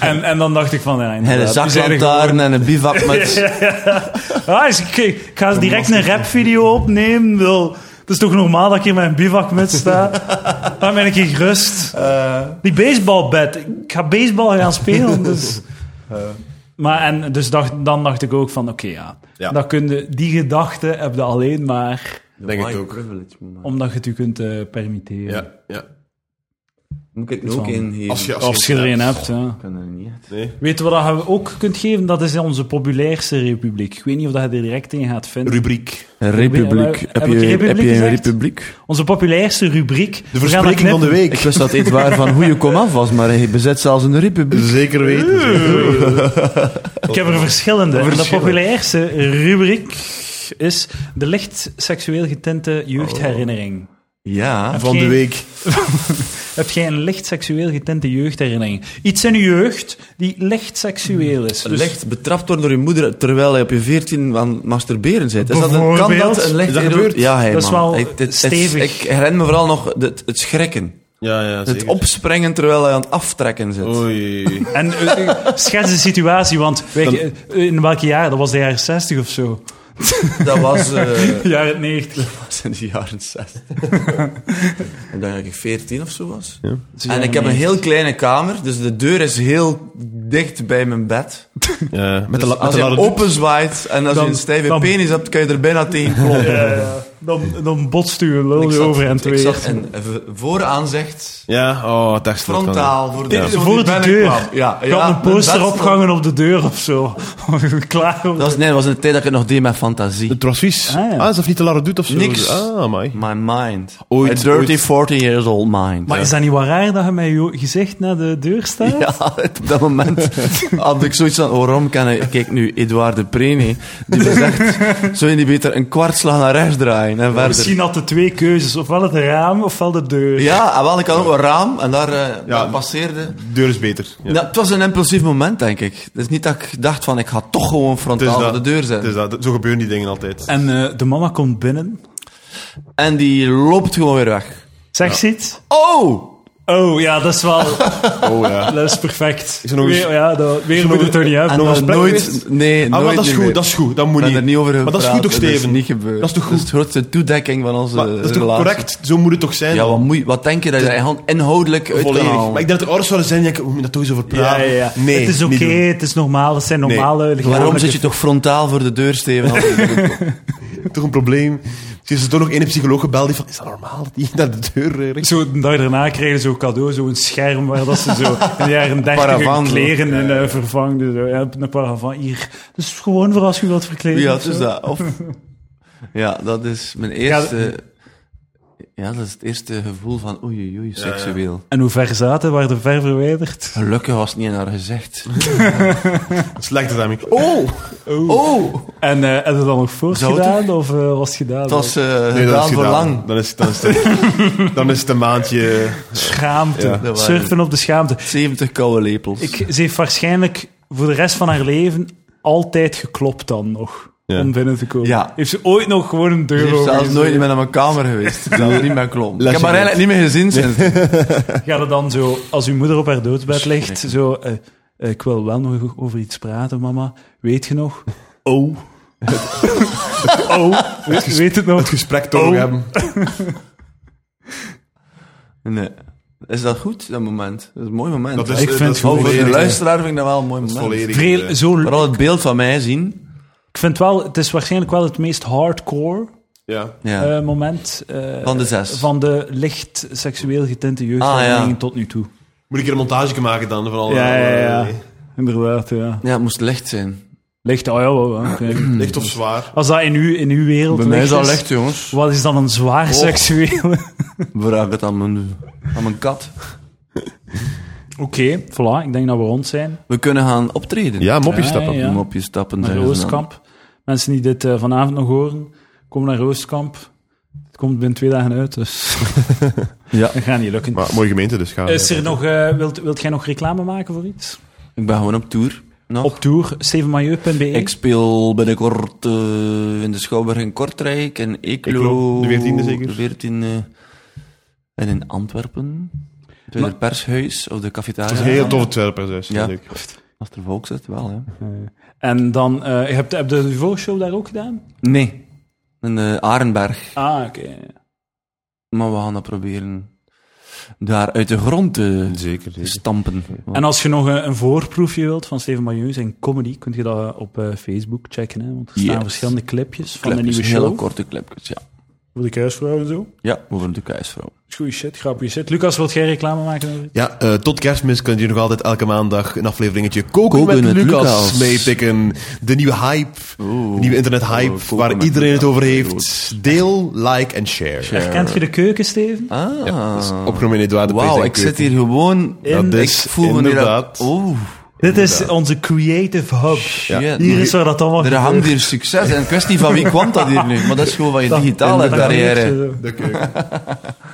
Speaker 2: en, en dan dacht ik van... Ja,
Speaker 1: En een
Speaker 2: inderdaad, die zijn er
Speaker 1: zaklantaarn en een *laughs* bivak met...
Speaker 2: gewoon- Ah, is- ik, ik ga direct een rapvideo opnemen. Wil, Het is toch normaal dat ik hier in mijn bivakmuts *laughs* sta? Dan ben ik hier gerust. Die baseballbed. Ik ga baseball gaan spelen. *laughs* Dus. Maar en dus dacht, dan dacht ik ook van, oké ja.
Speaker 3: Ja.
Speaker 2: Dat kun je- die gedachte heb je alleen maar
Speaker 3: Denk
Speaker 1: My
Speaker 3: het ook.
Speaker 1: privilege, man.
Speaker 2: omdat je het je kunt eh, permitteren.
Speaker 3: Ja, ja.
Speaker 1: Moet ik er
Speaker 2: Iets
Speaker 1: ook
Speaker 2: van-
Speaker 1: in geven?
Speaker 3: Als je, als
Speaker 2: Als je er een hebt, ja.
Speaker 1: Ik kan er niet uit.
Speaker 3: Nee.
Speaker 2: Weet je wat je ook kunt geven? Dat is onze populairste republiek. Ik weet niet of dat je er direct in gaat vinden.
Speaker 3: Rubriek.
Speaker 1: Een
Speaker 2: Heb
Speaker 1: republiek.
Speaker 2: ik
Speaker 1: Heb, je,
Speaker 2: republiek
Speaker 1: heb je een
Speaker 2: gezegd?
Speaker 1: republiek?
Speaker 2: Onze populairste rubriek.
Speaker 3: De
Speaker 2: We gaan dat
Speaker 3: verspreking van de
Speaker 1: *laughs*
Speaker 2: knippen.
Speaker 1: Ik
Speaker 3: week.
Speaker 1: wist dat het waar van hoe je kom af was, maar hij bezit zelfs een republiek.
Speaker 3: Zeker weten.
Speaker 2: Ik heb er verschillende. En De
Speaker 3: Verschillende.
Speaker 2: populairste rubriek is de licht seksueel getinte jeugdherinnering.
Speaker 1: Oh. Ja.
Speaker 3: Van de
Speaker 2: Geen-
Speaker 3: week.
Speaker 2: Heb jij een licht seksueel getinte jeugdherinnering? Iets in je jeugd die licht seksueel is. Dus
Speaker 1: Licht betrapt worden door je moeder terwijl hij op je 14 aan het masturberen zit. Is dat een, kan
Speaker 2: Bijvoorbeeld?
Speaker 1: dat een licht
Speaker 3: Is dat
Speaker 1: erdoor-
Speaker 3: gebeurd?
Speaker 1: Ja, hey,
Speaker 2: Dat is
Speaker 1: man.
Speaker 2: wel
Speaker 1: Hey, dit- dit-
Speaker 2: stevig.
Speaker 1: Ik herinner me vooral nog het, het schrikken.
Speaker 3: Ja, ja,
Speaker 1: Het opspringen terwijl hij aan het aftrekken zit.
Speaker 3: Oei.
Speaker 2: En eh, eh, schets de situatie, want weet je, eh, in welke jaren? Dat was de jaren 60 of zo.
Speaker 1: Dat *laughs* was eh,
Speaker 2: Jaren 90.
Speaker 1: was in de jaren 60. *laughs* ik denk dat ik 14 of zo was. En
Speaker 2: jaren
Speaker 1: ik heb een
Speaker 2: 90.
Speaker 1: heel kleine kamer, dus de deur is heel dicht bij mijn bed.
Speaker 3: Ja, met de,
Speaker 1: Dus
Speaker 3: la- met
Speaker 1: als
Speaker 3: de
Speaker 1: je
Speaker 3: lade
Speaker 1: hem openzwaait en als
Speaker 2: Dan-
Speaker 1: je een stijve
Speaker 2: dan-
Speaker 1: penis hebt, kun je er bijna tegen
Speaker 2: *laughs*
Speaker 1: kloppen.
Speaker 2: Dan, dan botst u een
Speaker 1: Ik
Speaker 2: lul
Speaker 1: zat-
Speaker 2: over en
Speaker 1: Ik
Speaker 2: twee.
Speaker 1: zat in v- vooraanzicht,
Speaker 3: Ja, oh, dat is
Speaker 1: frontaal, voor de,
Speaker 2: Dit-
Speaker 1: persoon
Speaker 2: voor
Speaker 1: die
Speaker 2: de
Speaker 1: binnenkwam.
Speaker 2: deur.
Speaker 1: Ja,
Speaker 2: Ik had
Speaker 1: ja,
Speaker 2: een poster
Speaker 1: dat-
Speaker 2: opgehangen op de deur of zo. *laughs* Klaar om-
Speaker 1: Dat was, nee, dat was een tijd dat ik het nog deed met fantasie.
Speaker 3: Het was vies.
Speaker 2: Ah,
Speaker 3: Ah,
Speaker 2: ja.
Speaker 3: alsof niet te laat doet of zo.
Speaker 1: Niks.
Speaker 3: Ah, my.
Speaker 1: My mind.
Speaker 3: Ooit-
Speaker 1: A dirty
Speaker 3: ooit-
Speaker 1: 40 years old mind.
Speaker 2: Maar is dat niet wat raar dat je met je gezicht naar de deur
Speaker 3: *laughs*
Speaker 2: staat?
Speaker 1: Ja, op dat moment had ik zoiets van, waarom kan ik, kijk nu, Edouard de Prene, die zegt,
Speaker 3: *laughs*
Speaker 1: zou je niet beter een kwartslag naar rechts draaien en verder?
Speaker 2: Misschien had de twee keuzes, ofwel het raam ofwel de deur.
Speaker 1: Ja, en wel, ik had ook een raam en daar, eh, daar passeerde...
Speaker 3: De deur is beter. Ja.
Speaker 1: Nou, het was een impulsief moment, denk ik. Het is niet dat ik dacht van, ik ga toch gewoon
Speaker 3: Het is
Speaker 1: frontaal op de deur
Speaker 3: het is
Speaker 1: zetten.
Speaker 3: dat. Zo gebeuren die dingen altijd.
Speaker 2: En eh, de mama komt binnen.
Speaker 1: En die loopt gewoon weer weg.
Speaker 2: Zeg ze iets?
Speaker 1: Oh!
Speaker 2: Oh ja, dat is wel.
Speaker 1: *laughs*
Speaker 3: Oh ja.
Speaker 2: dat is perfect.
Speaker 3: er nog eens-
Speaker 2: weer, ja, dat, weer moet het er niet uit.
Speaker 1: En
Speaker 3: nog
Speaker 1: dan
Speaker 3: eens plek
Speaker 1: nooit...
Speaker 3: geweest?
Speaker 1: Nee,
Speaker 3: Ah,
Speaker 1: nooit
Speaker 3: maar dat is
Speaker 1: niet
Speaker 3: goed,
Speaker 1: meer.
Speaker 3: dat is goed. Dat moet
Speaker 1: Ik ben
Speaker 3: niet.
Speaker 1: er niet over
Speaker 3: maar dat is
Speaker 1: gepraat
Speaker 3: goed toch,
Speaker 1: en Dat is
Speaker 3: Steven?
Speaker 1: niet gebeurd.
Speaker 3: Dat is toch
Speaker 1: Dat is
Speaker 3: goed?
Speaker 1: het grootste toedekking van onze
Speaker 3: Maar dat is toch
Speaker 1: relatie.
Speaker 3: correct? Zo moet het toch zijn?
Speaker 1: Ja,
Speaker 3: man?
Speaker 1: wat moet, wat denk je dat je er gewoon inhoudelijk uit kan
Speaker 3: Volledig.
Speaker 1: halen?
Speaker 3: Maar ik denk dat er ouders zouden zijn die denken, hoe moet je daar toch eens over
Speaker 2: ja,
Speaker 3: praten?
Speaker 2: ja, ja.
Speaker 3: Nee,
Speaker 2: het is oké,
Speaker 3: niet doen.
Speaker 2: het is normaal, het zijn normale.
Speaker 1: Waarom
Speaker 2: lichamelijke-
Speaker 1: zit je toch frontaal voor de deur,
Speaker 3: *laughs*
Speaker 1: Steven? Als je dit doet?
Speaker 3: Toch een probleem. Ze is er toch nog één psycholoog gebeld die van, is dat normaal dat die *laughs* naar de deur eh, richt?
Speaker 2: Zo een dag daarna kregen ze ook cadeau, zo'n scherm waar dat ze zo in de jaren 30
Speaker 1: Paravan,
Speaker 2: hun kleren in eh, vervangden. Zo. Ja, een paravan hier. Dus gewoon voor als je wilt verkleden.
Speaker 1: ja,
Speaker 2: of
Speaker 1: het is
Speaker 2: zo.
Speaker 1: dat. Of, ja, dat is mijn eerste... Ja, dat is het eerste gevoel van oei, oei, oei, seksueel.
Speaker 2: En hoe ver zaten, waren ze ver verwijderd?
Speaker 1: Gelukkig was het niet in haar gezicht.
Speaker 3: Slechte timing.
Speaker 1: *laughs*
Speaker 3: Oh!
Speaker 1: Oh!
Speaker 2: En eh hebben we dat nog voor
Speaker 1: Zou
Speaker 2: gedaan of eh, was het gedaan?
Speaker 1: Het was eh
Speaker 3: Nee,
Speaker 1: gedaan
Speaker 3: dat is
Speaker 1: voor
Speaker 3: gedaan.
Speaker 1: lang.
Speaker 3: Dan is, dan, is het, dan is het een maandje... eh,
Speaker 2: schaamte.
Speaker 3: Ja.
Speaker 1: Dat
Speaker 2: Surfen op de schaamte.
Speaker 1: 70 koude lepels.
Speaker 2: Ik, ze heeft waarschijnlijk voor de rest van haar leven altijd geklopt dan nog.
Speaker 3: Ja.
Speaker 2: Om binnen te komen.
Speaker 1: Ja.
Speaker 2: Heeft ze ooit nog gewoon een deur
Speaker 1: Ze heeft zelfs
Speaker 2: overgezet?
Speaker 1: nooit meer naar mijn kamer
Speaker 3: *laughs*
Speaker 1: geweest. Ik zou er niet meer klompen. Ik heb
Speaker 3: Lesje
Speaker 1: haar eigenlijk niet meer gezien sinds.
Speaker 3: *laughs*
Speaker 2: Ga je dan zo, als uw moeder op haar doodbed ligt, zo... eh, eh, ik wil wel nog over iets praten, mama. Weet je
Speaker 1: *laughs*
Speaker 2: nog?
Speaker 3: Oh.
Speaker 2: Oh, weet, weet het
Speaker 3: Het
Speaker 2: nog?
Speaker 3: gesprek toch
Speaker 2: Oh.
Speaker 3: nog hebben.
Speaker 1: Nee. Is dat goed, dat moment? Dat is een mooi moment.
Speaker 3: Dat is,
Speaker 2: Ik vind
Speaker 3: dat
Speaker 2: het
Speaker 3: is
Speaker 2: gewoon
Speaker 1: Oh, voor de
Speaker 3: volledig,
Speaker 1: luisteraar vind ik dat wel een mooi
Speaker 3: eh,
Speaker 1: moment.
Speaker 3: volledig, eh,
Speaker 2: Vreel, zo,
Speaker 1: Vooral het beeld van mij zien.
Speaker 2: ik vind wel, het is waarschijnlijk wel het meest hardcore
Speaker 3: Ja.
Speaker 1: Ja.
Speaker 2: eh, moment eh,
Speaker 1: van de zes.
Speaker 2: van de licht seksueel getinte jeugdherinneringen
Speaker 1: Ah, ja.
Speaker 2: tot nu toe.
Speaker 3: Moet ik hier een montage maken dan? eh, Van alle,
Speaker 2: Ja, ja, ja.
Speaker 3: alle-
Speaker 2: Inderdaad, ja.
Speaker 1: ja, het moest licht zijn.
Speaker 2: Licht, oh ja, wel,
Speaker 1: *clears throat*
Speaker 2: oké.
Speaker 3: Licht of zwaar?
Speaker 2: Als dat in uw, in uw wereld
Speaker 1: Bij mij is
Speaker 2: licht
Speaker 1: dat
Speaker 2: is,
Speaker 1: licht, Oh. jongens.
Speaker 2: wat is dan een zwaar
Speaker 1: *laughs*
Speaker 2: seksuele...
Speaker 1: Vraag het aan mijn, aan mijn kat.
Speaker 2: Oké, voilà, ik denk dat we rond zijn.
Speaker 1: We kunnen gaan optreden.
Speaker 3: Ja, mopjes
Speaker 2: Ja,
Speaker 3: stappen.
Speaker 2: ja.
Speaker 1: Om op je stappen
Speaker 2: Naar
Speaker 1: zeggen ze dan.
Speaker 2: Rooskamp. Mensen die dit eh, vanavond nog horen, kom naar Rooskamp. Het komt binnen twee dagen uit, dus
Speaker 1: *laughs* Ja,
Speaker 2: dat gaat niet lukken.
Speaker 3: Maar mooie gemeente dus. Ga,
Speaker 2: Is er nog, eh, wilt, wilt jij nog reclame maken voor iets?
Speaker 1: ik ben gewoon op tour. Nog.
Speaker 2: Op tour, stevenmailleu.be.
Speaker 1: Ik speel binnenkort eh, in de Schouwburg in Kortrijk, in Eeklo.
Speaker 3: Eeklo, de 14e zeker?
Speaker 1: De 14e. En in Antwerpen. Het Tweede pershuis of de cafetaria.
Speaker 3: Dat is een heel tof Antwerpen, dus.
Speaker 1: Ja.
Speaker 3: Ja. Leuk.
Speaker 1: Als er volk zit, wel hè.
Speaker 2: En dan, eh, heb, je- heb je de voorshow daar ook gedaan?
Speaker 1: Nee. in eh, Arenberg.
Speaker 2: Ah, oké.
Speaker 1: Maar we gaan dat proberen daar uit de grond te
Speaker 3: Zeker, zeker.
Speaker 1: stampen.
Speaker 2: En als je nog eh, een, een voorproefje wilt van Steven Mailleu, zijn comedy, kun je dat op eh, Facebook checken. Hè? Want er staan
Speaker 1: Yes.
Speaker 2: verschillende clipjes van
Speaker 1: Clipjes,
Speaker 2: de nieuwe
Speaker 1: Hele
Speaker 2: show.
Speaker 1: korte clipjes, ja.
Speaker 2: Voor de kruisvrouw en zo.
Speaker 1: Ja, over de keisvrouw.
Speaker 2: Is Goeie shit, grappige shit. Lucas, wilt jij reclame maken?
Speaker 3: Ja, eh, tot kerstmis kunt u nog altijd elke maandag een afleveringetje Koken,
Speaker 1: Koken
Speaker 3: met,
Speaker 1: met
Speaker 3: Lucas,
Speaker 1: Lucas.
Speaker 3: meetikken. De nieuwe hype, de nieuwe internet-hype
Speaker 1: Oh, Koken
Speaker 3: waar
Speaker 1: met
Speaker 3: iedereen het
Speaker 1: Lucas.
Speaker 3: over heeft. Deel, like en share.
Speaker 2: Herkent je de keuken, Steven?
Speaker 1: Ah,
Speaker 3: Ja, dus opgenomen in Eduard de Pees
Speaker 1: wauw,
Speaker 3: en
Speaker 1: ik zit
Speaker 3: Keuken.
Speaker 1: hier gewoon...
Speaker 2: in-
Speaker 3: Dat
Speaker 1: Ik
Speaker 3: is
Speaker 1: voel me hier...
Speaker 3: inderdaad...
Speaker 1: Oh,
Speaker 2: Dit is onze creative hub.
Speaker 3: Ja.
Speaker 1: shit.
Speaker 2: Hier is waar dat allemaal
Speaker 1: Er
Speaker 2: gebeurt.
Speaker 1: hangt hier succes. En kwestie van wie kwam dat hier nu? Maar dat is gewoon van je
Speaker 2: Dat-
Speaker 1: digitale
Speaker 2: dat gebeurt
Speaker 1: carrière.
Speaker 2: hier zo.
Speaker 3: De keuken.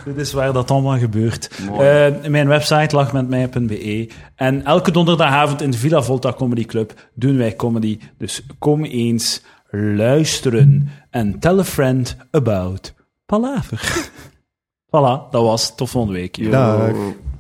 Speaker 2: Dit is waar dat allemaal gebeurt.
Speaker 1: Mooi.
Speaker 2: Eh, mijn website lachmetmij.be. En elke donderdagavond in de Villa Volta Comedy Club doen wij comedy. Dus kom eens luisteren. En tell a friend about Palaver. voilà, dat was het. Tot volgende week.
Speaker 1: Oh.
Speaker 3: Dag.